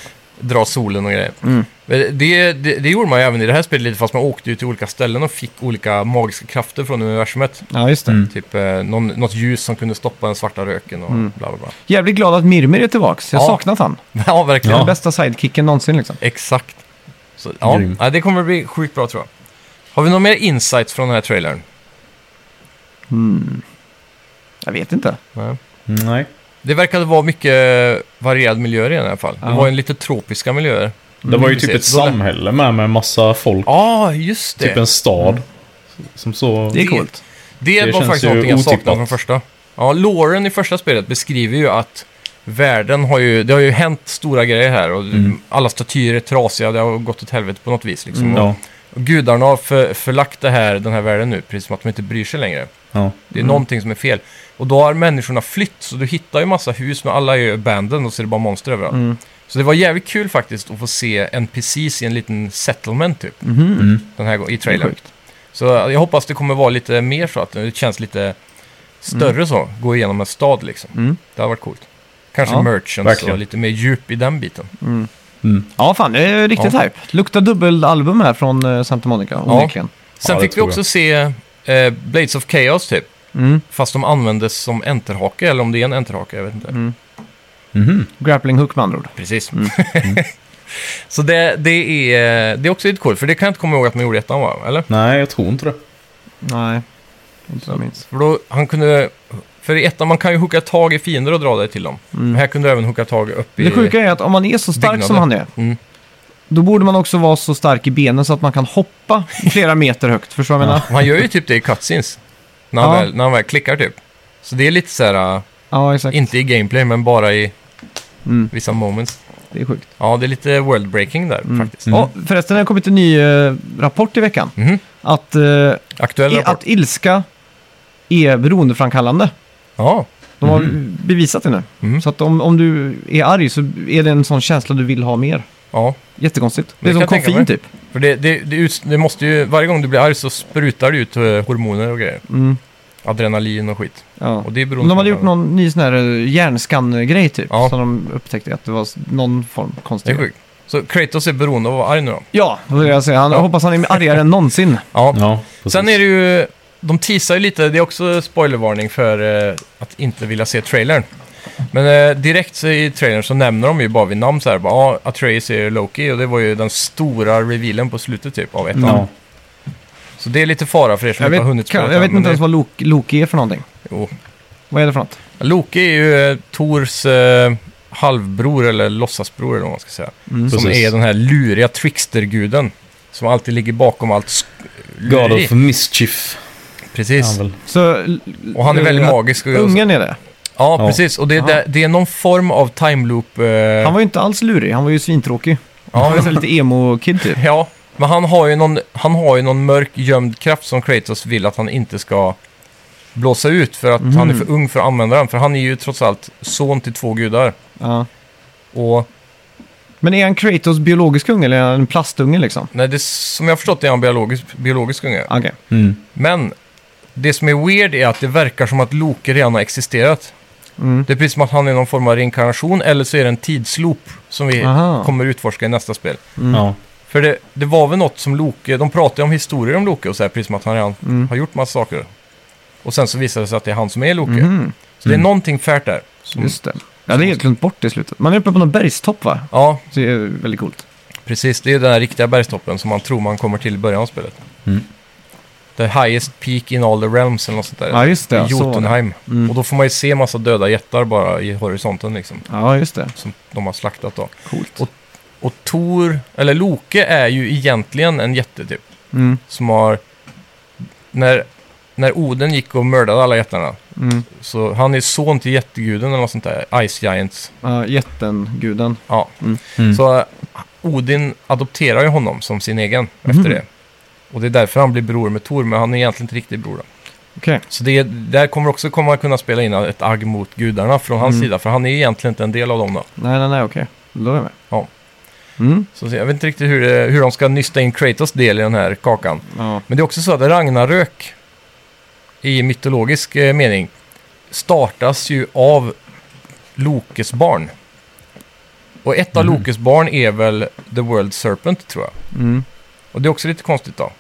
A: dra solen och grejer.
B: Mm.
A: Men Det, det, det gjorde man ju även i det här spelet lite, fast man åkte ju till olika ställen och fick olika magiska krafter från universumet.
B: ja, just det.
C: Mm.
A: Typ eh, någon, något ljus som kunde stoppa den svarta röken och
B: Mm.
A: bla bla bla.
B: Jävligt glad att Mirmir är tillbaks. Jag har
A: Ja.
B: saknat han.
A: Ja, verkligen.
C: Ja.
B: Den bästa sidekicken någonsin liksom.
A: Exakt. Så, ja.
C: Grym.
A: ja, det kommer bli sjukt bra tror jag. Har vi några mer insights från den här trailern?
B: Hmm. Jag vet inte.
A: Nej.
C: Mm, Nej.
A: Det verkade vara mycket varierad miljöer i alla fall.
B: Ja.
A: Det var ju lite tropiska miljöer.
C: Det var ju
A: Mm, precis.
C: typ ett
A: Då lä-
C: samhälle med, med massa folk.
A: Ja, just det. Mm.
C: Typ en stad. Som så...
B: Det är
A: Det-
B: coolt.
A: Det,
C: Det
A: var
C: känns
A: faktiskt
C: ju
A: någonting jag saknade
C: otippat.
A: från första. Ja, Lauren i första spelet beskriver ju att världen har ju, det har ju hänt stora grejer här och
C: Mm.
A: alla statyer är trasiga, det har gått åt helvete på något vis liksom.
C: Ja.
A: Och gudarna har för, förlagt det här, den här världen nu, precis som att de inte bryr sig längre.
C: ja.
A: Det är
B: Mm.
A: någonting som är fel. Och då har människorna flytt, så du hittar ju massa hus, men alla är ju abandoned och så är det bara monster överallt.
B: Mm.
A: Så det var jävligt kul faktiskt att få se NPCs i en liten settlement typ,
B: Mhm.
C: Mm.
A: den här gången, i
B: Det är
A: trailern. eh,
B: sjukt.
A: Så jag hoppas det kommer vara lite mer så att det känns lite större så, gå igenom en stad liksom.
B: Mm.
A: Det hade varit coolt. Kanske
B: Ja,
A: merchants
C: verkligen.
A: och lite mer djup i den biten.
C: Mm.
B: Ja, fan, det är riktigt
A: Ja.
B: här. Luktar dubbelalbum här från eh, Santa Monica, onekligen.
A: Sen
C: det
A: fick vi
C: tror
A: också se eh, Blades of Chaos typ.
B: Mm.
A: Fast de användes som enterhake, eller om det är en enterhake, jag vet inte.
C: Mhm.
B: Grappling hook med andra ord.
A: Precis.
B: Mm.
A: så det, det, är, det är också lite coolt, för det kan jag inte komma ihåg att man gjorde i ettan va? Eller?
C: Nej, jag tror inte det.
B: Nej, inte vad jag minns.
A: För då, han kunde... För i ettan, man kan ju hooka tag i fiender och dra dig till dem. Men här kunde du även hooka tag upp i...
B: Mm. Det sjuka är att om man är så stark som
A: byggnader.
B: han är,
A: Mm.
B: då borde man också vara så stark i benen så att man kan hoppa flera meter högt. Förstår du vad jag menar?
A: Och Han gör ju typ det i cutscenes. När han,
B: Ja.
A: väl, när han väl klickar typ. Så det är lite så här, äh,
B: Ja, exakt.
A: inte i gameplay men bara i
B: Mm.
A: vissa moments.
B: Det är sjukt.
A: Ja, det är lite world breaking där
B: Mm.
A: faktiskt. Mm.
B: Och förresten, det har kommit en ny eh, rapport i veckan.
A: Mhm.
B: Att, eh, i,
A: Aktuell rapport.
B: att ilska är beroendeframkallande.
A: Ja,
B: De har bevisat det nu.
A: Mhm.
B: Så att om, om du är arg så är det en sån känsla du vill ha mer.
A: ja.
B: Jättekonstigt. Det
A: Det kan
B: är som
A: jag tänka
B: koffein
A: mig.
B: typ.
A: För det, det, det, ut, det måste ju, varje gång du blir arg så sprutar du ut eh, hormoner och grejer.
B: Mm.
A: Adrenalin och skit.
B: Ja.
A: Och det är beroende
B: De hade
A: på-
B: gjort någon ny sån här eh, hjärnskann-grej typ.
A: Ja.
B: Som de upptäckte att det var s- någon form
A: Det är
B: konstig.
A: sjukt. Så Kratos är beroende av att vara arg nu då?
B: Ja, det var det jag säger. Han, jag hoppas han är argare än någonsin.
A: Ja.
C: Ja, precis.
A: Sen är det ju, de teasar ju lite, det är också spoilervarning för eh, att inte vilja se trailern. Men eh, direkt så i trailern så nämner de ju bara vid namn så här, bara, ja, Atreus är Loki och det var ju den stora revealen på slutet typ av ettan.
C: Ja.
A: Så det är lite fara för er som
B: Jag
A: inte har
B: vet,
A: hunnit
B: kan,
A: spela
B: jag vet
A: men
B: inte
A: det-
B: ens vad Loki, Loki är för någonting.
A: jo.
B: Vad är det för något?
A: Loki är ju eh, Tors eh, halvbror eller låtsasbror eller vad man ska säga. Som
C: Precis.
A: är den här luriga tricksterguden. Som alltid ligger bakom allt sk-
C: God
A: lureri.
C: of Mischief. är
A: Precis.
C: han väl.
B: Så, l-
A: Och han är väldigt
B: l-
A: magisk. Och
B: Ungen är det.
A: Ja,
C: Ja.
A: precis. Och det,
B: Ja.
A: det, det är någon form av time loop. Eh,
B: Han var ju inte alls lurig. Han var ju svintråkig. Han var
A: ja,
B: ju så här lite emo-kid typ.
A: ja, men han har, ju någon, han har ju någon mörk gömd kraft som Kratos vill att han inte ska blåsa ut för att han är
B: Mhm.
A: för ung för att använda den. För han är ju trots allt son till två gudar.
B: Ja.
A: Och
B: Men är han Kratos biologisk unge eller är han en plastunge liksom?
A: nej, det, som jag har förstått det är han biologisk, biologisk unge.
B: Okej.
C: Mm.
A: Men det som är weird är att det verkar som att Loki redan har existerat.
B: Mm.
A: Det är precis som att han är någon form av reinkarnation eller så är det en tidsloop som vi
B: Aha.
A: kommer utforska i nästa spel.
C: Ja.
A: För det, det var väl något som Loke, de pratade ju om historier om Loke och så här, precis som att han redan
B: Mm.
A: har gjort massa saker. Och sen så visade det sig att det är han som är Loke.
B: Mhm.
A: Så det är någonting färt där. Som,
B: Just det. Ja, det är helt glömt bort i slutet. Man är uppe på någon bergstopp va?
A: Ja,
B: Så det är väldigt coolt.
A: precis. Det är ju den här riktiga bergstoppen som man tror man kommer till i början av spelet.
C: Mm.
A: The highest peak in all the realms eller något sånt där.
B: Ja, just det.
A: I
B: Ja, så var det. Mm.
A: Jotunheim. Och då får man ju se massa döda jättar bara i horisonten liksom.
B: Ja, just det.
A: Som de har slaktat då.
B: Coolt.
A: Och- Och Tor, eller Loke är ju egentligen en jätte typ.
B: Mm.
A: som har... När, när Oden gick och mördade alla jättarna,
B: Mm.
A: så han är son till jätteguden eller något sånt där, Ice Giants.
B: Ja, jätten-guden.
A: Ja.
C: Mm.
A: Så eh, Odin adopterar ju honom som sin egen efter det. Och det är därför han blir bror med Tor, men han är egentligen inte riktigt bror. Då.
B: Okej.
A: Så det är, där kommer också komma att kunna spela in ett agg mot gudarna från hans sida, för han är egentligen inte en del av dem då.
B: Nej, nej, nej, okej. Då är jag med.
A: Ja.
B: Mm.
A: Så jag vet inte riktigt hur, det, hur de ska nysta in Kratos del i den här kakan.
B: Ja.
A: Men det är också så att Ragnarök i mytologisk eh, mening startas ju av Lokes barn. Och ett av
B: Mhm.
A: Lokes barn är väl The World Serpent tror jag.
B: Mm.
A: Och det är också lite konstigt då.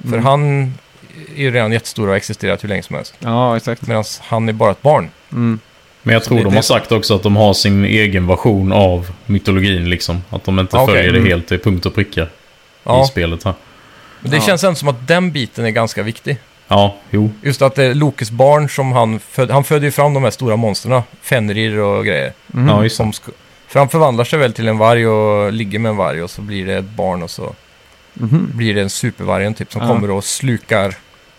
A: För
B: Mm.
A: han är ju redan jättestor och har existerat hur länge som helst.
B: Ja, exakt.
A: Medan han är bara ett barn.
B: Mm.
C: Men jag tror
A: det-
C: de
A: det-
C: har sagt också att de har sin egen version av mytologin liksom. Att de inte
A: Ah, okej.
C: följer det
A: Mm.
C: helt till punkt och pricka i
A: Ja,
C: spelet här.
A: men det
B: Ja.
A: känns ändå som att den biten är ganska viktig.
C: Ja, jo.
A: Just att det är Lokes barn som han födde, han födde ju fram de här stora monstren, Fenrir och grejer.
B: mm.
C: Ja, just det.
A: Som sk- för han förvandlar sig väl till en varg och ligger med en varg och så blir det ett barn och så
B: Mhm.
A: blir det en supervargen typ som
B: Ja.
A: kommer och slukar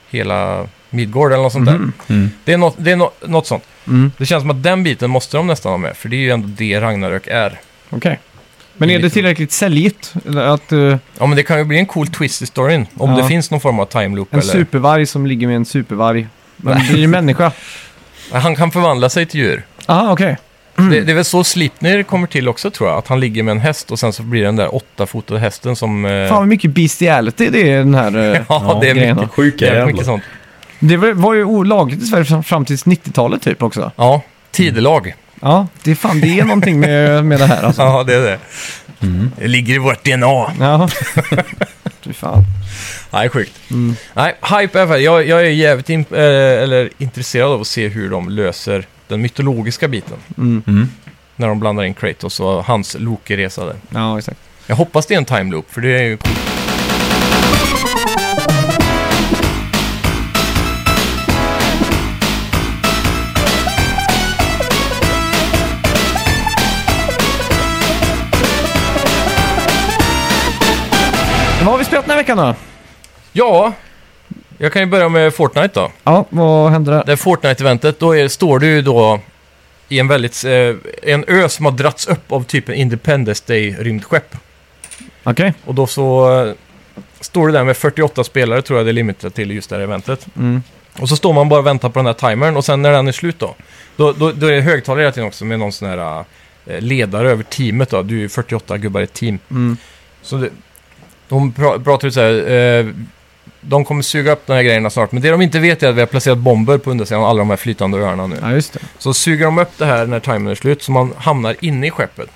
A: hela Midgård eller något sånt där.
C: Mm.
A: Det är, något, det är nå- något sånt.
B: Mm.
A: Det känns som att den biten måste de nästan ha med, för det är ju ändå det Ragnarök är.
B: Okej. Men är
A: Lite-
B: det tillräckligt säljigt? Eller Att eh,
A: Ja, men det kan ju bli en cool twist i storyn om
B: Ja.
A: det finns någon form av time loop.
B: en
A: Eller...
B: supervarg som ligger med en supervarg. Men blir människa?
A: Han kan förvandla sig till djur.
B: Aha, okej.
A: Eh.
B: Mm.
A: Det, det är väl så Slipner kommer till också tror jag, att han ligger med en häst och sen så blir det den där åttafotade hästen som... eh,
B: Fan vad mycket bestiality det är i den här... eh,
A: ja, det är
B: grejen
A: mycket,
C: Sjuka
A: jävligt
C: jävlar.
A: mycket sånt.
B: Det var- var ju olagligt i Sverige fram- fram till 90-talet typ också.
A: Ja, tidelag.
B: Ja, det är fan det är någonting med, med det här alltså.
A: Ja, det är det. Det ligger i vårt DNA.
B: Ja. Fy fan.
A: Nej, sjukt. Nej, Hype är färdig. jag, jag är jävligt imp- eh, eller intresserad av att se hur de löser den mytologiska biten.
C: Mm.
A: När de blandar in Kratos och hans Loki-resa där.
B: Ja, exakt.
A: Jag hoppas det är en time loop, för det är ju...
B: Vad har vi spelat den här veckan då?
A: Ja, jag kan ju börja med Fortnite då.
B: Ja, vad hände där?
A: Det här Fortnite-eventet, då är, står du ju då i en väldigt... Eh, en ö som har dratts upp av typ en Independence Day-rymdskepp.
B: Okej.
A: Och då så eh, står du där med 48 spelare, tror jag det är limitat till just det här eventet.
B: Mm.
A: Och så står man bara och väntar på den här timern och sen när den är slut då, då, då, då är det högtalare hela tiden också med någon sån här eh, ledare över teamet då. Du är ju 48 gubbar i ett team.
B: Mm.
A: Så det, de pra- pratar ju så här, eh, de kommer suga upp de här grejerna snart, men det de inte vet är att vi har placerat bomber på undersidan av alla de här flytande öarna nu.
B: Ja, just det.
A: Så suger de upp det här när timern är slut, så man hamnar inne i skeppet.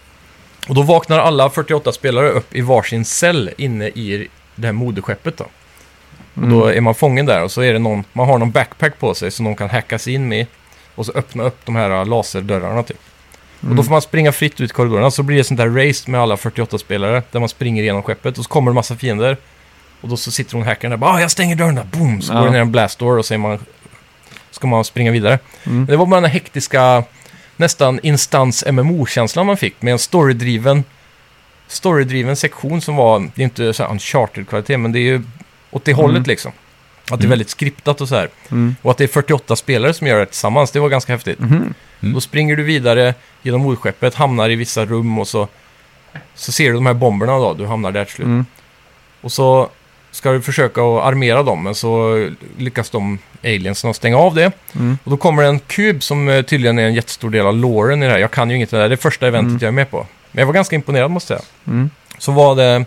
A: Och då vaknar alla 48 spelare upp i varsin cell inne i det här moderskeppet då.
B: Mm,
A: Och då är man fången där och så är det någon, man har någon backpack på sig som någon kan hacka sig in med. Och så öppna upp de här laserdörrarna typ. Och då
B: Mm.
A: får man springa fritt ut i korridorerna. Så blir det sånt där race med alla 48 spelare. Där man springer igenom skeppet och så kommer det massa fiender. Och då så sitter hon hackaren där bara ah, jag stänger dörren där, boom! Så
B: Ja.
A: går det ner en blast door och så är man, ska man springa vidare.
B: Mm.
A: Det var bara den här hektiska, nästan instans MMO-känslan man fick med en storydriven storydriven sektion som var, det är inte så här uncharted-kvalitet, men det är ju åt det hållet liksom. Att det är väldigt skriptat och så här.
B: Mm.
A: Och att det är 48 spelare som gör det tillsammans, det var ganska häftigt.
B: Mhm.
C: Mm.
A: Då springer du vidare genom ordskeppet, hamnar i vissa rum och så, så ser du de här bomberna då, du hamnar där till slut.
B: Mm.
A: Och så ska du försöka att armera dem, men så lyckas de aliensen att stänga av det.
B: Mm.
A: Och då kommer det en kub som eh, tydligen är en jättestor del av låren i det här. Jag kan ju inget om det här, det är första eventet jag är med på. Men jag var ganska imponerad måste jag säga.
B: Mm.
A: Så var det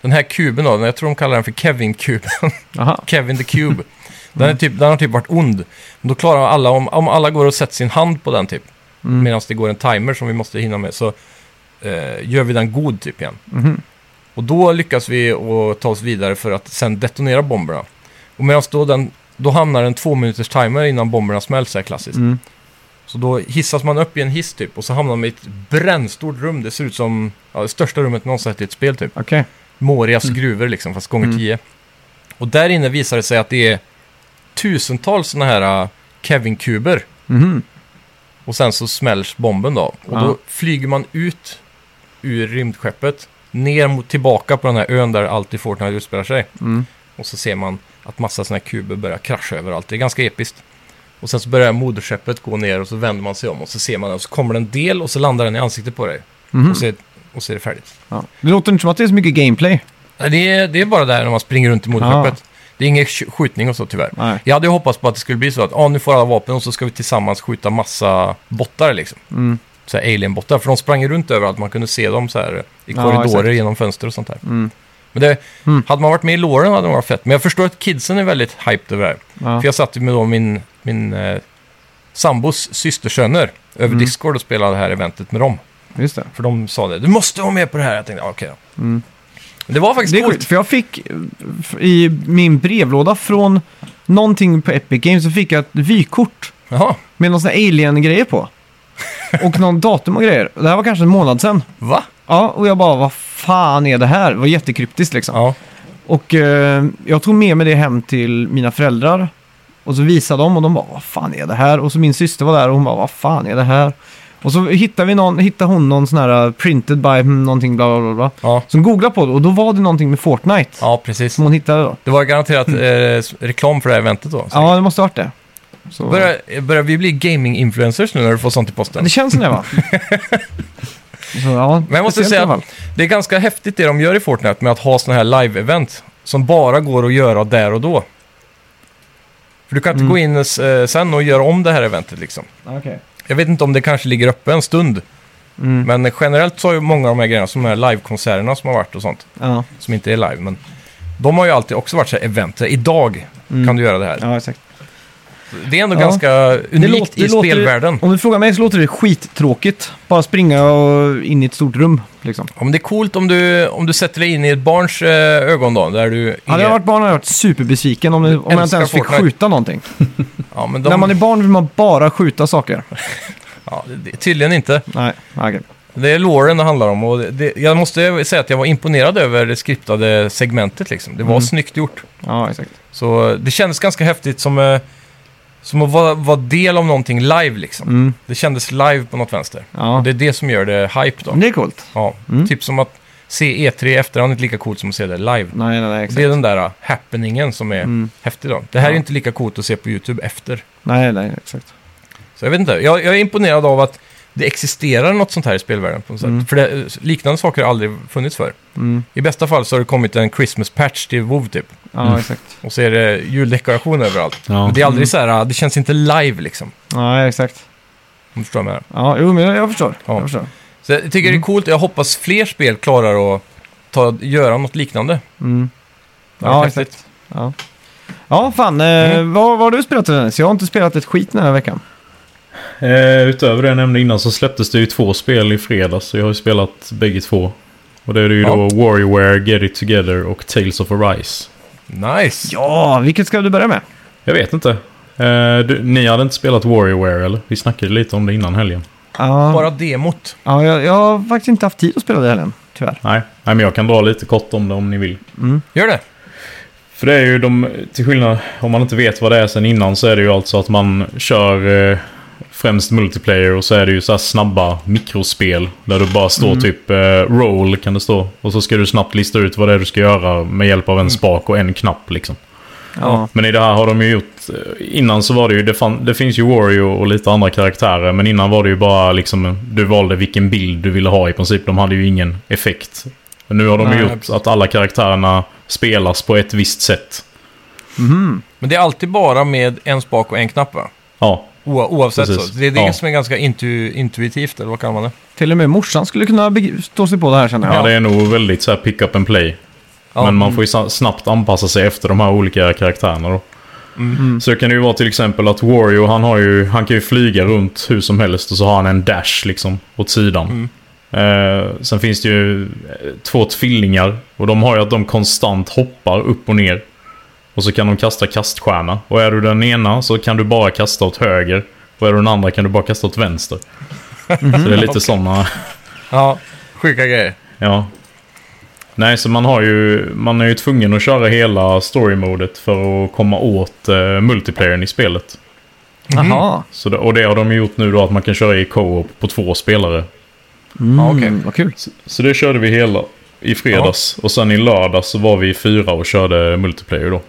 A: den här kuben då, jag tror de kallar den för Kevin-kuben.
B: Aha.
A: Kevin the
B: Mm.
A: Cube. Den, är typ, den har typ varit ond. Men då klarar alla, om, om alla går och sätter sin hand på den typ,
B: Mm.
A: medan det går en timer som vi måste hinna med, så eh, gör vi den god typ igen.
B: Mhm.
A: Och då lyckas vi att ta oss vidare för att sen detonera bomberna. Och medan då den, då hamnar en två minuters timer innan bomberna smälts, så här klassiskt.
B: Mm.
A: Så då hissas man upp i en hiss typ, och så hamnar man i ett brännstort rum. Det ser ut som ja, det största rummet någonsin sett i ett spel typ.
B: Okej.
A: Morias gruvor liksom, fast gånger
B: Mm.
A: tio. Och där inne visar det sig att det är tusentals sådana här äh, Kevin-kuber.
B: Mhm.
A: Och sen så smälls bomben då. Och
B: Ja.
A: då flyger man ut ur rymdskeppet, ner mot, tillbaka på den här ön där allt i Fortnite utspelar sig.
B: Mm.
A: Och så ser man att massa sådana här kuber börjar krascha överallt. Det är ganska episkt. Och sen så börjar moderskeppet gå ner och så vänder man sig om och så ser man den. Och så kommer den en del och så landar den i ansiktet på dig.
B: Mhm.
A: Och, så är, och så är det färdigt.
B: Ja. Det låter inte som att det är så mycket gameplay.
A: Nej, Det är, det är bara där när man springer runt i moderskeppet. Det är ingen sk- skjutning och så tyvärr.
B: Nej.
A: Jag hade ju hoppats på att det skulle bli så att ah, nu får alla vapen och så ska vi tillsammans skjuta massa bottar liksom.
B: Mm.
A: Så här alien-bottar, för de sprang ju runt överallt. Man kunde se dem så här i
B: Ja,
A: korridorer
B: exakt.
A: genom fönster och sånt där.
B: Mm.
A: Men det,
B: Mm.
A: hade man varit med i låren hade det varit fett. Men jag förstår att kidsen är väldigt hyped över det här.
B: Ja.
A: För jag satt ju med då min, min eh, sambos systersöner över
B: Mm.
A: Discord och spelade det här eventet med dem.
B: Just det.
A: För de sa det, du måste vara med på det här. Jag tänkte, ah, okej då.
B: Mm.
A: Men Det var faktiskt
B: Det är
A: coolt.
B: sjukt, för jag fick eh, f- i min brevlåda från någonting på Epic Games så fick jag ett vykort
A: Jaha,
B: med någon sån här alien-grejer på. Och någon datum och grejer. Det här var kanske en månad sedan.
A: va?
B: Ja, och jag bara, vad fan är det här? Det var jättekryptiskt liksom.
A: Ja.
B: Och eh, jag tog med mig det hem till mina föräldrar. Och så visade de och de bara, vad fan är det här? Och så min syster var där och hon bara, vad fan är det här? Och så hittade, vi någon, hittade hon någon sån här eh, printed by mm, någonting bla bla bla. bla.
A: Ja.
B: Så hon googlade på det och då var det någonting med Fortnite.
A: Ja, precis.
B: Som hon hittade då.
A: Det var garanterat eh, s- reklam för det här eventet då.
B: Mm. Ja, det måste ha varit det. Så...
A: Börjar, börjar vi bli gaming-influencers nu när du får sånt i posten?
B: Det känns som det va? så, ja,
A: Men jag måste
B: speciellt
A: säga
B: i alla fall.
A: Det är ganska häftigt det de gör i Fortnite med att ha såna här live-event som bara går att göra där och då. För du kan inte
B: Mm.
A: gå in eh, sen och göra om det här eventet liksom.
B: Okej.
A: Jag vet inte om det kanske ligger uppe en stund,
B: Mm,
A: men generellt så har ju många av de här grejerna, som de här live-konserterna som har varit och sånt,
B: ja,
A: som inte är live, men de har ju alltid också varit så här event. Idag
B: mm.
A: kan du göra det här.
B: Ja, exakt.
A: Det är ändå
B: Ja.
A: ganska unikt
B: låter-
A: i
B: låter-
A: spelvärlden.
B: Om du frågar mig så låter det skittråkigt. Bara springa och in i ett stort rum. Liksom.
A: Ja, men det är coolt om du, om du sätter dig in i ett barns eh, ögon då, där du...
B: Hade jag varit barn hade jag varit superbesviken om, om jag inte
A: älskar
B: ens fick
A: Fortnite.
B: skjuta någonting.
A: Ja, men de,
B: När man är barn vill man bara skjuta saker.
A: ja, det- tydligen inte.
B: Nej, okej.
A: Det är låren det handlar om och det, det, jag måste säga att jag var imponerad över det skriptade segmentet liksom. Det var
B: Mm.
A: snyggt gjort.
B: Ja, exakt.
A: Så eh, det kändes ganska häftigt som, eh, som att vara, vara del av någonting live liksom.
B: Mm,
A: Det kändes live på något vänster.
B: ja.
A: Och det är det som gör det hype då.
B: Men det är coolt.
A: Ja,
B: Mm.
A: Typ som att se E3 i efterhand är inte lika coolt som att se det live.
B: Nej, nej, nej,
A: Det
B: exakt.
A: är den där eh, happeningen som är
B: Mm.
A: häftig då. Det här är
B: Ja.
A: ju inte lika coolt att se på YouTube efter.
B: Nej, nej, exakt.
A: Så jag vet inte, jag, jag är imponerad av att det existerar något sånt här i spelvärlden på något sätt.
B: Mm.
A: För det, liknande saker har aldrig funnits för.
B: Mm,
A: I bästa fall så har det kommit en Christmas patch till WoW typ.
B: ja,
C: Mm.
B: exakt.
A: Och så är det juldekoration överallt.
C: Ja.
A: Men det är
B: Mm.
A: aldrig så här, ah, det känns inte live liksom.
B: Nej, exakt.
A: Om du förstår vad jag menar.
B: Ja, jo, men jag, jag förstår.
A: Ja.
B: Jag förstår.
A: Så jag tycker det
B: Mm.
A: är coolt, jag hoppas fler spel klarar att ta, göra något liknande.
B: Mm.
A: Det hade varit
B: Ja,
A: häftigt.
B: exakt. Ja. ja, fan. Eh,
A: Mm.
B: vad, vad har du spelat Dennis? Jag har inte spelat ett skit den här veckan.
C: Eh, utöver det jag nämnde innan så släpptes det ju två spel i fredags. Så jag har ju spelat bägge två. Och det är ju
A: Ja.
C: då Warrior, Get It Together och Tales of Arise.
A: Nice!
B: Ja, vilket ska du börja med?
C: Jag vet inte. Eh, du, ni hade inte spelat Warrior eller? Vi snackade lite om det innan helgen.
B: Ja,
A: Bara demot.
B: ja jag, jag har faktiskt inte haft tid att spela det heller, tyvärr.
C: Nej. Nej, men jag kan dra lite kort om det om ni vill.
A: Gör det!
C: För det är ju de, till skillnad, om man inte vet vad det är sen innan så är det ju alltså att man kör eh, främst multiplayer och så är det ju så här snabba mikrospel. Där du bara står typ eh, roll kan det stå. Och så ska du snabbt lista ut vad det är du ska göra med hjälp av en spak och en knapp liksom.
B: Ja.
C: Men i det här har de ju gjort... eh, Innan så var det ju... Det, fan, det finns ju Wario och lite andra karaktärer. Men innan var det ju bara liksom... Du valde vilken bild du ville ha i princip. De hade ju ingen effekt. Men nu har de
B: Nej,
C: ju gjort
A: precis.
C: att alla karaktärerna spelas på ett visst sätt.
A: Men det är alltid bara med en spak och en knapp va?
C: Ja.
A: O- oavsett
C: Precis.
A: så. Det är det
C: Ja.
A: som är ganska intu- intuitivt, eller vad kallar man det?
B: Till och med morsan skulle kunna beg- stå sig på det här känner
C: Ja,
B: jag.
C: det är nog väldigt så här pick up and play.
A: Ja.
C: Men man får ju sa- snabbt anpassa sig efter de här olika karaktärerna då. Så kan det ju vara till exempel att Wario, han, har ju, han kan ju flyga runt hur som helst och så har han en dash liksom åt sidan. Eh, sen finns det ju eh, två tvillingar och de har ju att de konstant hoppar upp och ner. Och så kan de kasta kaststjärna. Och är du den ena så kan du bara kasta åt höger. Och är du den andra kan du bara kasta åt vänster. Så det är lite sådana...
A: Ja, sjuka grejer.
C: Ja. Nej, så man, har ju, man är ju tvungen att köra hela story-modet för att komma åt eh, multiplayern i spelet.
B: Jaha,
C: Så det, och det har de ju gjort nu då, att man kan köra i co-op på två spelare. Mm.
A: Ja, okej.
B: Mm, vad kul.
C: Så, så det körde vi hela i fredags. Och sen i lördags så var vi fyra och körde multiplayer då.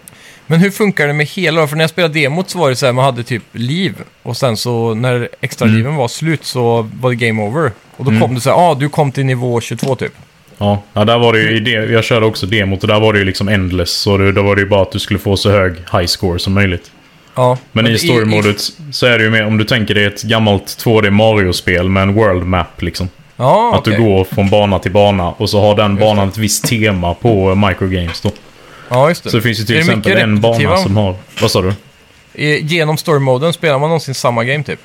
A: Men hur funkar det med hela? För när jag spelade demot så var det så här, man hade typ liv. Och sen så när extra
C: Mm.
A: liven var slut så var det game over. Och då kom det så här, ah, du kom till nivå 22 typ.
C: Ja, ja där var det ju, i det, jag körde också demot och där var det ju liksom endless. Så det, då var det ju bara att du skulle få så hög high score som möjligt.
A: Ja.
C: Men i
A: storymodet.
C: story-modet så är det ju mer, om du tänker dig ett gammalt 2D Mario-spel med en world map liksom.
A: Ja,
C: Att du
A: okej.
C: går från bana till bana och så har den banan ett visst tema på eh, microgames då.
A: Ja, just det.
C: Så det finns ju till
A: Är det mycket
C: exempel en
A: repetitiva?
C: bana som har... Vad sa du?
A: Eh, Genom storymoden spelar man någonsin samma game typ?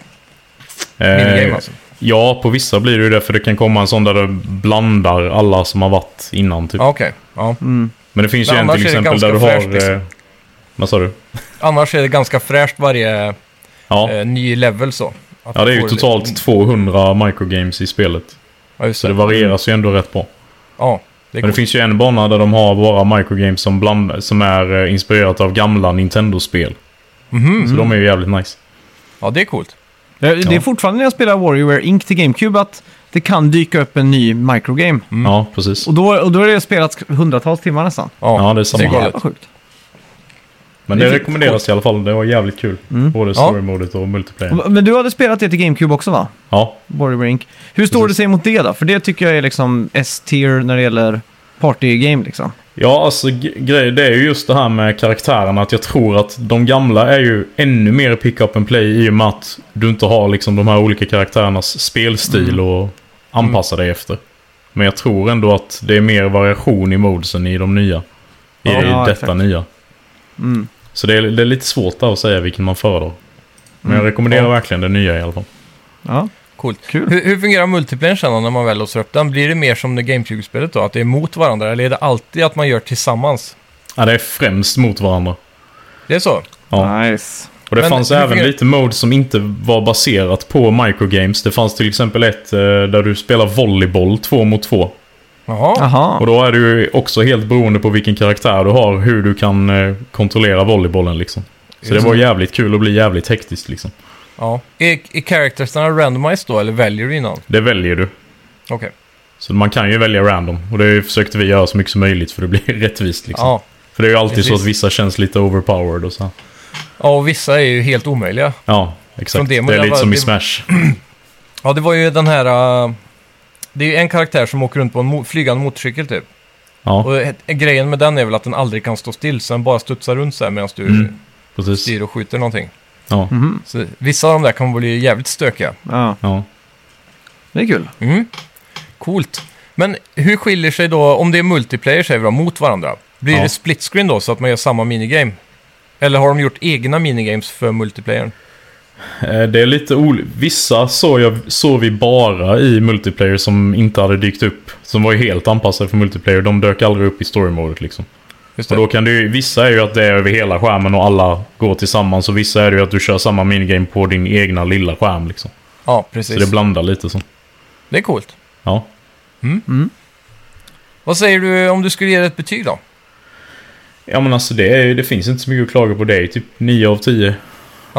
A: Minigame
C: Eh,
A: alltså.
C: ja, på vissa blir det ju det för det kan komma en sån där du blandar alla som har varit innan typ.
A: Ja, okej. Ja.
C: Men det finns
A: Men
C: ju en
A: annars
C: till
A: är det
C: exempel där du
A: ganska
C: har...
A: fräscht, liksom.
C: eh, Vad sa du?
A: Annars är det ganska fräscht varje
C: Ja.
A: eh, ny level så. Att
C: ja, det är ju
A: man får
C: totalt
A: lite-
C: 200 microgames i spelet.
A: Ja, just
C: Så det
A: det.
C: varieras ju ändå rätt bra.
A: Ja, det är
C: Men det
A: coolt.
C: finns ju en bana där de har bara microgames som, bland, som är eh, inspirerat av gamla Nintendo-spel.
A: Mhm.
C: Så de är ju jävligt nice.
A: Ja, det är coolt.
B: Det, det är
C: Ja.
B: fortfarande när jag spelar Warrior Inc till GameCube att det kan dyka upp en ny microgame.
C: Ja, precis.
B: Mm. Och då, och då har det spelats hundratals timmar nästan.
A: Ja,
C: Ja, det är samma.
A: Det är galet.
B: Jävla sjukt.
C: Men
B: Det
C: det
B: fick- Mm.
C: rekommenderas i alla fall. Det var jävligt kul. Både storymodet och multiplayer.
B: Och- Men du hade spelat det till GameCube också va?
C: Ja.
B: Warrior Inc. Hur står det sig mot det då? För det tycker jag är liksom S-tier när det gäller partygame liksom.
C: Ja, alltså g- grej, det är ju just det här med karaktärerna. Att jag tror att de gamla är ju ännu mer pick up and play i och med att du inte har liksom de här olika karaktärernas spelstil
B: Mm.
C: och anpassa dig efter. Men jag tror ändå att det är mer variation i modesen i de nya. I
B: Ja,
C: detta
B: exakt. Mm.
C: nya. Så det är, det är lite svårt där att säga vilken man föredrar. Men
B: Mm.
C: jag rekommenderar verkligen den nya i alla fall.
B: Ja.
A: Coolt.
B: Kul.
A: Hur, hur fungerar multiplayern sen då, när man väl låser upp den? Blir det mer som det GameCube-spelet då? Att det är mot varandra? Eller är det alltid att man gör tillsammans?
C: Ja, det är främst mot varandra.
A: Det är så?
C: Ja.
B: Nice.
C: Och det
A: Men
C: fanns
A: hur
C: även
A: fungerar-
C: lite mode som inte var baserat på microgames. Det fanns till exempel ett eh, där du spelar volleyboll två mot två.
A: Jaha.
B: Jaha.
C: Och då är det ju också helt beroende på vilken karaktär du har, hur du kan eh, kontrollera volleybollen liksom. Så det var jävligt kul och bli jävligt hektiskt liksom.
A: Ja. Är, är charactersarna randomized då, eller väljer du innan?
C: Det väljer du.
A: Okej.
C: Så man kan ju välja random. Och det försökte vi göra så mycket som möjligt för det blir rättvist liksom.
A: Ja.
C: För det är ju alltid så
A: precis.
C: att vissa känns lite overpowered och så. här.
A: ja, och vissa är ju helt omöjliga.
C: Ja,
A: Från
C: exakt. Det
A: demon,
C: är
A: jag
C: lite
A: bara-
C: som i
A: det-
C: Smash.
A: Ja, det var ju den här... äh, det är ju en karaktär som åker runt på en mo- flygande motorcykel typ.
C: Ja,
A: Och he- grejen med den är väl att den aldrig kan stå still, så den bara studsar runt så här medan du
C: Mm. precis.
A: styr och skjuter någonting.
C: Ja,
B: Mhm.
A: Så vissa av de där kan bli jävligt stökiga.
B: Ja.
C: ja.
B: Det är kul.
A: Mm. Coolt. Men hur skiljer sig då, om det är multiplayer säger vi då, mot varandra? Blir
C: Ja.
A: det split screen då, så att man gör samma minigame? Eller har de gjort egna minigames för multiplayern?
C: Eh, Det är lite olika. Vissa såg, jag, såg vi bara i multiplayer som inte hade dykt upp. Som var ju helt anpassade för multiplayer. De dök aldrig upp i story-modet liksom.
A: Just
C: Och
A: det.
C: då kan du, ju- vissa är ju att det är över hela skärmen och alla går tillsammans. Och vissa är det ju att du kör samma minigame på din egna lilla skärm liksom.
A: ja,
C: Så
A: precis.
C: det
A: Det,
C: blandar lite så.
A: är coolt.
C: Ja.
A: Vad säger du om du skulle ge det ett betyg då?
C: Ja men alltså det, är, det finns inte så mycket att klaga på. Det är typ 9 av 10 får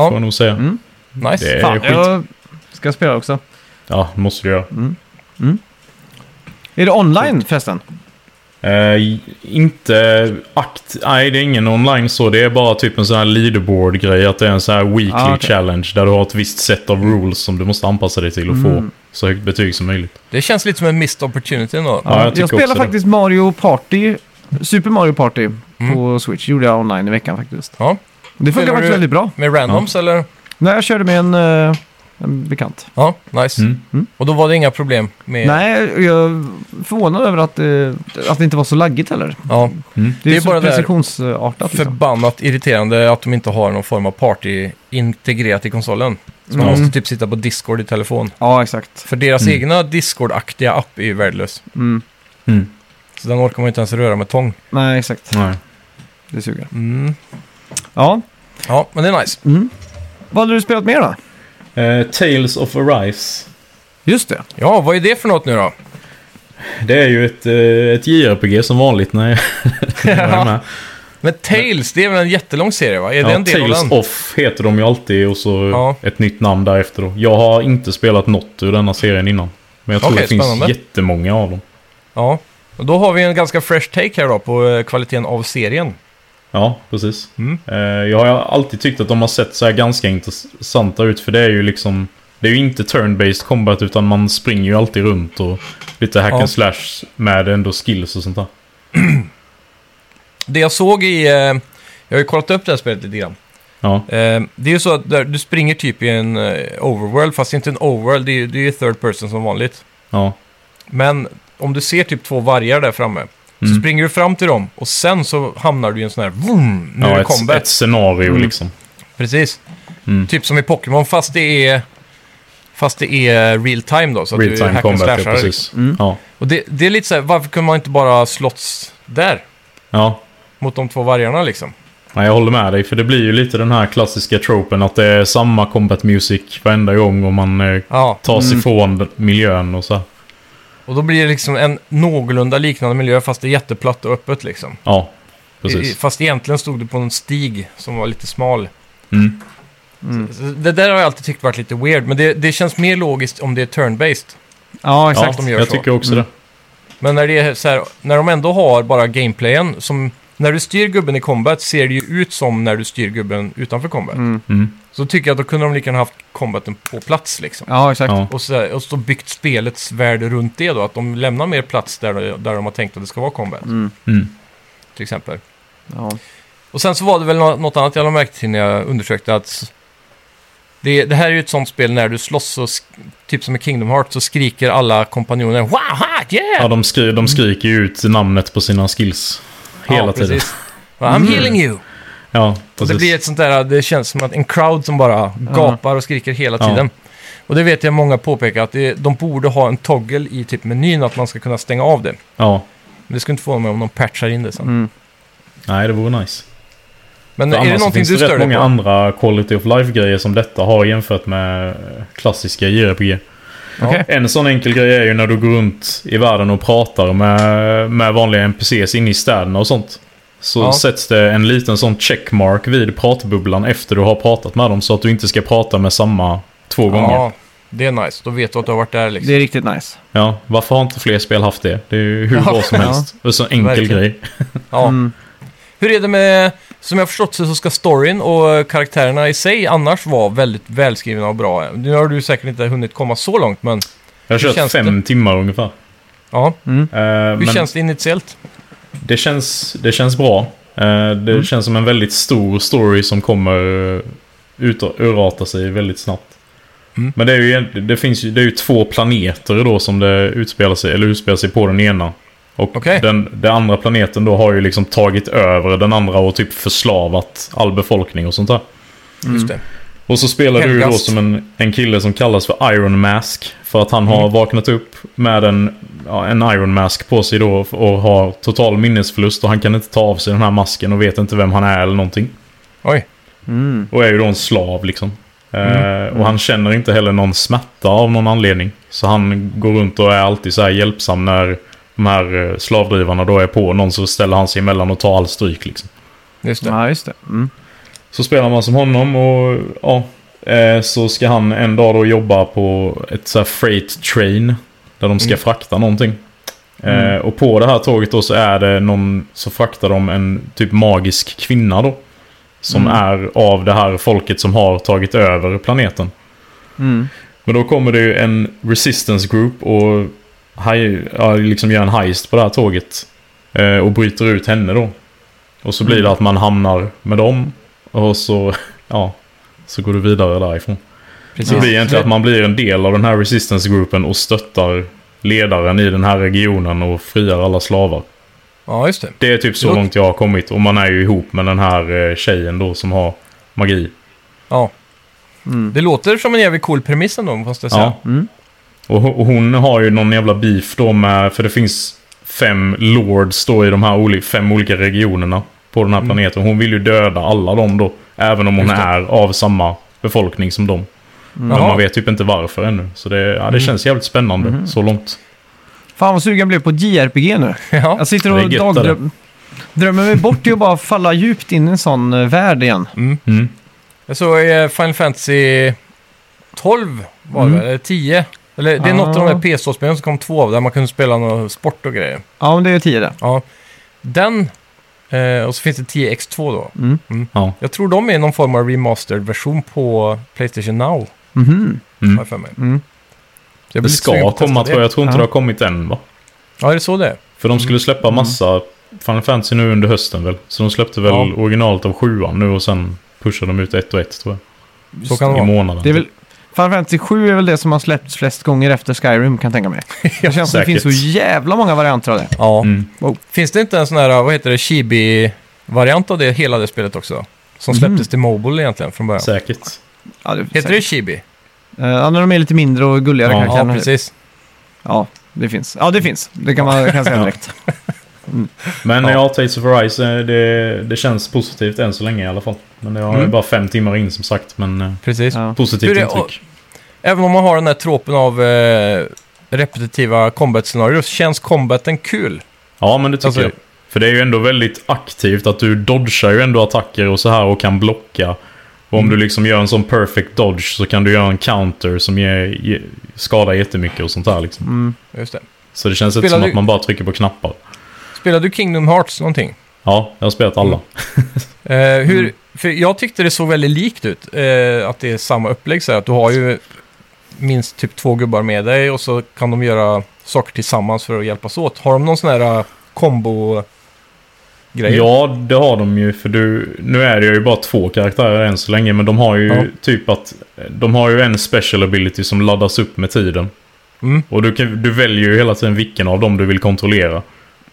A: Ja,
C: jag nog säga.
A: nice.
C: Det är
B: Fan,
C: skit.
B: jag ska spela också.
C: Ja, det måste du göra.
B: Är det online förresten?
C: Eh, inte akt... Nej, det är ingen online så. Det är bara typ en sån här leaderboard-grej. Att det är en sån här weekly
B: Ah, okej.
C: challenge. Där du har ett visst set av rules som du måste anpassa dig till och
A: Mm.
C: få så högt betyg som möjligt.
A: Det känns lite som en missed opportunity ändå.
C: Ja, jag tycker också
B: spelar
C: det.
B: faktiskt Mario Party, Super Mario Party på Switch. gjorde jag online i veckan faktiskt.
A: Ja.
B: Det
A: Mm. Spelar
B: funkar faktiskt
A: du-
B: väldigt bra.
A: Med randoms eller?
B: Nej, jag körde med en, eh, en bekant.
A: Ja, nice.
C: Mm.
A: Och då var det inga problem med...
B: Nej, jag är förvånad över att, eh, att det inte var så laggigt heller.
A: Ja,
B: Det är,
A: Det är
B: så
A: bara det där-
B: precisionsartat liksom.
A: förbannat irriterande att de inte har någon form av party integrerat i konsolen. Så man
B: Mm.
A: måste typ sitta på Discord i telefon.
B: Ja, exakt.
A: För deras egna Discord-aktiga app är ju värdelös.
B: Mm.
C: Mm.
A: Så den orkar man ju inte ens röra med tång.
B: Nej, exakt.
C: Nej.
B: Det suger.
A: Mm.
B: Ja,
A: Ja, men det är nice.
B: vad hade du spelat mer då?
C: Eh, Tales of Arise.
B: Just det.
A: Ja, vad är det för något nu då?
C: Det är ju ett, eh, ett JRPG som vanligt när jag, när jag är med.
A: Men Tales, det är väl en jättelång serie va? Är det
C: Ja,
A: en del av
C: Tales
A: den?
C: Off heter de ju alltid och så
A: Ja.
C: ett nytt namn därefter. Då. Jag har inte spelat något ur denna serien innan. Men jag tror
A: Okej,
C: det finns
A: spännande.
C: jättemånga av dem.
A: Ja. Och då har vi en ganska fresh take här då på eh, kvaliteten av serien.
C: Ja, precis.
A: Mm.
C: Eh, Jag har alltid tyckt att de har sett så här ganska intressanta ut för det är ju liksom... Det är ju inte turn-based combat utan man springer ju alltid runt och lite hack
A: Ja.
C: and slash med ändå skills och sånt där.
A: Det jag såg i... eh, Jag har ju kollat upp det här spelet lite grann.
C: Ja,
A: Eh, det är ju så att där, du springer typ i en eh, overworld, fast inte en overworld, det är ju det är ju third person som vanligt.
C: ja,
A: Men om du ser typ två vargar där framme, så
C: Mm.
A: springer du fram till dem och sen så hamnar du i en sån här vroom, nu är
C: ja
A: det
C: ett,
A: combat. Mm.
C: ett scenario liksom.
A: Precis.
C: Mm.
A: Typ som i Pokémon, fast det är... Fast det är real time då, så att
C: Real
A: du
C: time
A: hack and
C: combat, ja
A: slashar. liksom.
C: precis. Ja,
A: Och det, det är lite så här, varför kunde man inte bara slåss där?
C: ja.
A: Mot de två vargarna liksom.
C: Nej, jag håller med dig, för det blir ju lite den här klassiska tropen att det är samma combat music varenda gång och man eh,
A: Ja,
C: tar sig ifrån den- miljön och så. här.
A: och då blir det liksom en någorlunda liknande miljö, fast det är jätteplatt och öppet liksom.
C: Ja,
A: I-
C: precis.
A: Fast egentligen stod du på en stig som var lite smal.
C: Mm.
A: Så- Det där har jag alltid tyckt varit lite weird, men det, det känns mer logiskt om det är turn-based.
B: Ja,
C: Ja,
B: exakt.
A: de gör
C: jag
A: så.
C: tycker också det.
A: Men när, det är så här, när de ändå har bara gameplayen, som när du styr gubben i combat ser det ju ut som när du styr gubben utanför combat.
B: Mm.
C: Mm.
A: Så tycker jag att då kunde de lika gärna haft combaten på plats liksom.
B: Ja, exakt.
C: Ja.
A: Och så, och så byggt spelets värld runt det då, att de lämnar mer plats där, där de har tänkt att det ska vara combat,
B: Mm.
C: Mm.
A: till exempel.
B: Ja.
A: Och sen så var det väl nå- något annat jag lade märke till när jag undersökte att s- det, det här är ju ett sånt spel när du slåss, så sk- typ som i Kingdom Hearts, så skriker alla kompanjoner Wow, ha, yeah!
C: Ja, de, skri de skriker ju ut namnet på sina skills. Hela tiden.
A: precis. Well, I'm healing you!
C: Ja,
A: Och det
C: precis.
A: blir ett sånt där, det känns som att en crowd som bara gapar och skriker hela
C: Ja.
A: tiden. Och det vet jag många påpekar, att det, de borde ha en toggle i typ menyn att man ska kunna stänga av det.
C: Ja.
A: Men det skulle inte få mig om de patchar in det sen.
C: Nej, det vore nice.
A: Men
C: För
A: är det
C: annars så
A: någonting
C: finns
A: du
C: alltså, det
A: stör
C: rätt
A: dig
C: många
A: på?
C: andra quality of life-grejer som detta har jämfört med eh, klassiska JRPG.
B: Okej.
C: En sån enkel grej är ju när du går runt i världen och pratar med, med vanliga NPCs inne i städerna och sånt. Så
A: Ja.
C: sätts det en liten sån checkmark vid pratbubblan efter du har pratat med dem så att du inte ska prata med samma två gånger.
A: Ja, det är nice. Då vet du att du har varit där liksom.
B: Det är riktigt nice.
C: Ja, varför har inte fler spel haft det? Det är ju hur
A: Ja.
C: bra som helst. Det är så en enkel
A: Verkligen.
C: grej.
A: Ja. Hur är det med, som jag har förstått så så ska storyn och eh, karaktärerna i sig annars vara väldigt välskrivna och bra. Nu har du säkert inte hunnit komma så långt, men
C: Jag har
A: Hur
C: kört
A: känns
C: fem timmar ungefär.
A: ja.
C: Eh,
A: Hur
C: men-
A: känns det initiellt?
C: Det känns, det känns bra. Eh, Det
A: Mm.
C: känns som en väldigt stor story som kommer eh, ut urarta sig väldigt snabbt.
A: Mm.
C: Men det är ju, egent- det finns ju, det är ju två planeter då som det utspelar sig, eller utspelar sig på den ena. Och
A: Okej.
C: den, den andra planeten då har ju liksom tagit över den andra och typ förslavat all befolkning och sånt där.
A: Just det.
C: Och så spelar du ju då
A: Helgast.
C: som en, en kille som kallas för Iron Mask. För att han har vaknat upp med en, ja, en Iron Mask på sig då och har total minnesförlust och han kan inte ta av sig den här masken och vet inte vem han är eller någonting.
A: Oj.
C: Och är ju då en slav liksom. Eh, och han känner inte heller någon smärta av någon anledning. Så han går runt och är alltid så här hjälpsam när de här eh, slavdrivarna då är på någon så ställer han sig emellan och tar all stryk liksom.
A: Just det.
B: Ja, just det. Mm.
C: Så spelar man som honom och ja. eh, Så ska han en dag då jobba på ett så här freight train. Där de ska frakta någonting. Eh, Och på det här tåget då så är det någon, så fraktar de en typ magisk kvinna då. Som är av det här folket som har tagit över planeten.
B: Mm.
C: Men då kommer det ju en resistance group och hej, ja, liksom gör en heist på det här tåget. Eh, och bryter ut henne då. Och så blir det att man hamnar med dem. Och så, ja, så går du vidare därifrån.
A: Precis.
C: Så det blir egentligen att man blir en del av den här resistance gruppen och stöttar ledaren i den här regionen och friar alla slavar.
A: Ja, just det.
C: Det är typ så
A: Låt-
C: långt jag har kommit. Och man är ju ihop med den här eh, tjejen då som har magi.
A: Ja. Det låter som en jävligt cool premiss ändå, måste jag säga.
C: Ja. Och, ho- och hon har ju någon jävla beef då med, för det finns fem lords då i de här oli- fem olika regionerna på den här planeten. Hon vill ju döda alla dem då, även om hon
A: Mm. Just det.
C: är av samma befolkning som dem. Men
A: Jaha. Mm.
C: man vet typ inte varför ännu. Så det, ja, det känns jävligt spännande så långt.
B: Fan vad sugen jag blev på JRPG nu.
A: Ja.
B: Jag sitter
C: Det
B: och
C: är gött, eller?
B: dagdrömmer drömmer mig bort till att bara falla djupt in i en sån eh, värld igen.
C: Mm.
A: Jag såg eh, Final Fantasy 12 var det väl? Eller 10. Eller det är något av de
B: Ah.
A: där PS2-spelen som kom två av där man kunde spela någon sport och grejer.
B: Ja, men det är ju tio det.
A: Ja. Den eh, och så finns det 10X2 då.
B: Mm.
A: Mm.
C: Ja.
A: Jag tror de är någon form av remastered-version på Playstation Now.
B: Mhm.
A: Har jag för mig.
B: Mm.
A: Så jag
C: Det
A: blir lite sugen på
C: ska
A: att testa
C: komma tror jag. Jag tror inte
B: Ja.
C: det har kommit än va?
A: Ja, är det så det är?
C: För de skulle släppa
A: Mm.
C: massa Final Fantasy nu under hösten väl? Så de släppte väl
A: Ja.
C: originalet av sjuan nu och sen pushade de ut ett och ett tror
A: Så kan
C: jag.
A: det
C: I
A: vara.
C: månaden.
B: Det är väl... Final Fantasy 7 är väl det som har släppts flest gånger efter Skyrim kan jag tänka mig. Det känns som det
C: säkert.
B: finns så jävla många varianter av det.
A: Ja.
C: Mm.
B: Wow.
A: Finns det inte en sån här, vad heter det, Chibi-variant av det, hela det spelet också?
B: Mm.
A: Som släpptes till Mobile egentligen från början.
C: Säkert.
B: Ja, det
A: Heter det Chibi?
B: Eh, Ja, när de är lite mindre och gulligare
C: Ja.
A: Ja,
B: karaktärerna.
A: precis.
B: Ja, det finns. Ja, det finns. Det kan man kan säga direkt.
C: Men ja, Tales of Arise, eh, det, det känns positivt än så länge i alla fall. Men jag har ju
A: Mm.
C: bara fem timmar in som sagt, men eh,
A: precis.
B: Ja.
C: positivt
A: Hur är-
C: intryck.
A: Även om man har den här tråpen av eh, repetitiva combat-scenarier så känns combaten kul.
C: Ja, men det tycker
A: Alltså-
C: jag. För det är ju ändå väldigt aktivt att du dodgar ju ändå attacker och så här och kan blocka. Och
A: Mm.
C: om du liksom gör en sån perfect dodge så kan du göra en counter som ger, ge, skadar jättemycket och sånt där liksom.
B: Mm.
A: Just det.
C: Så det känns inte
A: Spelar
C: som
A: du-
C: att man bara trycker på knappar.
A: Spelar du Kingdom Hearts någonting?
C: Ja, jag har spelat alla.
A: Eh, hur,
C: Mm.
A: för jag tyckte det såg väldigt likt ut, eh, att det är samma upplägg så här, att du har ju minst typ två gubbar med dig och så kan de göra saker tillsammans för att hjälpas åt. Har de någon sån här eh, kombo-grej?
C: Ja, det har de ju. För du, nu är det ju bara två karaktärer än så länge. Men de har ju
A: Ja.
C: typ att... De har ju en special ability som laddas upp med tiden.
A: Mm.
C: Och du, kan, du väljer ju hela tiden vilken av dem du vill kontrollera.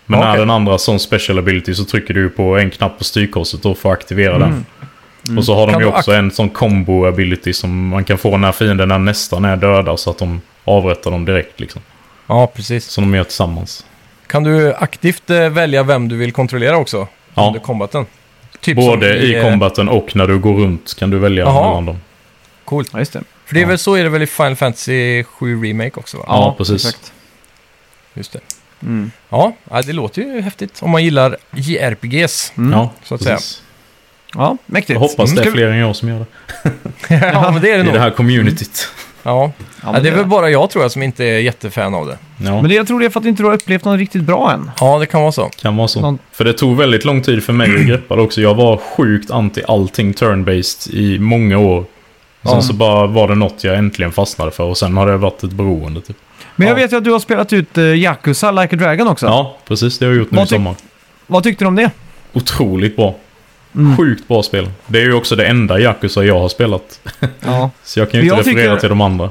C: Men när
A: Okej.
C: den andra har sån special ability så trycker du på en knapp på styrkorset då för att aktivera den. Och så har de
A: Mm. Kan
C: ju
A: du
C: också en sån combo ability som man kan få när fienderna nästan är döda så att de avrättar dem direkt liksom.
A: Ja, precis.
C: Som de gör tillsammans.
A: Kan du aktivt eh, välja vem du vill kontrollera också?
C: Ja.
A: Under combaten? Typ
C: Både
A: som
C: i
A: eh,
C: combaten och när du går runt kan du välja
A: Jaha.
C: mellan dem.
A: Coolt.
B: Ja, just det.
A: För det är väl så är det väl i Final Fantasy 7 Remake också va?
C: Ja, precis.
B: Exakt.
A: Just det.
B: Mm.
A: Ja, ja, det låter ju häftigt om man gillar JRPGs.
C: Ja,
A: Mm, Så att
C: precis.
B: Mm. Ja, mäktigt.
C: Jag hoppas
A: Mm.
C: det är
A: Ska vi-
C: fler än jag som gör det.
A: ja, men det är det
C: I
A: nog.
C: det här communityt.
A: Ja. Ja, det är väl bara jag tror jag som inte är jättefan av det.
C: Ja,
B: Men det, jag tror det är för att inte du har upplevt något riktigt bra än.
A: Ja, det kan vara så.
C: kan vara så.
B: Någon-
C: För det tog väldigt lång tid för mig att greppa det också. Jag var sjukt anti allting turn-based i många år. Sen
A: Ja.
C: så bara var det något jag äntligen fastnade för och sen har det varit ett beroende typ.
B: Men jag
A: Ja.
B: vet ju att du har spelat ut uh, Yakuza Like a Dragon också.
C: Ja, precis. Det har jag gjort nu
B: Vad
C: i
B: tyck-
C: sommar.
B: Vad tyckte du om det?
C: Otroligt bra.
A: Mm.
C: Sjukt bra spel. Det är ju också det enda Yakuza jag har spelat.
B: Ja.
C: Så jag kan ju
B: Jag
C: inte referera
B: tycker-
C: till de andra.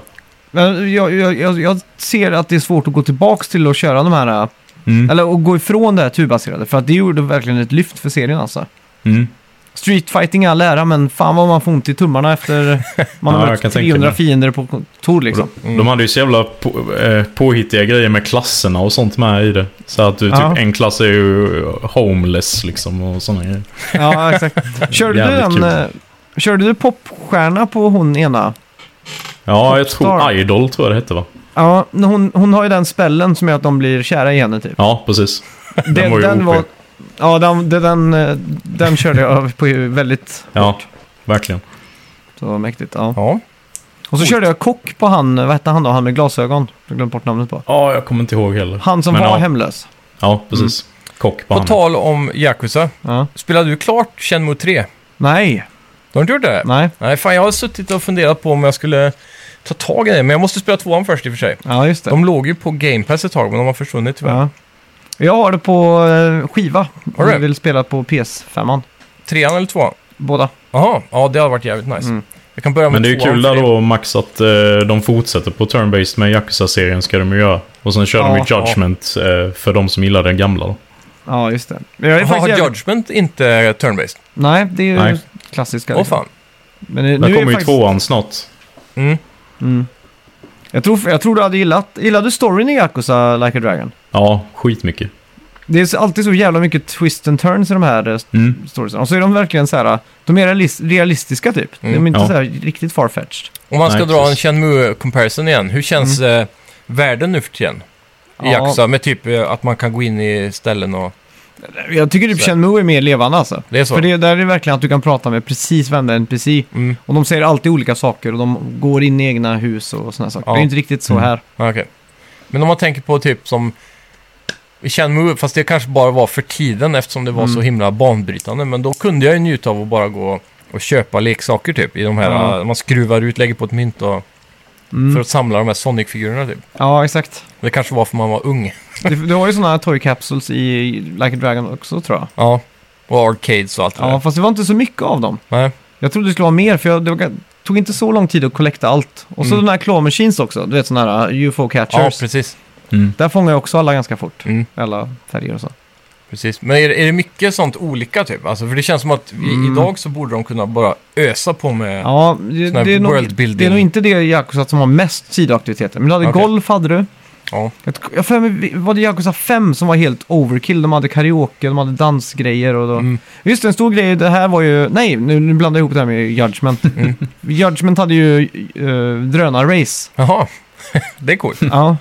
B: Men jag, jag, jag, jag ser att det är svårt att gå tillbaka till att köra de här... eh,
C: Mm.
B: Eller att gå ifrån det här turbaserade. För att det gjorde verkligen ett lyft för serien alltså.
C: Mm.
B: Street fighting i all ära, men fan vad man får ont i tummarna efter man
C: Ja,
B: har
C: jag
B: mött
C: kan tänka
B: 300
C: mig.
B: fiender på kontor liksom.
A: Mm.
C: De hade ju så jävla på, eh, påhittiga grejer med klasserna och sånt med i det. Så att du, typ
B: Ja.
C: en klass är ju eh, homeless liksom och sådana grejer.
B: Ja, exakt. Körde du
C: Jävligt
B: den...
C: kul.
B: eh, Körde du popstjärna på hon ena?
C: Ja, jag tror
B: Popstar.
C: Idol tror jag det hette va?
B: Ja, men hon, hon har ju den spällen som gör att de blir kära i henne typ.
C: Ja, precis. Den var ju OP.
B: Ja, den, den, den, eh, den körde jag över på ju väldigt
C: Ja, verkligen.
B: så mäktigt. Ja.
A: Ja.
B: Och så körde jag kock på han, vad hette han då, han med glasögon? Jag glömde bort namnet på.
C: Ja, jag kommer inte ihåg heller.
B: Han som
C: Men
B: var
C: ja,
B: hemlös.
C: Ja, precis.
B: Mm.
C: Kock på
A: På
C: han.
A: tal om Yakuza.
B: Ja.
A: Spelade du klart Shenmue 3?
B: Nej,
A: Du har inte gjort det?
B: nej.
A: Nej, fan jag har suttit och funderat på om jag skulle ta tag i det. Men jag måste spela tvåan först i och för sig.
B: Ja, just det.
A: De låg ju på Game Pass ett tag, men de har försvunnit tyvärr.
B: ja. Jag har det på eh, skiva.
A: Har du?
B: Jag vill spela på PS5.
A: Trean eller tvåan?
B: Båda.
A: Jaha, ja det har varit jävligt nice.
B: Mm.
A: Jag kan börja med
C: Men det är ju
A: tvåan
C: kul
A: för det.
C: där då Max att eh, de fortsätter på turn-based med Yakuza-serien ska de ju göra. Och sen kör de
B: Ja.
C: ju Judgment eh, för de som gillar den gamla då.
B: Ja, just det. Men jag är
A: Jaha,
B: faktiskt
A: Har
B: jävligt-
A: Judgment inte turn-based?
B: Nej, det är ju
C: Nej.
B: klassiska.
A: Åh
B: liksom.
A: fan.
B: Men eh, nu
C: Där
B: är
C: kommer ju
B: faktiskt...
C: tvåan snart.
A: Mm.
B: Mm. Jag, tror, jag tror du hade gillat... Gillade du storyn i Yakuza Like a Dragon?
C: Ja, skitmycket.
B: Det är så- alltid så jävla mycket twist and turns i de här eh,
C: Mm.
B: storiesen. Och så är de verkligen så här... eh, De är realis- realistiska typ.
A: Mm,
B: de är inte
C: ja.
B: så här riktigt farfetched.
A: Om man ska
C: Nej,
A: dra en
C: precis. Mm.
A: shenmue comparison igen, hur känns eh, världen nu för tiden? I
B: Ja.
A: Yakuza, med typ eh, att man kan gå in i ställen och...
B: Jag tycker typ
A: Så.
B: Shenmue är mer levande alltså.
A: Det är så?
B: För det, där är det verkligen att du kan prata med precis varenda NPC.
A: Mm,
B: Och de säger alltid olika saker och de går in i egna hus och sådana saker.
A: Ja.
B: Det är inte riktigt så
C: Mm.
B: här.
A: ja, okej. Men om man tänker på typ som... I Shenmue, fast det kanske bara var för tiden eftersom det var
B: Mm.
A: så himla banbrytande. Men då kunde jag ju njuta av att bara gå och köpa leksaker typ. I de här,
B: Ja.
A: eh, man skruvar ut, lägger på ett mynt och...
B: Mm.
A: För att samla de här Sonic-figurerna typ.
B: Ja, exakt.
A: Det kanske var för man var ung.
B: Du, du har ju sådana här toy capsules i Like a Dragon också tror jag.
A: Ja. Och arcades och allt det
B: Ja,
A: där.
B: fast det var inte så mycket av dem.
A: Nej.
B: Jag trodde det skulle vara mer, för jag, det var, tog inte så lång tid att kollekta allt. Och så
A: Mm.
B: den här claw machines också, du vet sådana här uh, UFO
A: Ja,
B: catchers.
A: precis.
C: Mm.
B: Där fångar jag också alla ganska fort.
A: Mm.
B: Alla färger och så.
A: Precis, men är, är det mycket sånt olika typ? Alltså, för det känns som att i,
B: Mm.
A: idag så borde de kunna bara ösa på med...
B: Ja, det,
A: Sån här
B: det, är, nog,
A: world building.
B: det är nog inte det i Yakuza som har mest sidoaktiviteter. Men du hade
A: Okej.
B: golf, hade du.
A: Ja.
B: Jag, t- jag för mig, var det Yakuza 5 som var helt overkill? De hade karaoke, de hade dansgrejer och då...
A: Mm.
B: Just det, en stor grej, det här var ju... Nej, nu, nu blandar jag ihop det här med Judgment.
A: Mm.
B: Judgment hade ju uh, drönarrace.
A: Jaha, det är coolt.
B: Ja.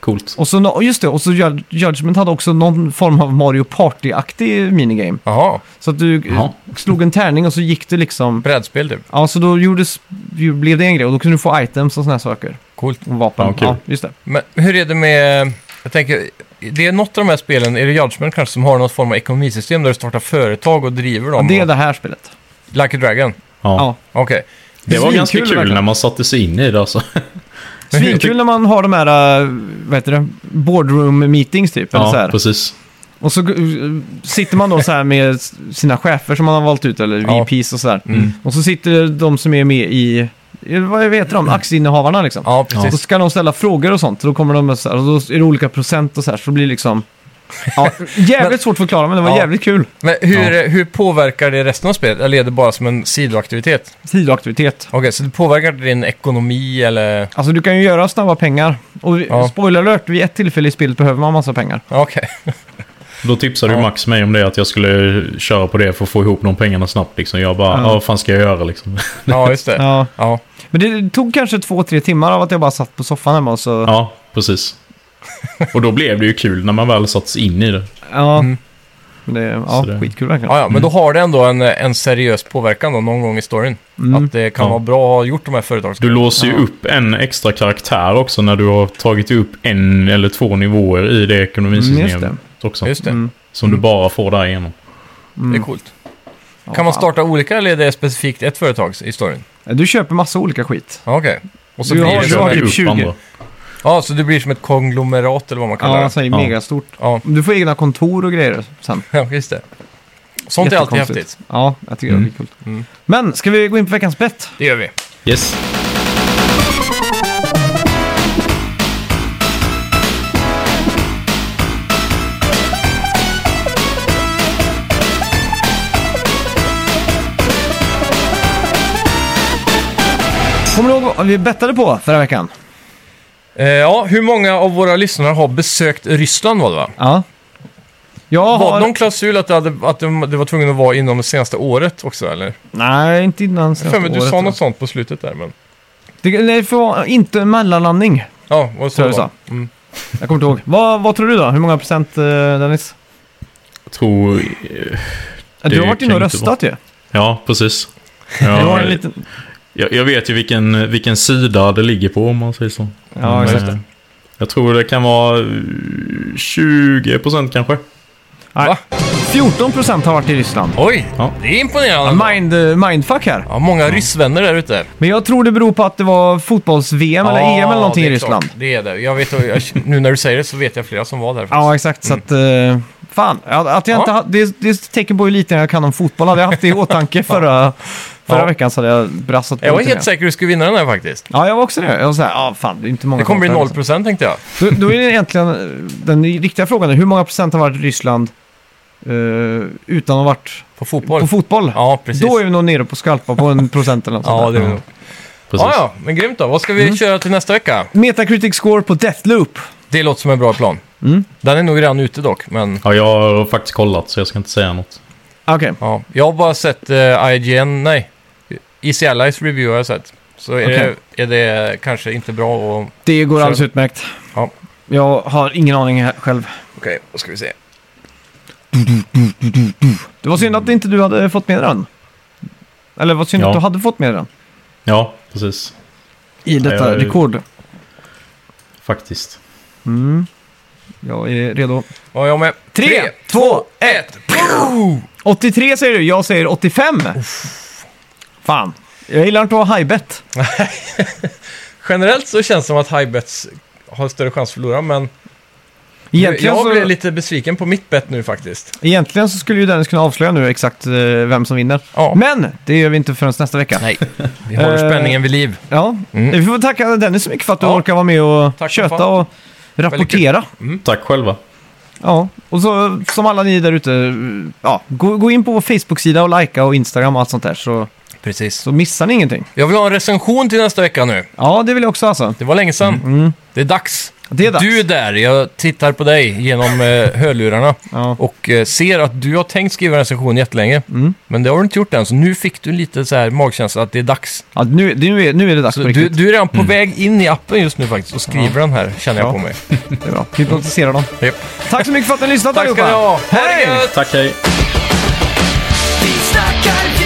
C: Coolt.
B: Och så, nå- och just det, och så Jud- Judgment hade också någon form av Mario Party-aktig minigame.
A: Jaha,
B: Så att du eh,
C: Ja.
B: slog en tärning och så gick du liksom...
A: brädspel typ.
B: Ja, så då gjordes, ju- blev det en grej och då kunde du få items och sådana här saker.
A: Coolt.
B: Och vapen.
C: Ja, kul.
B: just det.
A: Men hur är det med... Jag tänker, det är något av de här spelen, är det Judgment kanske, som har någon form av ekonomisystem där du startar företag och driver
B: Ja,
A: dem?
B: det är det här spelet.
A: och, like a Dragon?
C: Ja.
B: Ja.
A: Okej.
C: Det var
B: Svinkul,
C: ganska kul
B: verkligen.
C: när man satte sig in i det alltså.
B: Svinkul när man har de här, eh, vad heter det, boardroom meetings typ. eller så
C: Ja,
B: här.
C: precis.
B: Och så eh, sitter man då så här med s- sina chefer som man har valt ut, eller
A: Ja.
B: VPs och så här.
A: Mm.
B: Och så sitter de som är med i, eh, vad heter de, aktieinnehavarna liksom.
A: Ja,
B: Då
A: precis.
B: ska de ställa frågor och sånt, då kommer de med så här, och då är det olika procent och så här, så det blir liksom Ja, jävligt
A: Men-
B: svårt att förklara, men det var
A: Ja.
B: jävligt kul.
A: Men hur, hur påverkar det resten av spelet? Eller är det bara som en sidoaktivitet?
B: Sidoaktivitet.
A: Okej, så det påverkar din ekonomi eller...
B: Alltså du kan ju göra snabba pengar. Och vi-
A: Ja.
B: spoiler alert, vid ett tillfälle i spelet behöver man massa pengar.
A: Okej.
C: Då tipsade ju
A: Ja.
C: Max mig om det, att jag skulle köra på det för att få ihop de pengarna snabbt. Liksom. Jag bara,
B: Ja.
C: ja. vad fan ska jag göra liksom?
A: Ja, just det.
B: Ja.
A: Ja.
B: Men det tog kanske två, tre timmar av att jag bara satt på soffan hemma och så... Ja.
C: Ja, precis. Och då blev det ju kul när man väl satts in i det.
A: Mm.
B: Men det, ja
C: Så det-
B: skitkul verkligen.
A: Ja, ja, men då har det ändå en, en seriös påverkan då, någon gång i storyn.
B: Mm.
A: Att det kan
C: Ja.
A: vara bra att ha gjort de här företags...
C: Du låser ju upp en extra karaktär också när du har tagit upp en eller två nivåer i det
B: Mm, just
C: ekonomisystemet
B: det.
C: också.
A: Just det,
B: Mm.
C: Som du bara får där igenom.
A: det är coolt.
B: Ja,
A: Kan man
B: fan.
A: starta olika eller är det specifikt ett företag i storyn?
B: Du köper massa olika skit.
A: Ja, Okej. Och så
B: Du
A: blir
B: har-
A: det
B: du
A: som
B: har
A: ett-
B: typ 20.
A: Ja, så det blir som ett konglomerat eller vad man kallar
B: Ja,
A: det.
B: alltså, det är
C: Ja.
B: megastort.
A: Ja,
B: Du får egna kontor och grejer sen.
A: ja, just det. Sånt är alltid
B: Jättekonstigt.
A: häftigt.
B: Ja, jag tycker det är
C: Mm.
B: kul. Men, ska vi gå in på veckans bett?
A: Det gör vi.
C: Yes.
B: Kommer du ihåg vad vi bettade på förra veckan?
A: Eh, ja, hur många av våra lyssnare har besökt Ryssland var det va?
B: Ja. Jag
A: Var
B: har...
A: det någon klausul att, det hade, att det det var tvungen att vara inom det senaste året också eller?
B: Nej, inte innan
A: Jag har för mig
B: senaste
A: att du sa
B: året.
A: något sånt på slutet där men...
B: Det, nej, det får vara inte en mellanlandning.
A: Ja, vad
B: Tror
A: så
B: jag
A: det
B: du
A: var. Mm.
B: Jag kommer inte ihåg. Vad, vad tror du då? Hur många procent, eh, Dennis?
C: Jag tror...
B: du har
C: Det
B: varit inne och
C: kan inte
B: röstat ju.
C: Ja, precis.
B: Du har
C: Ja,
B: en liten...
C: jag, jag vet ju vilken, vilken sida det ligger på om man säger så.
B: Ja,
C: Men,
B: exakt.
C: eh, Jag tror det kan vara eh, 20% kanske.
A: Va?
B: 14 procent har varit i Ryssland.
A: Oj,
C: Ja.
A: det är imponerande.
B: Mind, eh, mindfuck här.
A: Ja, många ryssvänner där ute.
B: Men jag tror det beror på att det var fotbolls-VM eller EM E eller någonting
A: det
B: i
A: är
B: Ryssland.
A: Klart. Det är det. Jag vet, jag, nu när du säger det så vet jag flera som var där. faktiskt.
B: Ja, exakt. Så att... eh, Fan, att att jag
A: Mm. Ja.
B: inte ha, det, det är ett tecken på hur lite jag kan om fotboll. Hade jag haft det i åtanke förra, förra
A: Ja.
B: veckan så hade jag brassat på
A: jag var
B: lite
A: helt
B: mer.
A: säker att du skulle vinna den här faktiskt.
B: Ja, jag var också det. Jag var såhär, ah, fan, det är inte många
A: Det kommer bli
B: kvar.
A: 0% tänkte jag.
B: Då, då är det egentligen eh, den riktiga frågan är hur många procent har varit i Ryssland eh, utan att ha varit
A: På fotboll.
B: på fotboll?
A: Ja, precis.
B: Då är vi nog nere på skalpa på en procent eller något
A: Ja,
B: sånt
A: det
B: där.
A: är nog.
C: Precis.
A: Ja, ja, men grymt då. Vad ska vi
B: Mm.
A: köra till nästa vecka?
B: Metacritic score på Deathloop.
A: Det låter som en bra plan.
B: Mm.
A: Den är nog redan ute dock, men
C: Ja, jag har faktiskt kollat så jag ska inte säga något.
B: Okej,
A: ja. Jag har bara sett eh, IGN, nej. Easy Allies review har jag sett. Så är,
B: Okej.
A: det, är det kanske inte bra och...
B: det går
A: Kör.
B: alldeles utmärkt.
A: Ja.
B: Jag har ingen aning här själv.
A: Okej, då ska vi se.
B: Det var synd att inte du hade fått med den. Eller vad synd
C: Ja.
B: att du hade fått med den.
C: Ja, precis.
B: I detta
C: jag-
B: rekord.
C: Faktiskt.
B: Mm. Jag är redo.
A: Ja, jag med.
B: Tre, två, ett. 83 säger du, jag säger 85. Fan, jag gillar inte att ha high-bet.
A: Generellt så känns det som att highbets har större chans att förlora, men
B: Egentligen,
A: jag blev
B: så,
A: lite besviken på mitt bet nu faktiskt.
B: egentligen så skulle ju Dennis kunna avslöja nu exakt eh, vem som vinner.
A: Ja.
B: Men det gör vi inte förrän nästa vecka.
A: Nej, vi håller
B: Eh,
A: spänningen vid liv.
B: Ja,
A: Mm.
B: vi får tacka Dennis så mycket för att du
A: Ja.
B: orkar vara med och
A: Tack som
B: köta
A: fan.
B: och rapportera.
C: Tack själva.
B: Ja, och så som alla ni där ute, ja, gå, gå in på vår Facebook-sida och likea och Instagram och allt sånt där så,
A: Precis.
B: så missar ni ingenting.
A: Jag vill ha en recension till nästa vecka nu.
B: Ja, det vill jag också alltså.
A: Det var länge sedan. Det är dags.
B: Det är dags.
A: Du är där, jag tittar på dig genom eh, hörlurarna
B: Ja.
A: och eh, ser att du har tänkt skriva en recension jättelänge.
B: Mm.
A: Men det har du inte gjort än, så nu fick du lite så här magkänsla att det är dags.
B: Ja, nu, nu, är, nu är det dags
A: Så
B: Alltså, på
A: du,
B: riktigt. Mm.
A: du är redan på väg in i appen just nu faktiskt och skriver den här, känner jag
B: Ja.
A: på mig.
B: Det är bra. Hypnotisera dem.
A: Japp.
B: Tack så mycket för att ni lyssnat
A: Tack ska ni ha! Ha det
B: Hej!
A: gött!
C: Tack, hej.
D: Vi snackar